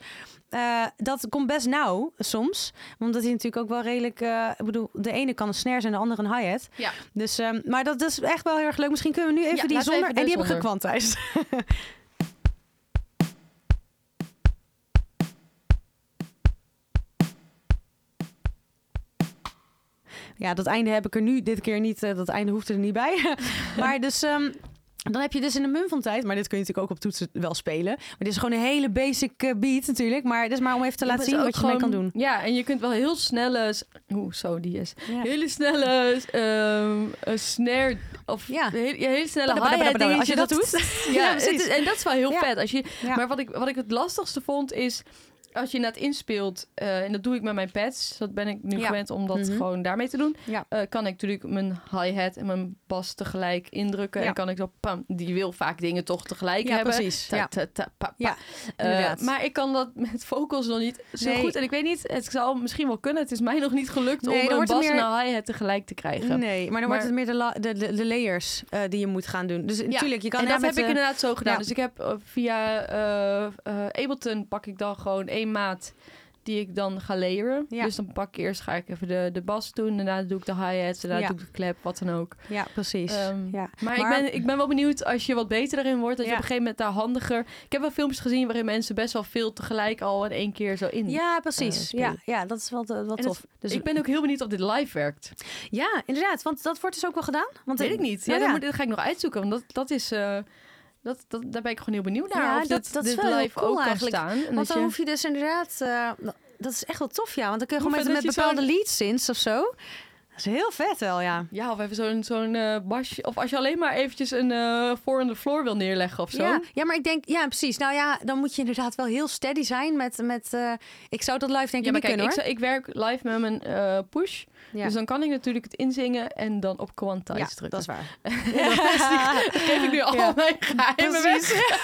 [SPEAKER 2] Eh, eh, dat komt best nauw soms. Omdat hij natuurlijk ook wel redelijk... eh, ik bedoel, de ene kan een snare zijn, de andere een hi-hat.
[SPEAKER 1] Ja.
[SPEAKER 2] Dus, ehm, maar dat, is echt wel heel erg leuk. Misschien kunnen we nu even
[SPEAKER 1] Ja,
[SPEAKER 2] die
[SPEAKER 1] laten we
[SPEAKER 2] zonder...
[SPEAKER 1] even
[SPEAKER 2] en die
[SPEAKER 1] de
[SPEAKER 2] heb ik gekwantiseerd. Ja, dat einde heb ik er nu dit keer niet. eh, dat einde hoeft er niet bij. maar dus. ehm, dan heb je dus in een mum van tijd, maar dit kun je natuurlijk ook op toetsen wel spelen. Maar dit is gewoon een hele basic eh, beat natuurlijk. Maar dit is maar om even te
[SPEAKER 1] Ja,
[SPEAKER 2] laten
[SPEAKER 1] maar
[SPEAKER 2] zien
[SPEAKER 1] het
[SPEAKER 2] wat
[SPEAKER 1] is
[SPEAKER 2] je
[SPEAKER 1] ook
[SPEAKER 2] mee kan
[SPEAKER 1] gewoon-
[SPEAKER 2] doen.
[SPEAKER 1] Ja, en je kunt wel heel snelle... s- Oeh, zo, die is. Hele snelle ehm, een snare... Of
[SPEAKER 2] Ja.
[SPEAKER 1] he- ja, hele snelle
[SPEAKER 2] Badabadabada,
[SPEAKER 1] hi-hat dingetje.
[SPEAKER 2] als je dat doet.
[SPEAKER 1] Ja,
[SPEAKER 2] Ja,
[SPEAKER 1] het
[SPEAKER 2] precies.
[SPEAKER 1] is- en dat is wel heel
[SPEAKER 2] Ja.
[SPEAKER 1] vet. Als je,
[SPEAKER 2] Ja.
[SPEAKER 1] Maar wat ik, wat ik het lastigste vond is... Als je net inspeelt, eh, en dat doe ik met mijn pads, dat ben ik nu
[SPEAKER 2] Ja.
[SPEAKER 1] gewend om dat
[SPEAKER 2] Mhm.
[SPEAKER 1] gewoon daarmee te doen,
[SPEAKER 2] Ja.
[SPEAKER 1] eh, kan ik natuurlijk mijn hi-hat en mijn bas tegelijk indrukken.
[SPEAKER 2] Ja.
[SPEAKER 1] En kan ik zo, pam, die wil vaak dingen toch tegelijk
[SPEAKER 2] ja,
[SPEAKER 1] hebben.
[SPEAKER 2] precies.
[SPEAKER 1] Ta,
[SPEAKER 2] Ja.
[SPEAKER 1] ta, ta, pa, pa.
[SPEAKER 2] Ja,
[SPEAKER 1] Eh,
[SPEAKER 2] inderdaad.
[SPEAKER 1] maar ik kan dat met vocals nog niet zo
[SPEAKER 2] Nee.
[SPEAKER 1] goed. En ik weet niet, het zal misschien wel kunnen. Het is mij nog niet gelukt
[SPEAKER 2] Nee, er
[SPEAKER 1] om een
[SPEAKER 2] wordt
[SPEAKER 1] bas
[SPEAKER 2] meer-
[SPEAKER 1] en een hi-hat tegelijk te krijgen.
[SPEAKER 2] Nee, maar dan wordt
[SPEAKER 1] Maar-
[SPEAKER 2] het meer de, la- de, de, de layers eh, die je moet gaan doen. Dus natuurlijk, je kan
[SPEAKER 1] en
[SPEAKER 2] daar
[SPEAKER 1] dat heb
[SPEAKER 2] met,
[SPEAKER 1] ik
[SPEAKER 2] eh,
[SPEAKER 1] inderdaad zo gedaan.
[SPEAKER 2] ja.
[SPEAKER 1] Dus ik heb eh, via eh, eh, Ableton pak ik dan gewoon één maat die ik dan ga layeren.
[SPEAKER 2] Ja.
[SPEAKER 1] Dus dan pak ik eerst ga ik even de, de bas doen. Daarna doe ik de hi-hats. Daarna
[SPEAKER 2] Ja.
[SPEAKER 1] doe ik de clap, wat dan ook.
[SPEAKER 2] Ja, precies.
[SPEAKER 1] Ehm,
[SPEAKER 2] ja.
[SPEAKER 1] Maar,
[SPEAKER 2] Maar-
[SPEAKER 1] Ik, ben, ik ben wel benieuwd als je wat beter erin wordt. Dat je
[SPEAKER 2] Ja.
[SPEAKER 1] op een gegeven moment daar handiger... Ik heb wel filmpjes gezien waarin mensen best wel veel tegelijk al in één keer zo in.
[SPEAKER 2] Ja, precies.
[SPEAKER 1] spelen.
[SPEAKER 2] ja, ja, dat is wel, eh, wel
[SPEAKER 1] En
[SPEAKER 2] tof. dus
[SPEAKER 1] ik ben ook heel benieuwd of dit live werkt.
[SPEAKER 2] Ja, inderdaad. Want dat wordt dus ook wel gedaan. Want
[SPEAKER 1] weet ik niet. Ja,
[SPEAKER 2] Nou
[SPEAKER 1] dat,
[SPEAKER 2] ja.
[SPEAKER 1] moet, dat ga ik nog uitzoeken. Want dat, dat is... eh, dat, dat, daar ben ik gewoon heel benieuwd naar.
[SPEAKER 2] Ja,
[SPEAKER 1] of
[SPEAKER 2] dat-
[SPEAKER 1] dit,
[SPEAKER 2] dat is
[SPEAKER 1] dit
[SPEAKER 2] wel heel
[SPEAKER 1] live
[SPEAKER 2] cool
[SPEAKER 1] ook
[SPEAKER 2] eigenlijk.
[SPEAKER 1] kan staan. En
[SPEAKER 2] Want
[SPEAKER 1] dat
[SPEAKER 2] dan
[SPEAKER 1] je-
[SPEAKER 2] hoef je dus inderdaad... eh, dat is echt wel tof, ja. Want dan kun je
[SPEAKER 1] Hoe
[SPEAKER 2] gewoon met,
[SPEAKER 1] vet
[SPEAKER 2] met
[SPEAKER 1] dat je
[SPEAKER 2] bepaalde leads synths of zo. Dat is heel vet wel, ja.
[SPEAKER 1] Ja, of even zo'n zo'n eh, basje. Of als je alleen maar eventjes een eh voor on the floor wil neerleggen of zo.
[SPEAKER 2] Ja, ja, maar ik denk... Ja, precies. Nou ja, dan moet je inderdaad wel heel steady zijn met... met eh, ik zou dat live denk ik
[SPEAKER 1] Ja, maar
[SPEAKER 2] niet
[SPEAKER 1] kijk,
[SPEAKER 2] kunnen,
[SPEAKER 1] ik,
[SPEAKER 2] hoor.
[SPEAKER 1] zou- ik werk live met mijn eh, push.
[SPEAKER 2] Ja.
[SPEAKER 1] Dus dan kan ik natuurlijk het inzingen en dan op quantize
[SPEAKER 2] ja,
[SPEAKER 1] drukken.
[SPEAKER 2] dat is waar.
[SPEAKER 1] Dan geef ik nu al
[SPEAKER 2] Ja.
[SPEAKER 1] mijn geheimen
[SPEAKER 2] Precies.
[SPEAKER 1] weg.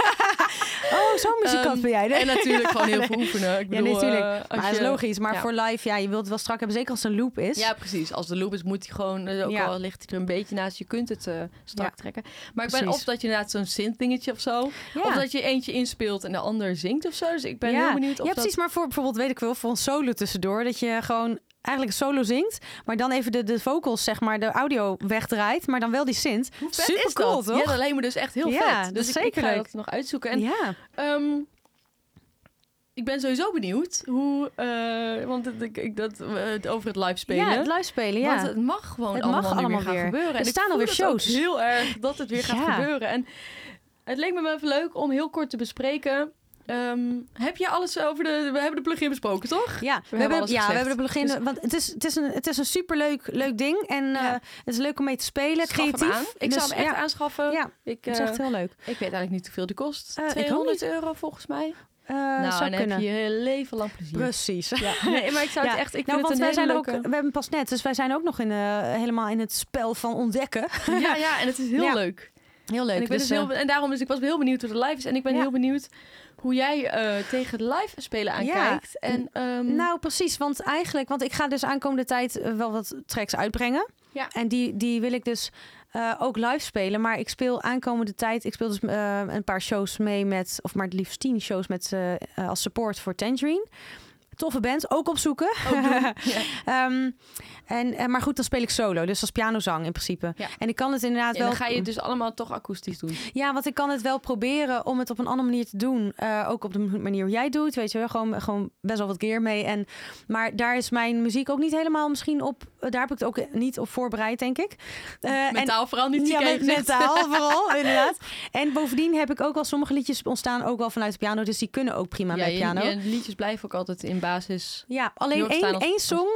[SPEAKER 2] Oh, zo'n muzikant
[SPEAKER 1] Ehm,
[SPEAKER 2] ben jij.
[SPEAKER 1] En natuurlijk gewoon heel veel oefenen. Ik
[SPEAKER 2] Ja,
[SPEAKER 1] bedoel,
[SPEAKER 2] natuurlijk.
[SPEAKER 1] eh, als
[SPEAKER 2] maar dat
[SPEAKER 1] je-
[SPEAKER 2] is logisch. Maar
[SPEAKER 1] ja.
[SPEAKER 2] voor live, ja, je wilt het wel strak hebben. Zeker als het een loop is.
[SPEAKER 1] Ja, precies. Als de loop is, moet hij gewoon, eh, ook
[SPEAKER 2] Ja.
[SPEAKER 1] al ligt hij er een beetje naast, je kunt het eh, strak
[SPEAKER 2] Ja.
[SPEAKER 1] trekken. Maar ik ben
[SPEAKER 2] Precies.
[SPEAKER 1] of dat je inderdaad zo'n synth dingetje of zo,
[SPEAKER 2] Ja.
[SPEAKER 1] of dat je eentje inspeelt en de ander zingt of zo. Dus ik ben
[SPEAKER 2] Ja.
[SPEAKER 1] heel benieuwd of dat...
[SPEAKER 2] ja, precies. Maar voor bijvoorbeeld, weet ik wel, voor een solo tussendoor. Dat je gewoon eigenlijk een solo zingt. Maar dan even de, de vocals, zeg maar, de audio wegdraait. Maar dan wel die synth.
[SPEAKER 1] Hoe vet
[SPEAKER 2] Super
[SPEAKER 1] is dat?
[SPEAKER 2] cool, toch?
[SPEAKER 1] Ja, dat lijkt me dus echt heel
[SPEAKER 2] Ja,
[SPEAKER 1] vet.
[SPEAKER 2] dat
[SPEAKER 1] Dus
[SPEAKER 2] is
[SPEAKER 1] ik, ik
[SPEAKER 2] zeker
[SPEAKER 1] ga
[SPEAKER 2] leuk.
[SPEAKER 1] dat nog uitzoeken. En
[SPEAKER 2] ja.
[SPEAKER 1] ehm, ik ben sowieso benieuwd hoe, eh, want het- ik, ik, dat, eh, het over het live spelen.
[SPEAKER 2] ja, het live spelen. Ja.
[SPEAKER 1] Want eh, het mag gewoon
[SPEAKER 2] Het mag
[SPEAKER 1] allemaal, nu
[SPEAKER 2] allemaal
[SPEAKER 1] weer gaan
[SPEAKER 2] weer.
[SPEAKER 1] gebeuren.
[SPEAKER 2] Er
[SPEAKER 1] En ik
[SPEAKER 2] staan
[SPEAKER 1] voel
[SPEAKER 2] alweer
[SPEAKER 1] het ook
[SPEAKER 2] shows.
[SPEAKER 1] heel erg dat het weer gaat
[SPEAKER 2] Ja.
[SPEAKER 1] gebeuren. En het leek me wel even leuk om heel kort te bespreken. Ehm, heb je alles over de... We hebben de plugin besproken, toch?
[SPEAKER 2] Ja, we,
[SPEAKER 1] hebben
[SPEAKER 2] hebben,
[SPEAKER 1] alles
[SPEAKER 2] ja, we
[SPEAKER 1] gezegd. Dus-
[SPEAKER 2] hebben de begin. want het is, het is een, het is een superleuk leuk ding. En
[SPEAKER 1] Ja.
[SPEAKER 2] eh, het is leuk om mee te spelen.
[SPEAKER 1] Schaf hem
[SPEAKER 2] creatief.
[SPEAKER 1] aan. Ik
[SPEAKER 2] Dus
[SPEAKER 1] zal hem echt
[SPEAKER 2] ja,
[SPEAKER 1] aanschaffen.
[SPEAKER 2] Ja,
[SPEAKER 1] Ik,
[SPEAKER 2] het is
[SPEAKER 1] eh,
[SPEAKER 2] echt heel leuk.
[SPEAKER 1] ik weet eigenlijk niet hoeveel die kost.
[SPEAKER 2] Eh, ik ook
[SPEAKER 1] 200 euro volgens mij.
[SPEAKER 2] Eh,
[SPEAKER 1] nou,
[SPEAKER 2] zou
[SPEAKER 1] en dan
[SPEAKER 2] kunnen.
[SPEAKER 1] heb je je hele leven lang plezier.
[SPEAKER 2] Precies.
[SPEAKER 1] Ja, nee, maar ik zou het
[SPEAKER 2] Ja.
[SPEAKER 1] echt... Ik
[SPEAKER 2] nou,
[SPEAKER 1] vind
[SPEAKER 2] want
[SPEAKER 1] het
[SPEAKER 2] wij
[SPEAKER 1] een
[SPEAKER 2] zijn
[SPEAKER 1] hele
[SPEAKER 2] er ook,
[SPEAKER 1] leuke-
[SPEAKER 2] we hebben pas net, dus wij zijn ook nog in, eh, helemaal in het spel van ontdekken.
[SPEAKER 1] Ja, ja, en het is heel
[SPEAKER 2] Ja.
[SPEAKER 1] leuk.
[SPEAKER 2] Heel leuk.
[SPEAKER 1] En, ik ben
[SPEAKER 2] dus,
[SPEAKER 1] dus
[SPEAKER 2] eh,
[SPEAKER 1] heel, en daarom dus ik was heel benieuwd hoe de live is. En ik ben
[SPEAKER 2] Ja.
[SPEAKER 1] heel benieuwd hoe jij eh, tegen het live spelen aankijkt. En, ehm,
[SPEAKER 2] Nou, precies. Want eigenlijk, want ik ga dus aankomende tijd eh, wel wat tracks uitbrengen.
[SPEAKER 1] Ja.
[SPEAKER 2] En die, die wil ik dus eh, ook live spelen. Maar ik speel aankomende tijd, ik speel dus eh, een paar shows mee met, of maar het liefst tien shows met, eh, eh, als support voor Tangerine. Toffe band, ook opzoeken.
[SPEAKER 1] ook doen. Ja.
[SPEAKER 2] Ehm, en, en, maar goed, dan speel ik solo, dus als pianozang in principe.
[SPEAKER 1] Ja.
[SPEAKER 2] En ik kan het inderdaad
[SPEAKER 1] En
[SPEAKER 2] wel...
[SPEAKER 1] dan ga je het dus allemaal toch akoestisch doen.
[SPEAKER 2] Ja, want ik kan het wel proberen om het op een andere manier te doen. Eh, ook op de manier hoe jij het doet. Weet je wel, gewoon, gewoon best wel wat gear mee. En, maar daar is mijn muziek ook niet helemaal misschien op. Daar heb ik het ook niet op voorbereid, denk ik. Eh, en-
[SPEAKER 1] Mentaal vooral niet
[SPEAKER 2] ja,
[SPEAKER 1] ziek
[SPEAKER 2] met, mentaal vooral, inderdaad. En bovendien heb ik ook wel sommige liedjes ontstaan ook wel vanuit de piano. Dus die kunnen ook prima
[SPEAKER 1] ja,
[SPEAKER 2] met piano.
[SPEAKER 1] je, je liedjes blijven ook altijd in basis.
[SPEAKER 2] Ja, alleen
[SPEAKER 1] Jorg staan
[SPEAKER 2] één,
[SPEAKER 1] als-
[SPEAKER 2] één song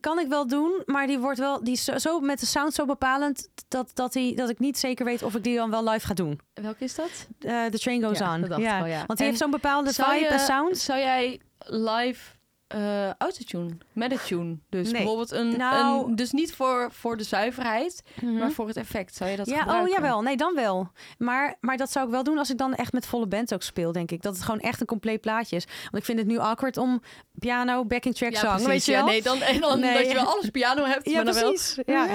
[SPEAKER 2] kan ik wel doen, maar die wordt wel die is zo, zo met de sound zo bepalend dat, dat, die, dat ik niet zeker weet of ik die dan wel live ga doen.
[SPEAKER 1] Welke is dat?
[SPEAKER 2] Eh, The Train Goes
[SPEAKER 1] Ja,
[SPEAKER 2] On.
[SPEAKER 1] dat dacht ik al, ja.
[SPEAKER 2] Want
[SPEAKER 1] En
[SPEAKER 2] die heeft zo'n bepaalde
[SPEAKER 1] zou,
[SPEAKER 2] vibe en sound.
[SPEAKER 1] zou jij live eh autotune, met een tune? Dus
[SPEAKER 2] Nee.
[SPEAKER 1] bijvoorbeeld een,
[SPEAKER 2] Nou-
[SPEAKER 1] een... Dus niet voor, voor de zuiverheid, maar voor het effect. Zou je Mhm. dat
[SPEAKER 2] Mhm. ja,
[SPEAKER 1] gebruiken?
[SPEAKER 2] oh jawel. Nee, dan wel. Maar, maar dat zou ik wel doen als ik dan echt met volle band ook speel, denk ik. Dat het gewoon echt een compleet plaatje is. Want ik vind het nu awkward om piano, backing track, zang,
[SPEAKER 1] precies.
[SPEAKER 2] weet je
[SPEAKER 1] Ja,
[SPEAKER 2] wel?
[SPEAKER 1] nee, dan, en dan
[SPEAKER 2] Nee.
[SPEAKER 1] dat je wel alles piano hebt,
[SPEAKER 2] ja
[SPEAKER 1] maar dan wel...
[SPEAKER 2] precies. Ja.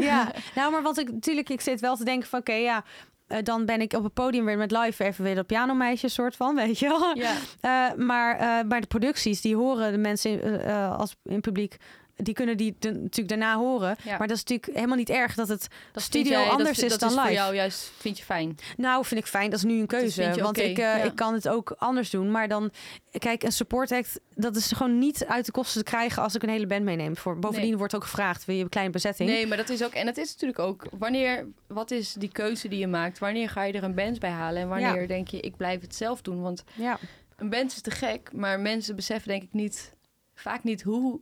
[SPEAKER 2] ja. Nou, maar wat ik natuurlijk, ik zit wel te denken van, oké, ja. eh, dan ben ik op het podium weer met live even weer dat pianomeisje soort van, weet je wel.
[SPEAKER 1] Ja.
[SPEAKER 2] Eh, maar eh, bij de producties, die horen de mensen in, eh, eh, als in het publiek, die kunnen die de- natuurlijk daarna horen.
[SPEAKER 1] Ja.
[SPEAKER 2] Maar dat is natuurlijk helemaal niet erg dat het.
[SPEAKER 1] Dat
[SPEAKER 2] Studio
[SPEAKER 1] vind jij-
[SPEAKER 2] anders
[SPEAKER 1] dat,
[SPEAKER 2] is
[SPEAKER 1] dat
[SPEAKER 2] dan
[SPEAKER 1] is voor
[SPEAKER 2] live.
[SPEAKER 1] jou juist, vind je fijn.
[SPEAKER 2] Nou, vind ik fijn, dat is nu een keuze.
[SPEAKER 1] vind je
[SPEAKER 2] want
[SPEAKER 1] oké,
[SPEAKER 2] ik, eh,
[SPEAKER 1] ja.
[SPEAKER 2] ik kan het ook anders doen. Maar dan, kijk, een support act, dat is gewoon niet uit de kosten te krijgen als ik een hele band meeneem. Voor, bovendien
[SPEAKER 1] Nee.
[SPEAKER 2] wordt ook gevraagd, wil je een kleine bezetting?
[SPEAKER 1] Nee, maar dat is ook. En dat is natuurlijk ook. Wanneer. Wat is die keuze die je maakt? Wanneer ga je er een band bij halen? En wanneer denk je, ik blijf het zelf doen? Want
[SPEAKER 2] Ja.
[SPEAKER 1] een band is te gek, maar mensen beseffen denk ik niet. Vaak niet hoe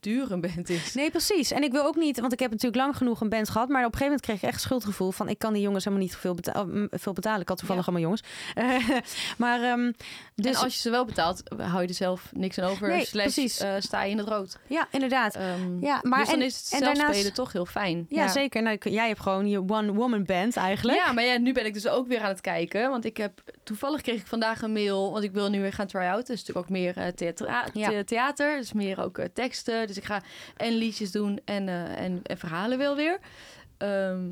[SPEAKER 1] duur een band is.
[SPEAKER 2] Nee, precies. En ik wil ook niet, want ik heb natuurlijk lang genoeg een band gehad. Maar op een gegeven moment kreeg ik echt schuldgevoel van... ik kan die jongens helemaal niet veel, beta- m, veel betalen. Ik had toevallig
[SPEAKER 1] Ja.
[SPEAKER 2] allemaal jongens. Eh, maar ehm, dus...
[SPEAKER 1] en als je ze wel betaalt, hou je er zelf niks aan over.
[SPEAKER 2] Nee,
[SPEAKER 1] slash,
[SPEAKER 2] precies.
[SPEAKER 1] eh, sta je in het rood.
[SPEAKER 2] Ja, inderdaad.
[SPEAKER 1] Ehm,
[SPEAKER 2] Ja, maar
[SPEAKER 1] dus dan
[SPEAKER 2] en-
[SPEAKER 1] is het
[SPEAKER 2] en
[SPEAKER 1] zelf
[SPEAKER 2] daarnaast-
[SPEAKER 1] spelen toch heel fijn.
[SPEAKER 2] Ja, zeker. Nou, ik- jij hebt gewoon je one-woman band eigenlijk.
[SPEAKER 1] Ja, maar ja, nu ben ik dus ook weer aan het kijken. Want ik heb toevallig kreeg ik vandaag een mail. Want ik wil nu weer gaan try-out. Dus natuurlijk ook meer eh, theatra-
[SPEAKER 2] Ja.
[SPEAKER 1] the- theater. Dus meer ook eh, teksten. Dus ik ga en liedjes doen en, eh, en, en verhalen wel weer. Ehm,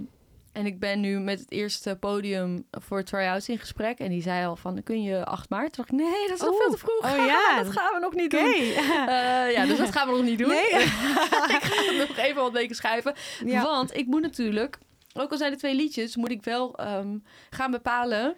[SPEAKER 1] en ik ben nu met het eerste podium voor try-outs in gesprek. En die zei al van, kun je 8 maart? Toen dacht ik, nee, dat is nog
[SPEAKER 2] Oeh.
[SPEAKER 1] veel te vroeg.
[SPEAKER 2] Oh ja.
[SPEAKER 1] dat gaan we nog niet
[SPEAKER 2] Oké.
[SPEAKER 1] doen. Eh, ja, dus dat gaan we nog niet doen.
[SPEAKER 2] Nee.
[SPEAKER 1] ik ga het nog even wat weken schuiven.
[SPEAKER 2] Ja.
[SPEAKER 1] Want ik moet natuurlijk, ook al zijn er twee liedjes, moet ik wel ehm, gaan bepalen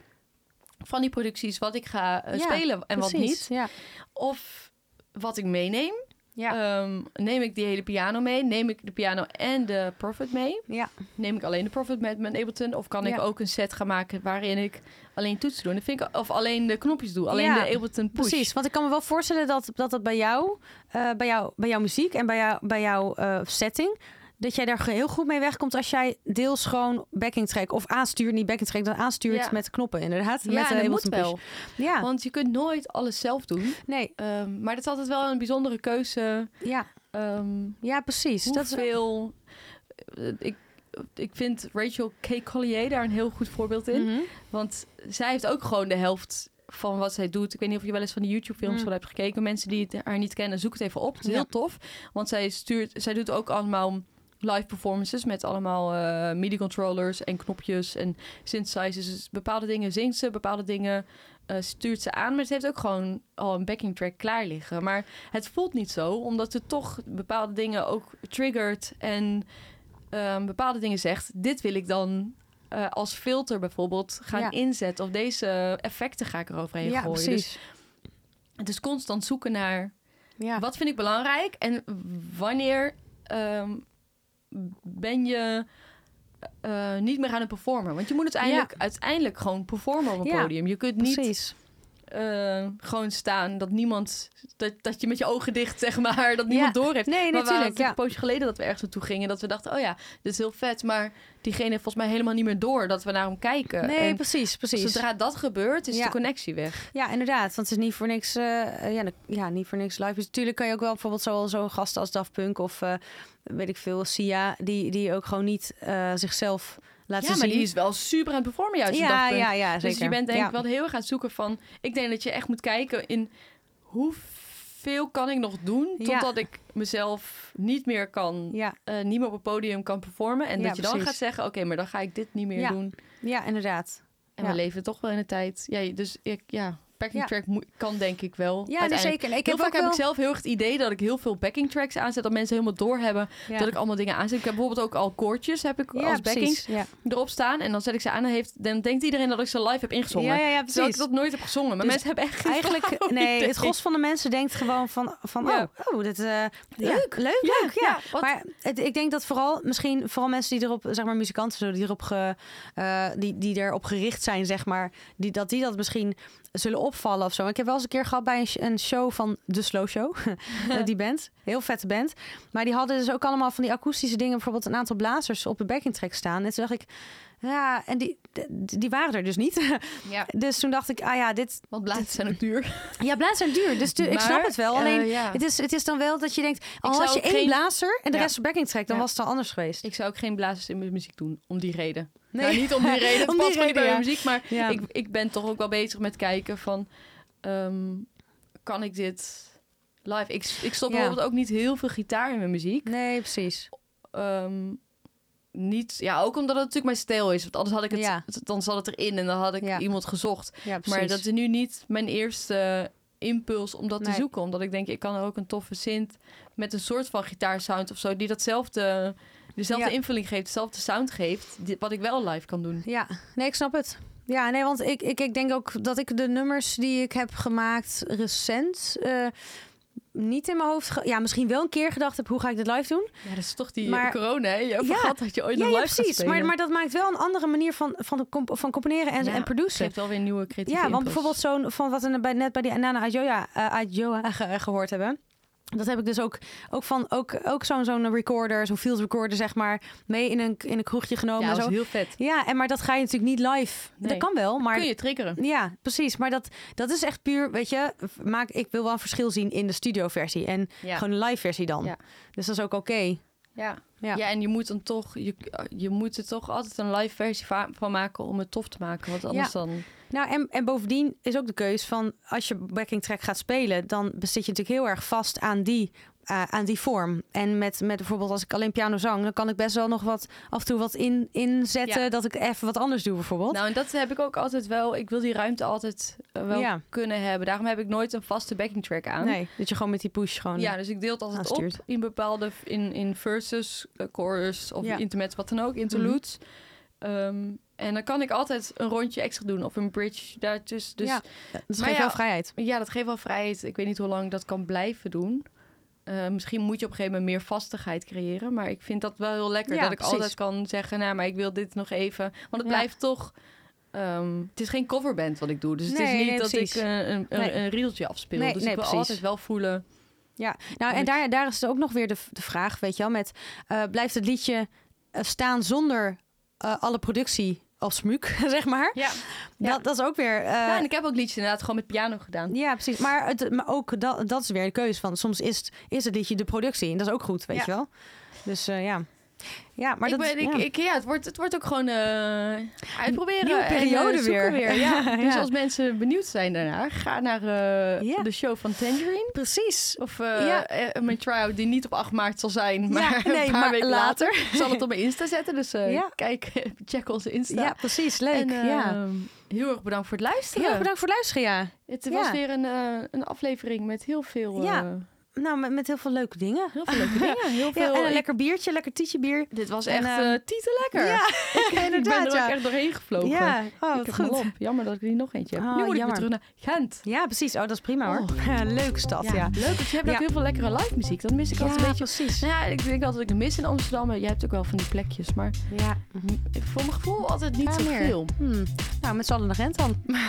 [SPEAKER 1] van die producties wat ik ga eh,
[SPEAKER 2] Ja,
[SPEAKER 1] spelen en wat
[SPEAKER 2] Precies,
[SPEAKER 1] niet.
[SPEAKER 2] Ja.
[SPEAKER 1] Of wat ik meeneem.
[SPEAKER 2] Ja.
[SPEAKER 1] Ehm, neem ik die hele piano mee? Neem ik de piano en de Prophet mee?
[SPEAKER 2] Ja.
[SPEAKER 1] Neem ik alleen de Prophet met mijn Ableton? Of kan ik
[SPEAKER 2] Ja.
[SPEAKER 1] ook een set gaan maken waarin ik alleen toetsen doe? En dat vind ik, of alleen de knopjes doe, alleen
[SPEAKER 2] Ja,
[SPEAKER 1] de Ableton push.
[SPEAKER 2] Precies, want ik kan me wel voorstellen dat dat, dat bij, jou, eh, bij jou, bij jouw muziek en bij, jou, bij jouw eh, setting, dat jij daar ge- heel goed mee wegkomt als jij deels gewoon backing track of aanstuurt, niet backing track, dan aanstuurt
[SPEAKER 1] Ja.
[SPEAKER 2] met knoppen inderdaad.
[SPEAKER 1] Ja,
[SPEAKER 2] met,
[SPEAKER 1] en
[SPEAKER 2] eh,
[SPEAKER 1] dat moet
[SPEAKER 2] Ableton
[SPEAKER 1] wel.
[SPEAKER 2] Push. Ah. Ja,
[SPEAKER 1] Want je kunt nooit alles zelf doen.
[SPEAKER 2] nee,
[SPEAKER 1] Ehm, maar dat is altijd wel een bijzondere keuze.
[SPEAKER 2] ja,
[SPEAKER 1] Ehm
[SPEAKER 2] ja precies. Dat is,
[SPEAKER 1] hoeveel... eh, Ik, ik vind Rachel K. Collier daar een heel goed voorbeeld in.
[SPEAKER 2] Mhm.
[SPEAKER 1] Want zij heeft ook gewoon de helft van wat zij doet. Ik weet niet of je wel eens van die YouTube-films
[SPEAKER 2] Mm.
[SPEAKER 1] van hebt gekeken. Mensen die het, haar niet kennen, zoek het even op. Het is
[SPEAKER 2] Ja.
[SPEAKER 1] heel tof. Want zij, stuurt, zij doet ook allemaal live performances met allemaal eh, MIDI-controllers en knopjes en synthesizers. Dus bepaalde dingen zingt ze, bepaalde dingen eh, stuurt ze aan. Maar ze heeft ook gewoon al een backing track klaar liggen. Maar het voelt niet zo, omdat ze toch bepaalde dingen ook triggert en ehm, bepaalde dingen zegt. Dit wil ik dan eh, als filter bijvoorbeeld gaan
[SPEAKER 2] Ja.
[SPEAKER 1] inzetten. Of deze effecten ga ik eroverheen
[SPEAKER 2] ja,
[SPEAKER 1] gooien.
[SPEAKER 2] precies.
[SPEAKER 1] Dus het is constant zoeken naar
[SPEAKER 2] ja.
[SPEAKER 1] Dus wat vind ik belangrijk en wanneer ehm, ben je eh, niet meer aan het performen? Want je moet uiteindelijk, uiteindelijk gewoon performen op een
[SPEAKER 2] Ja,
[SPEAKER 1] podium. Je kunt niet
[SPEAKER 2] precies.
[SPEAKER 1] eh, gewoon staan dat niemand, dat, dat je met je ogen dicht, zeg maar, dat niemand
[SPEAKER 2] Ja.
[SPEAKER 1] door heeft.
[SPEAKER 2] Nee,
[SPEAKER 1] Maar we hadden
[SPEAKER 2] natuurlijk.
[SPEAKER 1] natuurlijk
[SPEAKER 2] Ja.
[SPEAKER 1] een poosje geleden dat we ergens naartoe gingen. Dat we dachten, oh ja, dit is heel vet. Maar diegene heeft volgens mij helemaal niet meer door dat we naar hem kijken.
[SPEAKER 2] Nee,
[SPEAKER 1] En
[SPEAKER 2] precies, precies.
[SPEAKER 1] Zodra dat gebeurt, is
[SPEAKER 2] Ja.
[SPEAKER 1] de connectie weg.
[SPEAKER 2] Ja, inderdaad. Want het is niet voor niks. eh, ja, dan- ja, niet voor niks live. Dus natuurlijk kan je ook wel bijvoorbeeld zo, zo gasten als Daft Punk of eh, weet ik veel, Sia, die, die ook gewoon niet eh, zichzelf laten
[SPEAKER 1] ja,
[SPEAKER 2] zien.
[SPEAKER 1] maar die is wel super aan het performen juist. op dat
[SPEAKER 2] ja,
[SPEAKER 1] punt.
[SPEAKER 2] ja, ja, zeker.
[SPEAKER 1] Dus je bent denk
[SPEAKER 2] ja.
[SPEAKER 1] ik wel heel erg aan het zoeken van... Ik denk dat je echt moet kijken in hoeveel kan ik nog doen...
[SPEAKER 2] Ja.
[SPEAKER 1] totdat ik mezelf niet meer kan...
[SPEAKER 2] Ja,
[SPEAKER 1] eh, niet meer op het podium kan performen. En
[SPEAKER 2] Ja,
[SPEAKER 1] dat je dan
[SPEAKER 2] precies.
[SPEAKER 1] gaat zeggen... oké, maar dan ga ik dit niet meer
[SPEAKER 2] Ja.
[SPEAKER 1] doen.
[SPEAKER 2] ja, inderdaad.
[SPEAKER 1] En
[SPEAKER 2] Ja.
[SPEAKER 1] we leven toch wel in de tijd. Ja, dus ik, ja, backing
[SPEAKER 2] Ja.
[SPEAKER 1] track moe- kan denk ik wel.
[SPEAKER 2] Ja, nee,
[SPEAKER 1] uiteindelijk.
[SPEAKER 2] zeker. Ik
[SPEAKER 1] heel
[SPEAKER 2] heb
[SPEAKER 1] vaak
[SPEAKER 2] ook
[SPEAKER 1] heb
[SPEAKER 2] wel...
[SPEAKER 1] ik zelf heel erg het idee dat ik heel veel backing tracks aanzet. Dat mensen helemaal doorhebben
[SPEAKER 2] ja.
[SPEAKER 1] dat ik allemaal dingen aanzet. Ik heb bijvoorbeeld ook al koortjes heb ik
[SPEAKER 2] ja,
[SPEAKER 1] als backings
[SPEAKER 2] precies. Ja.
[SPEAKER 1] erop staan. En dan zet ik ze aan en heeft, dan denkt iedereen dat ik ze live heb ingezongen.
[SPEAKER 2] Ja, ja, ja,
[SPEAKER 1] Terwijl ik
[SPEAKER 2] precies.
[SPEAKER 1] dat nooit heb gezongen. Maar
[SPEAKER 2] Dus
[SPEAKER 1] mensen hebben echt geen flauw
[SPEAKER 2] Eigenlijk, nee,
[SPEAKER 1] idee.
[SPEAKER 2] het gros van de mensen denkt gewoon van, van
[SPEAKER 1] Ja.
[SPEAKER 2] oh, oh, dit, eh, ja,
[SPEAKER 1] Leuk.
[SPEAKER 2] leuk,
[SPEAKER 1] Ja,
[SPEAKER 2] leuk,
[SPEAKER 1] ja,
[SPEAKER 2] ja.
[SPEAKER 1] wat-
[SPEAKER 2] maar het, ik denk dat vooral, misschien vooral mensen die erop, zeg maar muzikanten, zo, die erop, ge, eh, die, die erop gericht zijn, zeg maar, die, dat die dat misschien zullen opvallen of zo. Ik heb wel eens een keer gehad bij een, sh- een show van de Slow Show, eh, die band, heel vette band. Maar die hadden dus ook allemaal van die akoestische dingen, bijvoorbeeld een aantal blazers op de backing track staan. En toen dacht ik, ja, en die, die waren er dus niet.
[SPEAKER 1] Ja,
[SPEAKER 2] dus toen dacht ik, ah ja, dit,
[SPEAKER 1] want blaadjes zijn ook duur.
[SPEAKER 2] ja, blazen zijn duur. Dus tu- ik
[SPEAKER 1] Maar,
[SPEAKER 2] snap het wel.
[SPEAKER 1] eh,
[SPEAKER 2] Alleen
[SPEAKER 1] ja.
[SPEAKER 2] het, is, het is dan wel dat je denkt... al
[SPEAKER 1] zou
[SPEAKER 2] had je
[SPEAKER 1] ook
[SPEAKER 2] één
[SPEAKER 1] geen-
[SPEAKER 2] blazer en de
[SPEAKER 1] Ja.
[SPEAKER 2] rest op backing track... dan
[SPEAKER 1] Ja.
[SPEAKER 2] was het al anders geweest.
[SPEAKER 1] Ik zou ook geen blazers in mijn muziek doen, om die reden.
[SPEAKER 2] Nee.
[SPEAKER 1] Nou, niet om die reden, het
[SPEAKER 2] Om die
[SPEAKER 1] past gewoon niet bij
[SPEAKER 2] reden,
[SPEAKER 1] mijn muziek. Maar
[SPEAKER 2] Ja.
[SPEAKER 1] ik, ik ben toch ook wel bezig met kijken van... ehm, kan ik dit live... Ik, ik stop
[SPEAKER 2] Ja.
[SPEAKER 1] bijvoorbeeld ook niet heel veel gitaar in mijn muziek.
[SPEAKER 2] Nee, precies.
[SPEAKER 1] Ehm, niet... Ja, ook omdat het natuurlijk mijn stijl is. Want anders had ik het...
[SPEAKER 2] Ja.
[SPEAKER 1] het- Dan zat het erin en dan had ik
[SPEAKER 2] Ja.
[SPEAKER 1] iemand gezocht.
[SPEAKER 2] Ja,
[SPEAKER 1] Maar dat is nu niet mijn eerste impuls om dat
[SPEAKER 2] Nee.
[SPEAKER 1] te zoeken. Omdat ik denk, ik kan ook een toffe synth met een soort van gitaarsound of zo... die datzelfde... Dezelfde
[SPEAKER 2] Ja.
[SPEAKER 1] invulling geeft, dezelfde sound geeft, die- wat ik wel live kan doen.
[SPEAKER 2] Ja, nee, ik snap het. Ja, nee, want ik, ik, ik denk ook dat ik de nummers die ik heb gemaakt recent eh, niet in mijn hoofd... ge- ja, misschien wel een keer gedacht heb, hoe ga ik dit live doen?
[SPEAKER 1] Ja, dat is toch die
[SPEAKER 2] Maar-
[SPEAKER 1] corona, hè? Je
[SPEAKER 2] Ja.
[SPEAKER 1] overgat dat je ooit
[SPEAKER 2] ja,
[SPEAKER 1] nog
[SPEAKER 2] ja,
[SPEAKER 1] live gaat
[SPEAKER 2] precies.
[SPEAKER 1] spelen.
[SPEAKER 2] Maar, maar dat maakt wel een andere manier van, van, de comp- van componeren en,
[SPEAKER 1] Ja,
[SPEAKER 2] en
[SPEAKER 1] Het
[SPEAKER 2] produceren.
[SPEAKER 1] geeft wel weer nieuwe
[SPEAKER 2] Ja,
[SPEAKER 1] kritiek.
[SPEAKER 2] want bijvoorbeeld zo'n van wat we bij- net bij die Nana Adjoa, eh, Adjoa ge- gehoord hebben. Dat heb ik dus ook, ook van ook, ook zo'n zo'n recorder, zo'n field recorder, zeg maar, mee in een, in een kroegje genomen.
[SPEAKER 1] ja,
[SPEAKER 2] en
[SPEAKER 1] dat
[SPEAKER 2] zo.
[SPEAKER 1] is heel vet.
[SPEAKER 2] ja en, maar dat ga je natuurlijk niet live. Dat
[SPEAKER 1] Nee.
[SPEAKER 2] kan wel, maar
[SPEAKER 1] Kun je triggeren.
[SPEAKER 2] Ja, precies. Maar dat, dat is echt puur, weet je, maak, ik wil wel een verschil zien in de studioversie en
[SPEAKER 1] Ja.
[SPEAKER 2] gewoon de live versie dan.
[SPEAKER 1] Ja.
[SPEAKER 2] Dus dat is ook oké.
[SPEAKER 1] Ja.
[SPEAKER 2] Ja.
[SPEAKER 1] Ja. en je moet dan toch, je, je moet er toch altijd een live versie va- van maken om het tof te maken. Want anders dan.
[SPEAKER 2] Nou, en, en bovendien is ook de keus van als je backing track gaat spelen, dan zit je natuurlijk heel erg vast aan die, eh, aan die vorm. En met, met bijvoorbeeld als ik alleen piano zang, dan kan ik best wel nog wat af en toe wat in, inzetten
[SPEAKER 1] Ja.
[SPEAKER 2] dat ik even wat anders doe bijvoorbeeld.
[SPEAKER 1] Nou, en dat heb ik ook altijd wel. Ik wil die ruimte altijd eh, wel
[SPEAKER 2] Ja.
[SPEAKER 1] kunnen hebben. Daarom heb ik nooit een vaste backing track aan.
[SPEAKER 2] nee, dat je gewoon met die push gewoon. eh,
[SPEAKER 1] Ja, dus ik deel het altijd
[SPEAKER 2] Aanstuurt.
[SPEAKER 1] op in bepaalde in, in verses, eh, chorus of
[SPEAKER 2] Ja. Mhm.
[SPEAKER 1] intermezzo, wat dan ook, interludes. Ehm, en dan kan ik altijd een rondje extra doen of een bridge daartussen. Dus
[SPEAKER 2] Ja. dat
[SPEAKER 1] maar
[SPEAKER 2] geeft
[SPEAKER 1] ja,
[SPEAKER 2] wel vrijheid.
[SPEAKER 1] Ja, dat geeft wel vrijheid. Ik weet niet hoe lang ik dat kan blijven doen. Eh, misschien moet je op een gegeven moment meer vastigheid creëren. Maar ik vind dat wel heel lekker.
[SPEAKER 2] Ja,
[SPEAKER 1] dat ik
[SPEAKER 2] precies.
[SPEAKER 1] altijd kan zeggen, nou, maar ik wil dit nog even. Want het
[SPEAKER 2] Ja.
[SPEAKER 1] blijft toch... ehm, het is geen coverband wat ik doe. Dus het
[SPEAKER 2] Nee,
[SPEAKER 1] is niet
[SPEAKER 2] nee,
[SPEAKER 1] dat
[SPEAKER 2] precies.
[SPEAKER 1] ik eh, een, een,
[SPEAKER 2] Nee.
[SPEAKER 1] een rieltje afspeel.
[SPEAKER 2] Nee,
[SPEAKER 1] dus
[SPEAKER 2] nee,
[SPEAKER 1] ik wil
[SPEAKER 2] precies.
[SPEAKER 1] altijd wel voelen...
[SPEAKER 2] Ja, nou en
[SPEAKER 1] ik-
[SPEAKER 2] daar, daar is ook nog weer de, de vraag, weet je wel, met eh, blijft het liedje eh, staan zonder eh, alle productie als smuk, zeg maar.
[SPEAKER 1] Ja. Ja. Nou,
[SPEAKER 2] Dat, dat is ook weer. eh,
[SPEAKER 1] ja, en ik heb ook liedjes inderdaad gewoon met piano gedaan.
[SPEAKER 2] ja, precies. Maar, het, maar ook dat, dat is weer de keuze van soms is, het- is het liedje de productie en dat is ook goed, weet
[SPEAKER 1] Ja.
[SPEAKER 2] je wel. Dus eh, ja. Ja, maar
[SPEAKER 1] ik
[SPEAKER 2] dat
[SPEAKER 1] ben, ik,
[SPEAKER 2] ja.
[SPEAKER 1] Ik, ja, het, wordt, het wordt ook gewoon eh, uitproberen.
[SPEAKER 2] Nieuwe
[SPEAKER 1] en, eh,
[SPEAKER 2] periode
[SPEAKER 1] zoeken
[SPEAKER 2] weer. Ja.
[SPEAKER 1] ja. Dus als mensen benieuwd zijn daarna, ga naar eh,
[SPEAKER 2] Ja.
[SPEAKER 1] de show van Tangerine.
[SPEAKER 2] precies.
[SPEAKER 1] Of eh,
[SPEAKER 2] Ja.
[SPEAKER 1] eh, mijn try-out die niet op 8 maart zal zijn, maar
[SPEAKER 2] ja, nee,
[SPEAKER 1] een paar
[SPEAKER 2] maar
[SPEAKER 1] weken
[SPEAKER 2] later.
[SPEAKER 1] later. Ik zal het op mijn Insta zetten, dus eh,
[SPEAKER 2] Ja.
[SPEAKER 1] kijk, check onze Insta.
[SPEAKER 2] Ja, precies. Leuk.
[SPEAKER 1] En, eh,
[SPEAKER 2] ja.
[SPEAKER 1] Heel erg bedankt voor het luisteren.
[SPEAKER 2] Heel erg bedankt voor het luisteren, ja.
[SPEAKER 1] Het was
[SPEAKER 2] Ja.
[SPEAKER 1] weer een, eh, een aflevering met heel veel, eh,
[SPEAKER 2] Ja. Nou, met, met heel veel leuke dingen.
[SPEAKER 1] heel veel leuke dingen. Heel
[SPEAKER 2] Ja,
[SPEAKER 1] veel,
[SPEAKER 2] en een
[SPEAKER 1] ik-
[SPEAKER 2] lekker biertje, lekker tietje bier.
[SPEAKER 1] dit was
[SPEAKER 2] en,
[SPEAKER 1] echt
[SPEAKER 2] ehm,
[SPEAKER 1] eh tieten lekker.
[SPEAKER 2] Ja,
[SPEAKER 1] ik ben er
[SPEAKER 2] inderdaad,
[SPEAKER 1] ook
[SPEAKER 2] ja.
[SPEAKER 1] echt doorheen gevlogen.
[SPEAKER 2] Ja, oh,
[SPEAKER 1] ik
[SPEAKER 2] wat
[SPEAKER 1] heb
[SPEAKER 2] goed.
[SPEAKER 1] een lomp. Jammer dat ik er niet nog eentje heb.
[SPEAKER 2] Ah,
[SPEAKER 1] nu moet
[SPEAKER 2] jammer.
[SPEAKER 1] ik weer terug naar Gent.
[SPEAKER 2] Ja, precies. Oh, dat is prima hoor. Leuk stad, ja.
[SPEAKER 1] Leuk, want je hebt
[SPEAKER 2] Ja.
[SPEAKER 1] ook heel veel lekkere live muziek. Dat mis ik altijd een beetje.
[SPEAKER 2] precies.
[SPEAKER 1] Nou ja, ik denk altijd dat ik het mis in Amsterdam. maar Jij hebt ook wel van die plekjes, maar
[SPEAKER 2] Ja.
[SPEAKER 1] voor mijn gevoel altijd niet
[SPEAKER 2] Ja,
[SPEAKER 1] zo
[SPEAKER 2] meer.
[SPEAKER 1] veel.
[SPEAKER 2] Hmm. Nou, met z'n allen naar Gent dan. ja.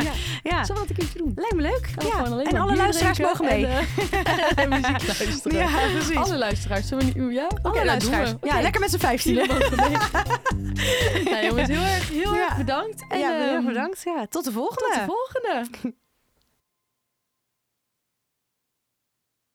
[SPEAKER 1] Zullen we dat een keertje doen?
[SPEAKER 2] Lijkt me leuk.
[SPEAKER 1] Gaan we
[SPEAKER 2] Ja.
[SPEAKER 1] gewoon alleen
[SPEAKER 2] En
[SPEAKER 1] maar
[SPEAKER 2] alle
[SPEAKER 1] bier
[SPEAKER 2] luisteraars
[SPEAKER 1] drinken
[SPEAKER 2] mogen mee.
[SPEAKER 1] En, eh, en muziek luisteren.
[SPEAKER 2] ja, precies.
[SPEAKER 1] Alle luisteraars, zullen we niet... Ja, Oké,
[SPEAKER 2] Alle
[SPEAKER 1] dat
[SPEAKER 2] luisteraars.
[SPEAKER 1] doen we.
[SPEAKER 2] nou Ja,
[SPEAKER 1] Oké.
[SPEAKER 2] lekker met z'n vijftienen.
[SPEAKER 1] Jullie mogen mee. nou jongens, heel erg, heel
[SPEAKER 2] Ja.
[SPEAKER 1] erg bedankt. En,
[SPEAKER 2] ja, heel erg
[SPEAKER 1] ehm,
[SPEAKER 2] bedankt. Ja. Tot de volgende.
[SPEAKER 1] Tot de volgende.